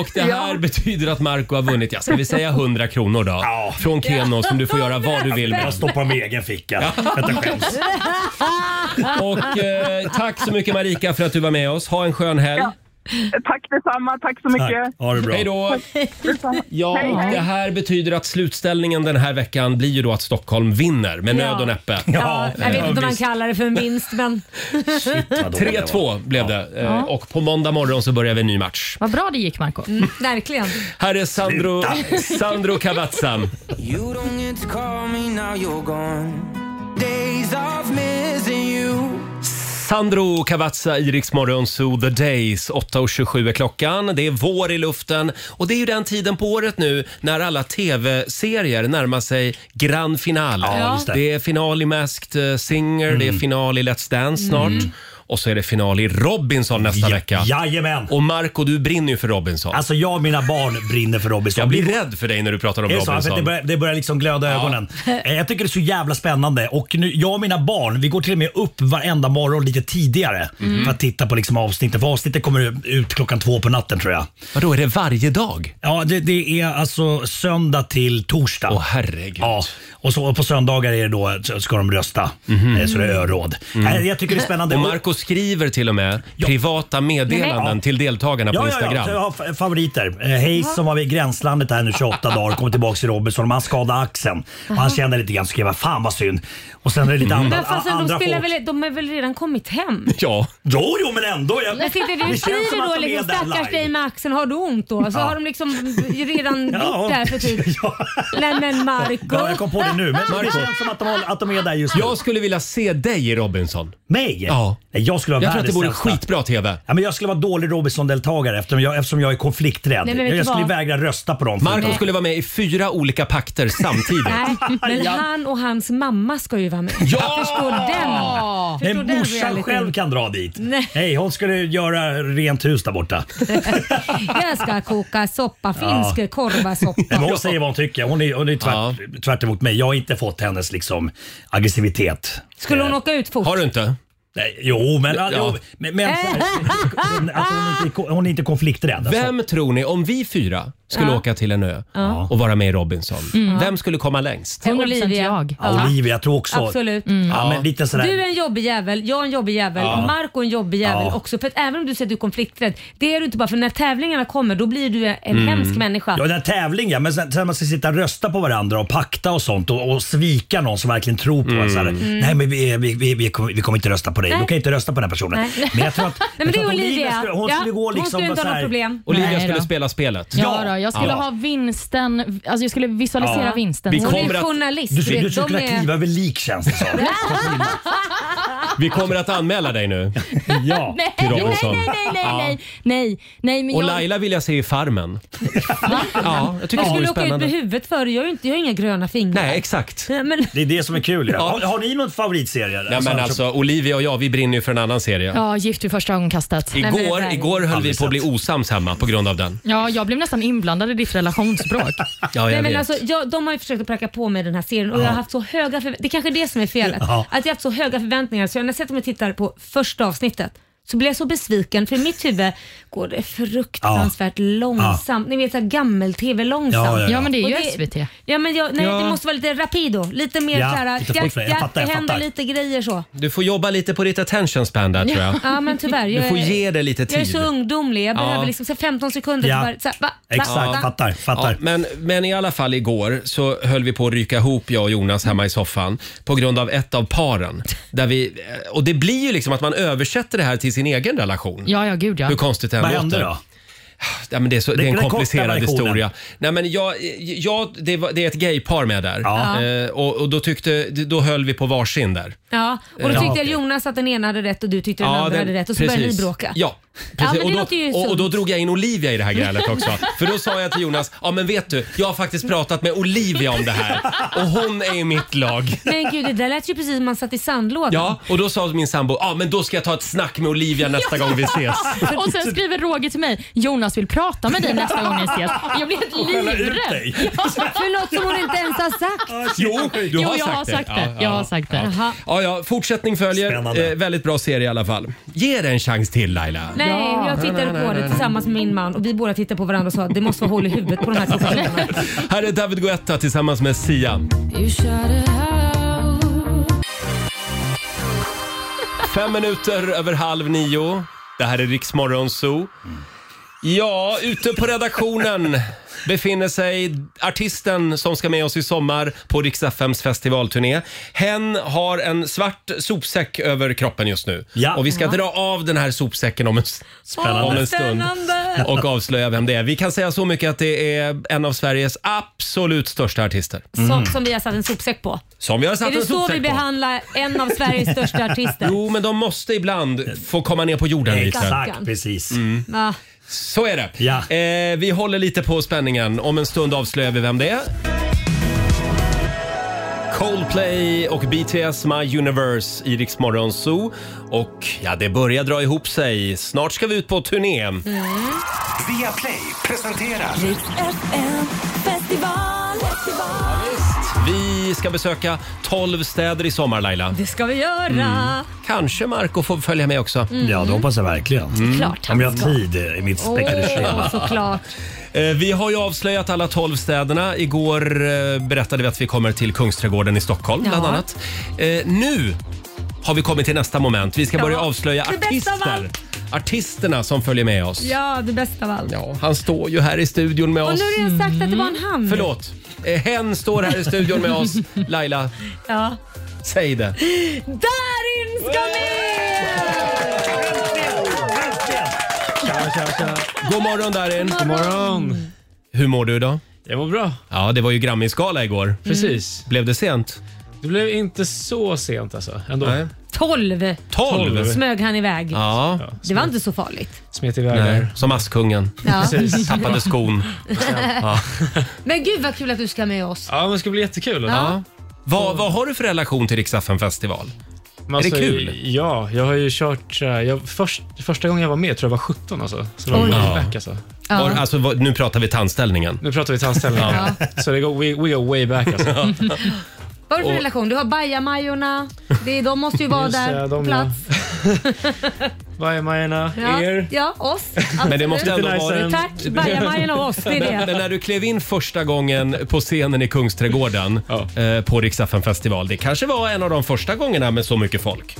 [SPEAKER 1] Och det här betyder att Marco har vunnit, ja, ska vi säga 100 kronor då? Från Keno som du får göra vad du vill med.
[SPEAKER 2] Alltså,
[SPEAKER 11] Jag stoppar min egen ficka.
[SPEAKER 1] Och eh, tack så mycket Marika för att du var med oss. Ha en skön helg.
[SPEAKER 7] Ja. Tack detsamma, tack så mycket.
[SPEAKER 1] Ha det bra. Hej då. Ja, det här betyder att slutställningen den här veckan blir ju då att Stockholm vinner med nöd och näppe.
[SPEAKER 2] Ja, jag vet
[SPEAKER 1] Eh,
[SPEAKER 2] inte om man kallar det för en vinst men...
[SPEAKER 1] 3-2 blev det Eh,
[SPEAKER 2] Ja.
[SPEAKER 1] och på måndag morgon så börjar vi en ny match.
[SPEAKER 3] Vad bra det gick, Marco.
[SPEAKER 1] Mm.
[SPEAKER 2] Verkligen.
[SPEAKER 1] Här är Sandro, Sandro Cavazza.
[SPEAKER 13] You don't get to call me now you're gone. Days of missing you.
[SPEAKER 1] Sandro Cavazza, Iriks Morgonzoo, The Days. 8.27 är klockan. Det är vår i luften och det är ju den tiden på året nu när alla tv-serier närmar sig grand finale.
[SPEAKER 11] Ja, just det.
[SPEAKER 1] det är final i Masked eh, Singer, det är final i Let's Dance snart.
[SPEAKER 11] Mm.
[SPEAKER 1] Och så är det final i Robinson nästa vecka.
[SPEAKER 11] Jajamän.
[SPEAKER 1] Och Marco, du brinner ju för Robinson.
[SPEAKER 11] Alltså jag och mina barn brinner för Robinson.
[SPEAKER 1] Jag blir rädd för dig när du pratar om
[SPEAKER 11] Är det så? För att
[SPEAKER 1] Robinson.
[SPEAKER 11] det, börjar, det börjar liksom glöda ögonen. Eh, Jag tycker det är så jävla spännande. Och nu, jag och mina barn vi går till och med upp varenda morgon lite tidigare
[SPEAKER 1] Mm.
[SPEAKER 11] för att titta på liksom avsnittet. För avsnittet kommer ut klockan två på natten tror jag.
[SPEAKER 1] Vadå, är det varje dag?
[SPEAKER 11] Ja, det, det är alltså söndag till torsdag. Åh
[SPEAKER 1] herregud.
[SPEAKER 11] Ja, och, så, och på söndagar är det då, så ska de rösta. Eh, Så det är öråd. Nej, Jag tycker det är spännande.
[SPEAKER 1] Mhm. Mm. Och Marco skriver till och med privata meddelanden
[SPEAKER 11] Ja.
[SPEAKER 1] till deltagarna på
[SPEAKER 11] Ja, ja, ja.
[SPEAKER 1] Instagram.
[SPEAKER 11] Så jag har fa- favoriter. Eh, Hayes som var vid gränslandet här nu 28 dagar kom tillbaka till Robinson men han skadade axeln. Och han kände lite grann, skrev fan vad synd. Och sen är det lite
[SPEAKER 1] Mm.
[SPEAKER 11] andra,
[SPEAKER 2] Men fast
[SPEAKER 11] andra
[SPEAKER 2] de,
[SPEAKER 11] folk.
[SPEAKER 2] spelar väl, de är väl redan kommit hem?
[SPEAKER 1] Ja.
[SPEAKER 11] Jo, jo men ändå. Jag,
[SPEAKER 2] Men sitter du
[SPEAKER 11] det
[SPEAKER 2] och
[SPEAKER 11] känns som
[SPEAKER 2] skriver
[SPEAKER 11] att
[SPEAKER 2] då
[SPEAKER 11] de är
[SPEAKER 2] liksom
[SPEAKER 11] där
[SPEAKER 2] stackars
[SPEAKER 11] live.
[SPEAKER 2] dig med axeln, har du ont då? Så
[SPEAKER 11] Ja.
[SPEAKER 2] har de liksom redan
[SPEAKER 11] Ja.
[SPEAKER 2] gjort det här för typ. Nej men Marco
[SPEAKER 11] Ja, jag kom på det nu. Men det
[SPEAKER 1] Marco.
[SPEAKER 11] känns som att de, håller- att de är där just nu.
[SPEAKER 1] Jag skulle vilja se dig i Robinson.
[SPEAKER 11] Mig?
[SPEAKER 1] Ja.
[SPEAKER 11] Nej, Jag skulle vara
[SPEAKER 1] Jag tror att det
[SPEAKER 11] världens
[SPEAKER 1] vore
[SPEAKER 11] sämsta.
[SPEAKER 1] skitbra TV.
[SPEAKER 11] Ja, men jag skulle vara dålig Robinson-deltagare eftersom jag, eftersom jag är konflikträdd.
[SPEAKER 2] Nej, men vet
[SPEAKER 11] jag
[SPEAKER 2] du
[SPEAKER 11] jag skulle
[SPEAKER 2] vad?
[SPEAKER 11] vägra rösta på dem.
[SPEAKER 1] Marco skulle vara med i fyra olika pakter samtidigt.
[SPEAKER 2] Nej, men han och hans mamma ska ju vara med.
[SPEAKER 1] Ja!
[SPEAKER 2] Förstår den?
[SPEAKER 11] Nej,
[SPEAKER 2] Förstår den
[SPEAKER 11] morsan
[SPEAKER 2] realityn?
[SPEAKER 11] själv kan dra dit.
[SPEAKER 2] Nej.
[SPEAKER 11] Nej, hon skulle göra rent hus där borta.
[SPEAKER 2] Jag ska koka soppa, finsk
[SPEAKER 11] Ja.
[SPEAKER 2] korvasoppa.
[SPEAKER 11] Nej, men hon säger vad hon tycker. Hon är, hon är tvärt, tvärt emot mig. Jag har inte fått hennes liksom, aggressivitet.
[SPEAKER 2] Skulle hon åka ut fort?
[SPEAKER 1] Har du inte?
[SPEAKER 11] Nej, jo, men...
[SPEAKER 1] Ja.
[SPEAKER 11] Jo, men, men att hon, inte, hon är inte konflikträdd. alltså.
[SPEAKER 1] Vem tror ni, om vi fyra skulle
[SPEAKER 11] Ja.
[SPEAKER 1] åka till en ö
[SPEAKER 11] Ja.
[SPEAKER 1] och vara med i Robinson,
[SPEAKER 2] Mm.
[SPEAKER 1] vem skulle komma längst?
[SPEAKER 2] Olivia. Jag.
[SPEAKER 11] Ja, Olivia, jag tror också...
[SPEAKER 2] Absolut.
[SPEAKER 11] Ja, men lite sådär.
[SPEAKER 2] Du är en jobbig jävel, jag är en jobbig jävel,
[SPEAKER 11] Ja.
[SPEAKER 2] Marco är en jobbig jävel
[SPEAKER 11] Ja.
[SPEAKER 2] också. För att även om du säger att du är konflikträdd, det är du inte bara för när tävlingarna kommer då blir du en hemsk människa.
[SPEAKER 11] Mm. Ja, den här tävlingen, ja. men sen, sen man ska sitta och rösta på varandra och pakta och sånt och, och svika någon som verkligen tror på en. Så här,
[SPEAKER 2] Mm.
[SPEAKER 11] Nej, men vi, vi, vi, vi, kommer, vi kommer inte rösta på dig.
[SPEAKER 2] Nej.
[SPEAKER 11] Du kan inte rösta på den här personen.
[SPEAKER 2] Nej.
[SPEAKER 11] Men jag tror att,
[SPEAKER 2] Nej, men
[SPEAKER 11] jag
[SPEAKER 2] det
[SPEAKER 11] tror
[SPEAKER 2] är
[SPEAKER 11] att
[SPEAKER 2] Olivia.
[SPEAKER 11] skulle- Hon
[SPEAKER 2] Ja,
[SPEAKER 11] skulle gå
[SPEAKER 2] hon
[SPEAKER 11] liksom...
[SPEAKER 2] skulle inte
[SPEAKER 11] vara
[SPEAKER 2] ha
[SPEAKER 11] så här-
[SPEAKER 2] något problem.
[SPEAKER 1] Olivia
[SPEAKER 3] Nej
[SPEAKER 1] skulle
[SPEAKER 3] då.
[SPEAKER 1] spela spelet.
[SPEAKER 3] Ja, då, jag skulle
[SPEAKER 1] Ja.
[SPEAKER 3] ha vinsten, alltså jag skulle visualisera
[SPEAKER 1] Ja.
[SPEAKER 3] vinsten.
[SPEAKER 1] Vi kommer att-
[SPEAKER 11] Du, skulle- du skulle kunna kliva över lik känns det som.
[SPEAKER 1] Vi kommer att anmäla dig nu. ja.
[SPEAKER 3] Nej,
[SPEAKER 1] Till
[SPEAKER 3] nej, nej,
[SPEAKER 1] Robinson.
[SPEAKER 3] nej, nej,
[SPEAKER 1] Ja.
[SPEAKER 3] nej, nej, nej, men
[SPEAKER 1] Och
[SPEAKER 3] jag...
[SPEAKER 1] Laila vill jag se i Farmen. Ja, jag tycker
[SPEAKER 2] jag
[SPEAKER 1] det vore
[SPEAKER 2] skulle åka ut
[SPEAKER 1] spännande.
[SPEAKER 2] med huvudet för det. jag har ju inte, jag har inga gröna fingrar.
[SPEAKER 1] Nej, exakt.
[SPEAKER 2] men,
[SPEAKER 11] Det är det som är kul. Ja.
[SPEAKER 1] Ja.
[SPEAKER 11] Har, har ni någon favoritserie?
[SPEAKER 1] Nej men alltså Olivia och jag vi brinner ju för en annan serie.
[SPEAKER 3] Ja, Gift vid första ögonkastet.
[SPEAKER 1] Igår, igår höll vi på att bli osams hemma på grund av den.
[SPEAKER 3] Ja, jag blev nästan inblandad i ditt relationsbråk.
[SPEAKER 1] Ja,
[SPEAKER 2] Nej,
[SPEAKER 1] jag
[SPEAKER 2] men
[SPEAKER 1] vet.
[SPEAKER 2] alltså, jag, de har ju försökt att pracka på mig den här serien och
[SPEAKER 1] Ja.
[SPEAKER 2] jag har haft så höga förväntningar. Det är kanske är det som är felet.
[SPEAKER 1] Ja.
[SPEAKER 2] Att jag har haft så höga förväntningar så jag, när jag sätter mig och tittar på första avsnittet så blir jag så besviken för i mitt huvud går det fruktansvärt långsamt. Ni vet såhär gammel-tv långsamt.
[SPEAKER 3] Ja, ja, ja. Ja, men det är ju
[SPEAKER 2] Och
[SPEAKER 3] SVT.
[SPEAKER 2] Ja, men jag, nej,
[SPEAKER 1] Ja.
[SPEAKER 2] det måste vara lite rapido. Lite mer
[SPEAKER 1] Ja,
[SPEAKER 2] ja, såhär,
[SPEAKER 1] lite
[SPEAKER 2] jack,
[SPEAKER 1] fortare. Jag
[SPEAKER 2] jack,
[SPEAKER 1] fattar, jag
[SPEAKER 2] det händer
[SPEAKER 1] fattar.
[SPEAKER 2] lite grejer så.
[SPEAKER 1] Du får jobba lite på ditt attention span där tror jag.
[SPEAKER 2] Ja, men tyvärr.
[SPEAKER 1] Du
[SPEAKER 2] jag
[SPEAKER 1] får
[SPEAKER 2] är-
[SPEAKER 1] ge det lite
[SPEAKER 2] Jag är
[SPEAKER 1] tid.
[SPEAKER 2] så ungdomlig. Jag
[SPEAKER 1] Ja.
[SPEAKER 2] behöver liksom så här 15 sekunder.
[SPEAKER 1] Ja.
[SPEAKER 2] Ja. Bara, så här, va, va, va.
[SPEAKER 1] Ja, men, men i alla fall igår så höll vi på att ryka ihop jag och Jonas hemma i soffan på grund av ett av paren. Där vi, och det blir ju liksom att man översätter det här till sin egen relation.
[SPEAKER 3] Ja, ja, gud ja.
[SPEAKER 1] Hur konstigt det än
[SPEAKER 11] Vad
[SPEAKER 1] låter.
[SPEAKER 11] hände då?
[SPEAKER 1] Ja, men det, är så, det är
[SPEAKER 11] Den-
[SPEAKER 1] en
[SPEAKER 11] den korta
[SPEAKER 1] komplicerad
[SPEAKER 11] versionen.
[SPEAKER 1] historia. Nej, men jag, jag, det, var, det är ett gaypar med där.
[SPEAKER 2] Ja.
[SPEAKER 1] Eh, och, och då, tyckte, då höll vi på varsin där.
[SPEAKER 2] Ja, och då
[SPEAKER 1] Eh, Ja,
[SPEAKER 2] tyckte
[SPEAKER 1] okej.
[SPEAKER 2] Jonas att den ena hade rätt och du tyckte den
[SPEAKER 1] Ja,
[SPEAKER 2] andra
[SPEAKER 1] den-
[SPEAKER 2] hade rätt och så
[SPEAKER 1] precis.
[SPEAKER 2] började ni bråka.
[SPEAKER 1] Ja, precis.
[SPEAKER 2] men det
[SPEAKER 1] och,
[SPEAKER 2] låter ju
[SPEAKER 1] då, och, och då
[SPEAKER 2] sunt.
[SPEAKER 1] drog jag in Olivia i det här grälet också. För då sa jag till Jonas, ja men vet du, jag har faktiskt pratat med Olivia om det här och hon är i mitt lag.
[SPEAKER 2] Men gud, det där lät ju precis som man satt i sandlådan.
[SPEAKER 1] Ja, och då sa min sambo, ja men då ska jag ta ett snack med Olivia nästa gång vi ses.
[SPEAKER 3] Och sen skriver Roger till mig, Jonas vill prata med dig nästa gång ni ses. Jag blir
[SPEAKER 1] Och skälla
[SPEAKER 3] helt
[SPEAKER 1] ut
[SPEAKER 3] livrädd.
[SPEAKER 1] dig.
[SPEAKER 3] Ja.
[SPEAKER 2] För något som hon inte ens har sagt.
[SPEAKER 1] Jo, du
[SPEAKER 3] Jo,
[SPEAKER 1] har
[SPEAKER 3] jag
[SPEAKER 1] sagt
[SPEAKER 3] har
[SPEAKER 1] det.
[SPEAKER 3] sagt det. Jag har sagt det.
[SPEAKER 1] Ja.
[SPEAKER 3] Jaha.
[SPEAKER 1] Ja, ja, fortsättning följer. Eh, väldigt bra serie i alla fall. Ge det en chans till Laila.
[SPEAKER 2] Nej,
[SPEAKER 3] Ja.
[SPEAKER 2] jag tittade på det tillsammans med min man och vi båda tittade på varandra och sa att det måste vara hål i huvudet på de här två personerna.
[SPEAKER 1] Här är David Guetta tillsammans med Sia. Fem minuter över halv nio. Det här är Riksmorgon Zoo. Ja, ute på redaktionen befinner sig artisten som ska med oss i sommar på Rix FMs festivalturné. Hen har en svart sopsäck över kroppen just nu. Och vi ska dra av den här sopsäcken om en, s-
[SPEAKER 11] Spännande.
[SPEAKER 1] Om en stund.
[SPEAKER 11] Spännande.
[SPEAKER 1] Och avslöja vem det är. Vi kan säga så mycket att det är en av Sveriges absolut största artister.
[SPEAKER 2] Som, som vi har satt en sopsäck på.
[SPEAKER 1] Som vi har Mm. satt
[SPEAKER 2] Är det
[SPEAKER 1] en
[SPEAKER 2] så
[SPEAKER 1] sopsäck
[SPEAKER 2] vi
[SPEAKER 1] på.
[SPEAKER 2] behandlar en av Sveriges största artister?
[SPEAKER 1] Jo, men de måste ibland få komma ner på jorden lite.
[SPEAKER 2] Exakt,
[SPEAKER 1] precis. Mm.
[SPEAKER 2] Va?
[SPEAKER 1] Så är det. Eh, vi håller lite på spänningen. Om en stund avslöjar vi vem det är. Coldplay och BTS My Universe i Rix Morgon Zoo. Och ja, det börjar dra ihop sig. Snart ska vi ut på turné.
[SPEAKER 2] Mm.
[SPEAKER 14] Via Play presenterar...
[SPEAKER 1] Vi ska besöka 12 städer i sommar, Laila.
[SPEAKER 2] Det ska vi göra.
[SPEAKER 1] Mm. Kanske Marco får följa med också.
[SPEAKER 2] Mm. Ja, det
[SPEAKER 1] hoppas jag verkligen. Mm.
[SPEAKER 2] Klart han Om jag har ska. tid
[SPEAKER 1] i mitt
[SPEAKER 2] Åh, såklart.
[SPEAKER 1] Eh, Vi har ju avslöjat alla 12 städerna. Igår eh, berättade vi att vi kommer till Kungsträdgården i Stockholm bland
[SPEAKER 2] Ja.
[SPEAKER 1] annat. Eh, Nu har vi kommit till nästa moment. Vi ska
[SPEAKER 2] Ja.
[SPEAKER 1] börja avslöja
[SPEAKER 2] Det bästa av
[SPEAKER 1] artister.
[SPEAKER 2] allt.
[SPEAKER 1] Artisterna som följer med oss.
[SPEAKER 2] Ja, det bästa av allt.
[SPEAKER 1] Ja, han står ju här i studion med
[SPEAKER 2] Och
[SPEAKER 1] oss.
[SPEAKER 2] nu har du redan sagt att det var en han.
[SPEAKER 1] Förlåt. Eh, Hen står här i studion med oss. Laila,
[SPEAKER 2] Ja.
[SPEAKER 1] säg det.
[SPEAKER 2] Darin ska
[SPEAKER 1] Tja, tja, tja. God morgon Darin. God morgon. Hur mår du idag?
[SPEAKER 12] Jag mår bra. Mm.
[SPEAKER 1] Ja, det var ju Grammisgala igår.
[SPEAKER 12] Precis.
[SPEAKER 1] Blev det sent?
[SPEAKER 12] Det blev inte så sent alltså. Ändå.
[SPEAKER 1] Nej.
[SPEAKER 2] 12.
[SPEAKER 1] Tolv.
[SPEAKER 2] smög han iväg.
[SPEAKER 1] Ja.
[SPEAKER 2] Det var inte så farligt.
[SPEAKER 12] Smet iväg
[SPEAKER 1] Nej, Som Askungen.
[SPEAKER 2] Ja. Precis.
[SPEAKER 1] Tappade skon. Ja.
[SPEAKER 2] Men gud vad kul att du ska med oss.
[SPEAKER 12] Ja, men det ska bli jättekul.
[SPEAKER 1] Ja. Vad, vad har du för relation till Rix FM festival?
[SPEAKER 12] Men
[SPEAKER 1] Är det
[SPEAKER 12] alltså,
[SPEAKER 1] kul?
[SPEAKER 12] Ja, jag har ju kört... eh, Jag, först, första gången jag var med tror jag var 17 alltså. Så det var
[SPEAKER 1] Oj.
[SPEAKER 12] way back
[SPEAKER 1] Ja.
[SPEAKER 12] alltså.
[SPEAKER 2] Ja.
[SPEAKER 1] Var, alltså, vad- nu pratar vi tandställningen.
[SPEAKER 12] Nu pratar vi tandställning.
[SPEAKER 1] Ja.
[SPEAKER 12] Så det går, we, we go way back alltså.
[SPEAKER 2] Vad har du för
[SPEAKER 12] Och-
[SPEAKER 2] relation? Du har bajamajorna. Det- De måste ju vara
[SPEAKER 12] Just det,
[SPEAKER 2] där på
[SPEAKER 12] de,
[SPEAKER 2] plats.
[SPEAKER 12] Bajamajorna,
[SPEAKER 2] Ja,
[SPEAKER 12] er.
[SPEAKER 2] ja oss. Absolut.
[SPEAKER 1] Men det måste ändå
[SPEAKER 12] eh,
[SPEAKER 1] varit...
[SPEAKER 2] Tack, bajamajorna och oss. Det är
[SPEAKER 1] Men, men
[SPEAKER 2] det.
[SPEAKER 1] när du klev in första gången på scenen i Kungsträdgården eh, på Rix FM festival, det kanske var en av de första gångerna med så mycket folk?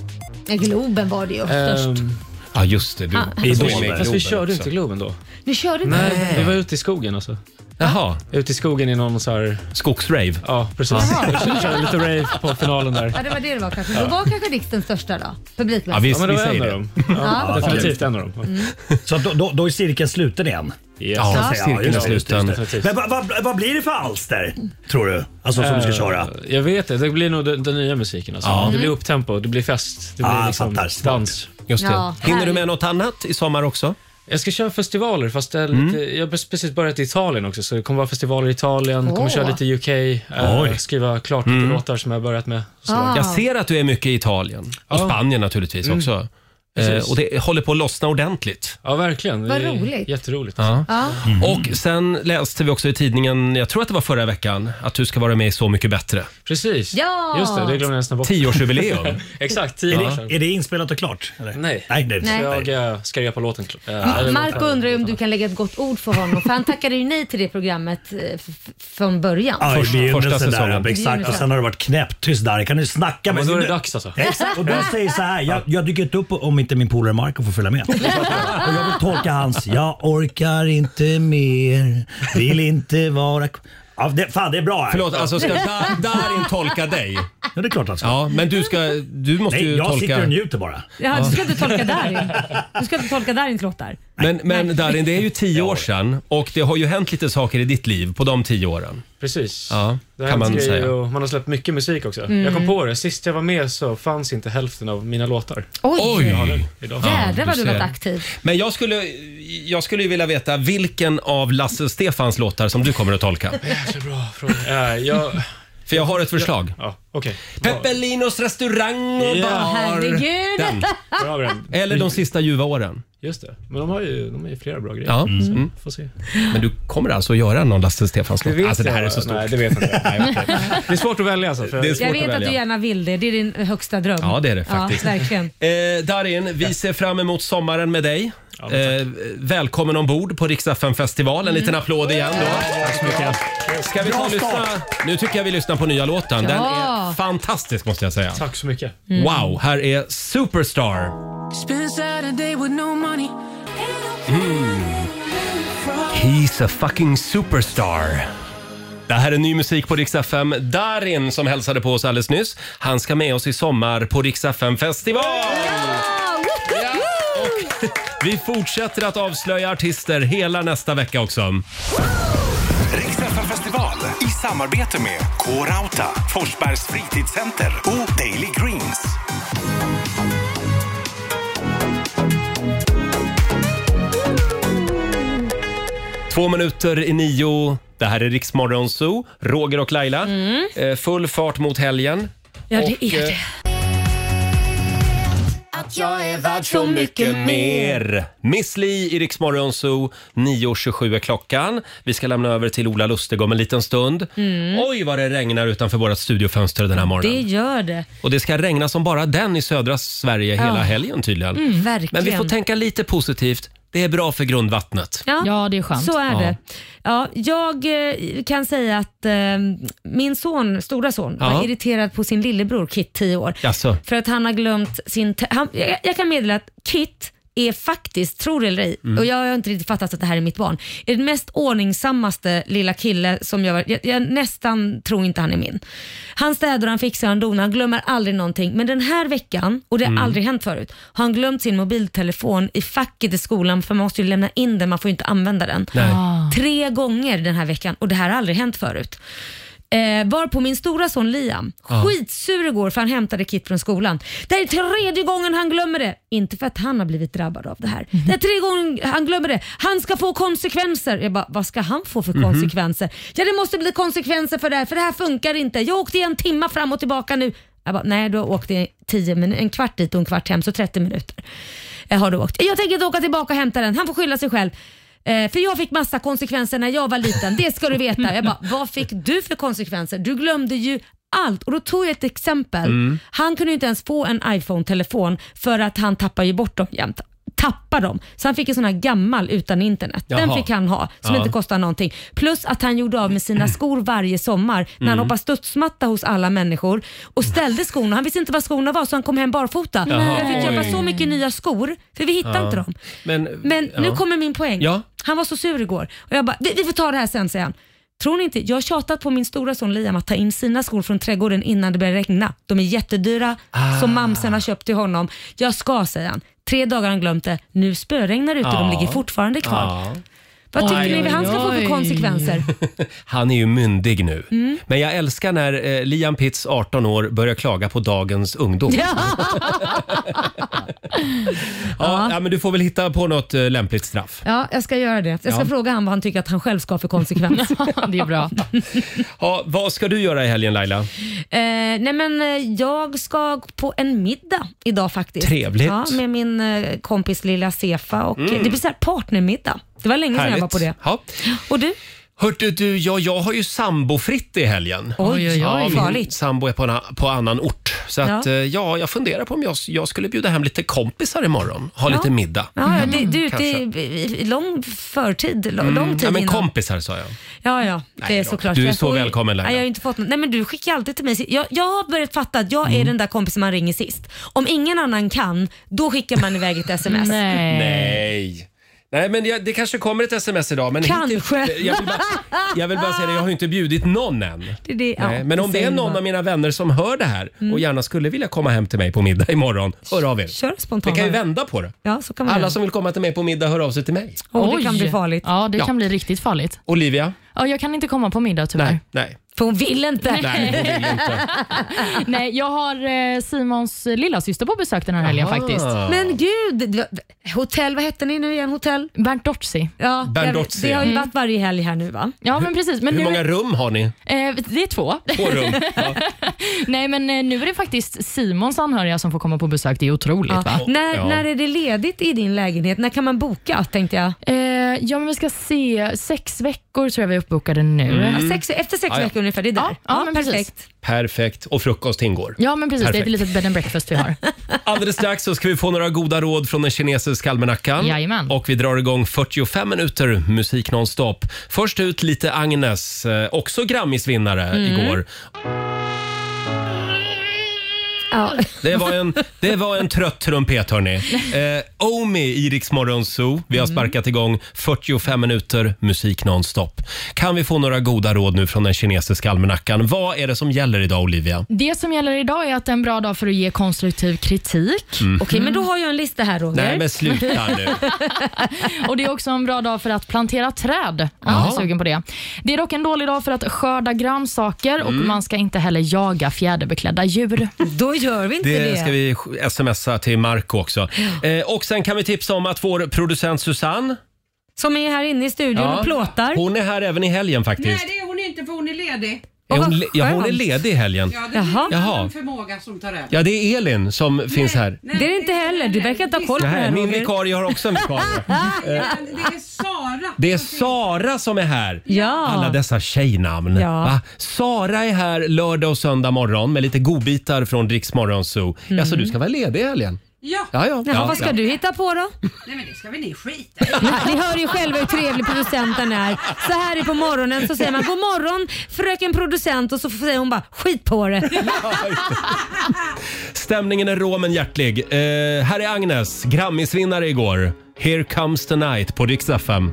[SPEAKER 2] Ja, Globen var det Eh, ju störst.
[SPEAKER 12] Ehm,
[SPEAKER 1] Ja, just det. Du,
[SPEAKER 2] Ah.
[SPEAKER 1] du
[SPEAKER 12] Fast
[SPEAKER 1] var
[SPEAKER 12] vi-
[SPEAKER 1] med i
[SPEAKER 12] Fast vi
[SPEAKER 1] Globen
[SPEAKER 12] körde
[SPEAKER 1] också.
[SPEAKER 12] inte Globen då.
[SPEAKER 2] Ni körde inte?
[SPEAKER 12] Nej, vi var ute i skogen alltså.
[SPEAKER 1] Jaha.
[SPEAKER 12] Ute i skogen i någon så här...
[SPEAKER 1] Skogsrave?
[SPEAKER 12] Ja, precis.
[SPEAKER 2] Jaha.
[SPEAKER 12] Vi körde lite rave på finalen där.
[SPEAKER 2] Ja, det var det det var kanske.
[SPEAKER 12] Ja.
[SPEAKER 2] Då var kanske Rix den största då? Publikmässigt.
[SPEAKER 12] Ja, men det var en av dem. Ja,
[SPEAKER 2] Ja.
[SPEAKER 12] Definitivt en av dem.
[SPEAKER 11] Så att då, då, då är cirkeln sluten igen? kan man
[SPEAKER 1] Ja,
[SPEAKER 11] säga.
[SPEAKER 1] cirkeln är
[SPEAKER 11] just det, just det,
[SPEAKER 1] sluten.
[SPEAKER 11] just det. Men vad vad- vad blir det för alster, tror du? Alltså som du ska
[SPEAKER 12] Eh,
[SPEAKER 11] köra?
[SPEAKER 12] Jag vet det. Det blir nog den, den nya musiken. Alltså.
[SPEAKER 1] Ja.
[SPEAKER 12] Det blir upptempo, det blir fest, det
[SPEAKER 1] Ah,
[SPEAKER 12] blir
[SPEAKER 1] jag
[SPEAKER 12] liksom dans.
[SPEAKER 1] Just det. Ja, Hinner du med härligt. något annat i sommar också?
[SPEAKER 12] Jag ska köra festivaler, fast det är lite,
[SPEAKER 1] Mm.
[SPEAKER 12] jag har precis börjat i Italien också, så det kommer vara festivaler i Italien,
[SPEAKER 1] Åh.
[SPEAKER 12] kommer köra lite UK,
[SPEAKER 1] Oj.
[SPEAKER 12] eh, skriva klart lite
[SPEAKER 1] Mm.
[SPEAKER 12] låtar som jag har börjat med.
[SPEAKER 1] Ah. Jag ser att du är mycket i Italien och Spanien naturligtvis
[SPEAKER 12] Mm.
[SPEAKER 1] också.
[SPEAKER 12] Precis.
[SPEAKER 1] Eh, och det håller på att lossna ordentligt.
[SPEAKER 12] Ja, verkligen.
[SPEAKER 1] Vad
[SPEAKER 12] Det är
[SPEAKER 1] roligt.
[SPEAKER 12] Jätteroligt.
[SPEAKER 1] Ja.
[SPEAKER 12] Ja. Mm.
[SPEAKER 1] Och sen läste vi också i tidningen, jag tror att det var förra veckan, att du ska vara med i Så mycket bättre.
[SPEAKER 12] Precis.
[SPEAKER 2] Ja.
[SPEAKER 12] Just det, det glömde jag nästan bort.
[SPEAKER 1] Tioårsjubileum.
[SPEAKER 12] Exakt, tio år
[SPEAKER 1] Är det-
[SPEAKER 12] sedan.
[SPEAKER 11] Är det inspelat och klart? Eller?
[SPEAKER 12] Nej.
[SPEAKER 11] Nej, det
[SPEAKER 2] är det Nej. inte.
[SPEAKER 12] Jag eh, ska repa låten. kl- eh, eller
[SPEAKER 2] Marco
[SPEAKER 12] låten.
[SPEAKER 2] undrar ju om du kan lägga ett gott ord för honom, för han tackade ju nej till det programmet eh, f- f- från början.
[SPEAKER 11] Ja, i begynnelsen
[SPEAKER 1] första
[SPEAKER 11] Där,
[SPEAKER 1] säsongen.
[SPEAKER 11] ja, exakt. Och sen har det varit knäpptyst där. Kan du snacka med
[SPEAKER 12] men då är
[SPEAKER 11] du-
[SPEAKER 12] det dags alltså.
[SPEAKER 11] Exakt. Och du säger så här. Jag, jag dyker inte upp om inte min polare Marco får följa med. Och jag vill tolka hans. Jag orkar inte mer. Vill inte vara k-" ja, det, Fan, det är bra. Här.
[SPEAKER 1] Förlåt, alltså ska Da- Darin tolka dig?
[SPEAKER 11] Ja, det är klart han ska.
[SPEAKER 1] Ja, men du ska... Du måste
[SPEAKER 11] Nej,
[SPEAKER 1] ju
[SPEAKER 11] jag
[SPEAKER 1] tolka...
[SPEAKER 11] sitter och njuter bara.
[SPEAKER 2] Ja, du ska inte tolka Darin. Du ska inte tolka Darins låtar.
[SPEAKER 1] Men, men Darin, det är ju tio år sedan och det har ju hänt lite saker i ditt liv på de tio åren.
[SPEAKER 12] Precis.
[SPEAKER 1] Ja,
[SPEAKER 12] Det har
[SPEAKER 1] kan
[SPEAKER 12] hänt
[SPEAKER 1] man
[SPEAKER 12] grejer
[SPEAKER 1] säga.
[SPEAKER 12] Och man har släppt mycket musik också.
[SPEAKER 2] Mm.
[SPEAKER 12] Jag kom på det, sist jag var med så fanns inte hälften av mina låtar.
[SPEAKER 2] Oj. Oj.
[SPEAKER 12] Jag har den idag.
[SPEAKER 2] Jädrar vad
[SPEAKER 1] du
[SPEAKER 2] du varit
[SPEAKER 1] ser.
[SPEAKER 2] aktiv.
[SPEAKER 1] Men jag skulle, jag skulle ju vilja veta vilken av Lasse Stefans låtar som du kommer att tolka.
[SPEAKER 12] Bra fråga. Eh, jag...
[SPEAKER 1] För jag har ett förslag.
[SPEAKER 12] Ja, okej.
[SPEAKER 1] Peppelinos restaurang och
[SPEAKER 12] Ja.
[SPEAKER 1] bar.
[SPEAKER 12] Herregud.
[SPEAKER 1] Den.
[SPEAKER 12] Bra, Bren.
[SPEAKER 1] Eller de sista ljuva åren.
[SPEAKER 12] Just det. Men de har ju, de har ju flera bra grejer.
[SPEAKER 1] Ja.
[SPEAKER 12] Så,
[SPEAKER 1] Mm.
[SPEAKER 12] Får se.
[SPEAKER 1] Men du kommer alltså att göra någon Lasse Stefans
[SPEAKER 12] Det
[SPEAKER 1] låt?
[SPEAKER 12] vet
[SPEAKER 1] Alltså det här
[SPEAKER 12] jag.
[SPEAKER 1] är så stort.
[SPEAKER 12] Nej, det vet jag inte. Nej, jag vet inte. Det är svårt att välja alltså. För...
[SPEAKER 1] Det är
[SPEAKER 2] Jag
[SPEAKER 1] svårt
[SPEAKER 2] vet
[SPEAKER 1] att
[SPEAKER 2] att du
[SPEAKER 1] välja.
[SPEAKER 2] gärna vill det. Det är din högsta dröm.
[SPEAKER 1] Ja, det är det faktiskt.
[SPEAKER 2] Ja, verkligen.
[SPEAKER 1] Eh, Darin, vi ser fram emot sommaren med dig. eh, välkommen ombord på Rix FM festival
[SPEAKER 12] Mm.
[SPEAKER 1] En liten applåd igen då. Tack så mycket. Ska vi ta
[SPEAKER 12] Bra
[SPEAKER 1] och lyssna? Nu tycker jag vi lyssnar på nya låten. Den
[SPEAKER 12] Ja.
[SPEAKER 1] är fantastisk måste jag säga.
[SPEAKER 12] Tack så mycket.
[SPEAKER 1] Wow, här är Superstar.
[SPEAKER 13] Spend Saturday with no money.
[SPEAKER 1] Mm. He's a fucking superstar. Det här är ny musik på Rix FM. Darin som hälsade på oss alldeles nyss, han ska med oss i sommar på Rix FM festival. Ja, och Vi fortsätter att avslöja artister hela nästa vecka också.
[SPEAKER 14] Riksfn festival i samarbete med K-Rauta, Forsbergs fritidscenter och Daily Greens.
[SPEAKER 1] Två minuter i nio. Det här är Rix Morgon Zoo, Roger och Laila. Eh, Full fart mot helgen.
[SPEAKER 2] Ja,
[SPEAKER 1] Och,
[SPEAKER 2] det är
[SPEAKER 1] eh,
[SPEAKER 2] det.
[SPEAKER 1] Att jag är värd så mycket mer. Miss Li i Rix Morgon Zoo. 9.27 är klockan. Vi ska lämna över till Ola Lustig om en liten stund. Oj, vad det regnar utanför vårt studiofönster den här morgonen.
[SPEAKER 2] Det gör det.
[SPEAKER 1] Och det ska regna som bara den i södra Sverige
[SPEAKER 2] Ja.
[SPEAKER 1] hela helgen tydligen.
[SPEAKER 2] Mm, verkligen.
[SPEAKER 1] Men vi får tänka lite positivt. Det är bra för grundvattnet.
[SPEAKER 2] Ja,
[SPEAKER 3] det är skönt.
[SPEAKER 2] Så är
[SPEAKER 1] Ja.
[SPEAKER 2] det. Ja, jag eh, kan säga att eh, min son, stora son,
[SPEAKER 1] Ja.
[SPEAKER 2] var irriterad på sin lillebror Kit, 10 år.
[SPEAKER 1] Jaså?
[SPEAKER 2] För att han har glömt sin... te- Han, jag, jag kan meddela att Kit är faktiskt, tror det eller ej,
[SPEAKER 15] Mm.
[SPEAKER 2] och jag har inte riktigt fattat att det här är mitt barn, är den mest ordningsammaste lilla kille som jag Jag, jag nästan tror inte han är min. Han städar, han fixar, han donar, han glömmer aldrig någonting. Men den här veckan, och det har
[SPEAKER 15] Mm.
[SPEAKER 2] aldrig hänt förut, har han glömt sin mobiltelefon i facket i skolan för man måste ju lämna in den, man får ju inte använda den.
[SPEAKER 15] Nej. Ah.
[SPEAKER 2] Tre gånger den här veckan och det här har aldrig hänt förut. Eh, var på min stora son Liam,
[SPEAKER 15] Ja.
[SPEAKER 2] skitsur igår för han hämtade Kit från skolan. Det här är tredje gången han glömmer det. Inte för att han har blivit drabbad av det här.
[SPEAKER 15] Mhm.
[SPEAKER 2] Det är tredje gången han glömmer det. Han ska få konsekvenser. Jag bara, vad ska han få för
[SPEAKER 15] Mhm.
[SPEAKER 2] konsekvenser? Ja det måste bli konsekvenser för det här för det här funkar inte. Jag åkte i en timma fram och tillbaka nu. Jag bara, nej du har åkt i tio min- en kvart dit och en kvart hem så 30 minuter eh, har du åkt. Jag tänker inte åka tillbaka och hämta den. Han får skylla sig själv. Eh, för jag fick massa konsekvenser när jag var liten, det ska du veta. Jag bara, vad fick du för konsekvenser? Du glömde ju allt. Och då tog jag ett exempel.
[SPEAKER 15] Mm.
[SPEAKER 2] Han kunde ju inte ens få en iPhone-telefon för att han tappar ju bort dem jämt. Tappar dem. Så han fick en sån här gammal utan internet. Den
[SPEAKER 15] Jaha.
[SPEAKER 2] fick han ha, som
[SPEAKER 15] Ja.
[SPEAKER 2] inte kostar någonting. Plus att han gjorde av med
[SPEAKER 1] Mm.
[SPEAKER 2] sina skor varje sommar när han
[SPEAKER 15] Mm.
[SPEAKER 2] hoppade studsmatta hos alla människor och ställde skorna. Han visste inte vad skorna var så han kom hem barfota.
[SPEAKER 1] Jaha.
[SPEAKER 2] Jag fick köpa
[SPEAKER 1] Oj.
[SPEAKER 2] så mycket nya skor för vi hittade
[SPEAKER 1] Ja.
[SPEAKER 2] inte dem.
[SPEAKER 1] Men,
[SPEAKER 2] Men nu
[SPEAKER 1] ja.
[SPEAKER 2] kommer min poäng.
[SPEAKER 1] Ja.
[SPEAKER 2] Han var så sur igår och jag bara, vi, vi får ta det här sen säger han. Tror ni inte, jag har tjatat på min stora son Liam att ta in sina skor från trädgården innan det börjar regna. De är jättedyra som
[SPEAKER 1] Ah.
[SPEAKER 2] mamsen har köpt till honom. Jag ska säger han. Tre dagar har han glömt det. Nu spöregnar det ute och de
[SPEAKER 15] Ja.
[SPEAKER 1] Ah.
[SPEAKER 2] ligger fortfarande kvar.
[SPEAKER 15] Ja.
[SPEAKER 2] Vad tycker
[SPEAKER 1] Oj,
[SPEAKER 2] ni
[SPEAKER 1] oj,
[SPEAKER 2] han ska få
[SPEAKER 1] oj.
[SPEAKER 2] för konsekvenser?
[SPEAKER 1] Han är ju myndig nu.
[SPEAKER 2] Mm.
[SPEAKER 1] Men jag älskar när eh, Liam Pitts, 18 år, börjar klaga på dagens ungdom. Ja. Ja, men du får väl hitta på något eh, lämpligt straff.
[SPEAKER 2] Ja, jag ska göra det. Jag ska
[SPEAKER 1] Ja.
[SPEAKER 2] fråga han vad han tycker att han själv ska ha för konsekvens.
[SPEAKER 3] det är bra.
[SPEAKER 1] Ja, vad ska du göra i helgen Laila?
[SPEAKER 2] Eh, nej men eh, jag ska på en middag idag faktiskt.
[SPEAKER 1] Trevligt.
[SPEAKER 2] Ja, med min eh, kompis lilla Sefa och
[SPEAKER 1] Mm.
[SPEAKER 2] eh, det blir så här partnermiddag. Det var länge sedan jag var på det.
[SPEAKER 1] Ja.
[SPEAKER 2] Och du?
[SPEAKER 1] Hörde du, ja, jag har ju sambofritt i helgen.
[SPEAKER 2] Oj, oj, oj.
[SPEAKER 1] Ja, min
[SPEAKER 2] Farligt.
[SPEAKER 1] sambo är på, en, a- på annan ort. Så att,
[SPEAKER 2] Ja.
[SPEAKER 1] eh, ja, jag funderar på om jag, jag skulle bjuda hem lite kompisar imorgon. Ha
[SPEAKER 2] Ja.
[SPEAKER 1] lite middag.
[SPEAKER 2] Ja, ja, du, du är ute
[SPEAKER 1] Kanske.
[SPEAKER 2] i, i, i lång förtid, l-
[SPEAKER 1] Mm,
[SPEAKER 2] lång tid
[SPEAKER 1] ja, men
[SPEAKER 2] innan.
[SPEAKER 1] kompisar sa jag.
[SPEAKER 2] Ja, ja, det är
[SPEAKER 1] då.
[SPEAKER 2] såklart.
[SPEAKER 1] Du är
[SPEAKER 2] Jag
[SPEAKER 1] så
[SPEAKER 2] får ju-
[SPEAKER 1] välkommen, Laila.
[SPEAKER 2] Nej, jag har ju inte fått något. Nej, men du skickar alltid till mig. Jag, jag har börjat fatta att jag
[SPEAKER 1] Mm.
[SPEAKER 2] är den där kompisen man ringer sist. Om ingen annan kan, då skickar man iväg ett sms.
[SPEAKER 1] Nej. Nej, men jag, det kanske kommer ett sms idag. Men
[SPEAKER 2] Kanske.
[SPEAKER 1] Hittills, jag, vill bara, jag vill bara säga det, jag har ju inte bjudit någon än.
[SPEAKER 2] Det är det- ja,
[SPEAKER 1] Nej, men om det är
[SPEAKER 2] säger
[SPEAKER 1] någon
[SPEAKER 2] man.
[SPEAKER 1] av mina vänner som hör det här
[SPEAKER 2] Mm.
[SPEAKER 1] och gärna skulle vilja komma hem till mig på middag imorgon, hör av er.
[SPEAKER 2] Kör
[SPEAKER 1] Vi
[SPEAKER 2] spontant.
[SPEAKER 1] kan ju vända på det.
[SPEAKER 2] Ja, så kan man
[SPEAKER 1] Alla
[SPEAKER 2] göra.
[SPEAKER 1] som vill komma till mig på middag hör av sig till mig.
[SPEAKER 2] Åh, Oh, det kan bli farligt.
[SPEAKER 3] Ja, det
[SPEAKER 1] Ja.
[SPEAKER 3] kan bli riktigt farligt.
[SPEAKER 1] Olivia?
[SPEAKER 3] Ja, jag kan inte komma på middag tyvärr.
[SPEAKER 1] Nej.
[SPEAKER 2] För hon vill inte.
[SPEAKER 1] Nej, hon vill inte.
[SPEAKER 3] Nej, jag har eh, Simons lilla syster på besök den här helgen
[SPEAKER 2] Jaha.
[SPEAKER 3] faktiskt.
[SPEAKER 1] Ah.
[SPEAKER 2] Men gud! det var- Hotell, vad hette ni nu igen? Hotell?
[SPEAKER 3] Berntotzi.
[SPEAKER 2] Ja,
[SPEAKER 1] Berntotzi,
[SPEAKER 2] det, det har ju
[SPEAKER 1] ja.
[SPEAKER 2] varit varje helg här nu va?
[SPEAKER 3] Ja, men precis. Men
[SPEAKER 1] Hur
[SPEAKER 3] nu,
[SPEAKER 1] många rum har ni?
[SPEAKER 3] Eh, det är två.
[SPEAKER 1] Två rum.
[SPEAKER 3] Nej, men eh, nu är det faktiskt Simons anhöriga som får komma på besök. Det är otroligt
[SPEAKER 2] Ja.
[SPEAKER 3] va?
[SPEAKER 2] När, när är det ledigt i din lägenhet? När kan man boka tänkte jag?
[SPEAKER 3] Eh, ja, men vi ska se. Sex veckor tror jag vi är uppbokade nu.
[SPEAKER 1] Mm. Ja,
[SPEAKER 2] sex- efter sex
[SPEAKER 1] Ja, ja.
[SPEAKER 2] veckor ungefär, det är där.
[SPEAKER 3] Ja, ja, men perfekt.
[SPEAKER 1] Perfekt. Och frukost ingår.
[SPEAKER 3] Ja, men precis. Det är
[SPEAKER 1] Perfekt.
[SPEAKER 3] ett litet bed and breakfast vi har.
[SPEAKER 1] Alldeles strax så ska vi få några goda råd från den kinesiska almanackan.
[SPEAKER 3] Jajamän.
[SPEAKER 1] Och vi drar igång 45 minuter musik nonstop. Först ut lite Agnes, eh, också Grammisvinnare
[SPEAKER 2] Mm.
[SPEAKER 1] igår.
[SPEAKER 2] Ja.
[SPEAKER 1] Det var en, det var en trött trumpet hörni. Eh, Omi i Rix Morgon Zoo. Vi har
[SPEAKER 3] Mm.
[SPEAKER 1] sparkat igång 45 minuter musik nonstop. Kan vi få några goda råd nu från den kinesiska almanackan? Vad är det som gäller idag Olivia?
[SPEAKER 3] Det som gäller idag är att det är en bra dag för att ge konstruktiv kritik.
[SPEAKER 1] Mm.
[SPEAKER 2] Okej, men då har jag en lista här Roger.
[SPEAKER 1] Nej, men sluta nu.
[SPEAKER 3] Och Det är också en bra dag för att plantera träd. Om man är
[SPEAKER 1] Jaha.
[SPEAKER 3] sugen på det. det är dock en dålig dag för att skörda grönsaker och
[SPEAKER 1] Mm.
[SPEAKER 3] man ska inte heller jaga fjäderbeklädda djur.
[SPEAKER 2] Då gör vi
[SPEAKER 1] Det ska vi sk- smsa till Marco också. Eh, och sen kan vi tipsa om att vår producent Susanne
[SPEAKER 2] Som är här inne i studion
[SPEAKER 1] Ja.
[SPEAKER 2] och plåtar.
[SPEAKER 1] Hon är här även i helgen faktiskt.
[SPEAKER 15] Nej, det är hon inte för hon är ledig.
[SPEAKER 1] Är hon, le- ja, hon är
[SPEAKER 15] skönt.
[SPEAKER 1] ledig i helgen.
[SPEAKER 15] Ja, det är
[SPEAKER 1] Jaha.
[SPEAKER 15] Jaha.
[SPEAKER 1] Jaha.
[SPEAKER 15] en förmåga som tar över.
[SPEAKER 1] Ja, det är Elin som finns här.
[SPEAKER 2] det är det inte heller. Du verkar inte ha koll på det
[SPEAKER 1] Nej,
[SPEAKER 2] här
[SPEAKER 1] min
[SPEAKER 2] Roger.
[SPEAKER 1] vikarie har också en vikarie. Eh,
[SPEAKER 15] Men Det är Sara.
[SPEAKER 1] Det är Sara som är här.
[SPEAKER 2] Ja.
[SPEAKER 1] Alla dessa tjejnamn.
[SPEAKER 2] Ja.
[SPEAKER 1] Va? Sara är här lördag och söndag morgon med lite godbitar från Rix Morgon Zoo. Ja, så du ska vara ledig i helgen?
[SPEAKER 15] Ja.
[SPEAKER 1] Ja, ja.
[SPEAKER 2] Mm. Jaha,
[SPEAKER 1] Ja,
[SPEAKER 2] vad ska
[SPEAKER 1] ja.
[SPEAKER 2] du hitta på då?
[SPEAKER 15] Nej men det ska väl ni skita i.
[SPEAKER 2] Ni hör ju själva hur trevlig producenten är. Så här är på morgonen så säger man god morgon fröken producent och så säger hon bara skit på det.
[SPEAKER 1] Stämningen är rå men hjärtlig. Eh, här är Agnes, Grammisvinnare igår. Here comes the night på Rix FM.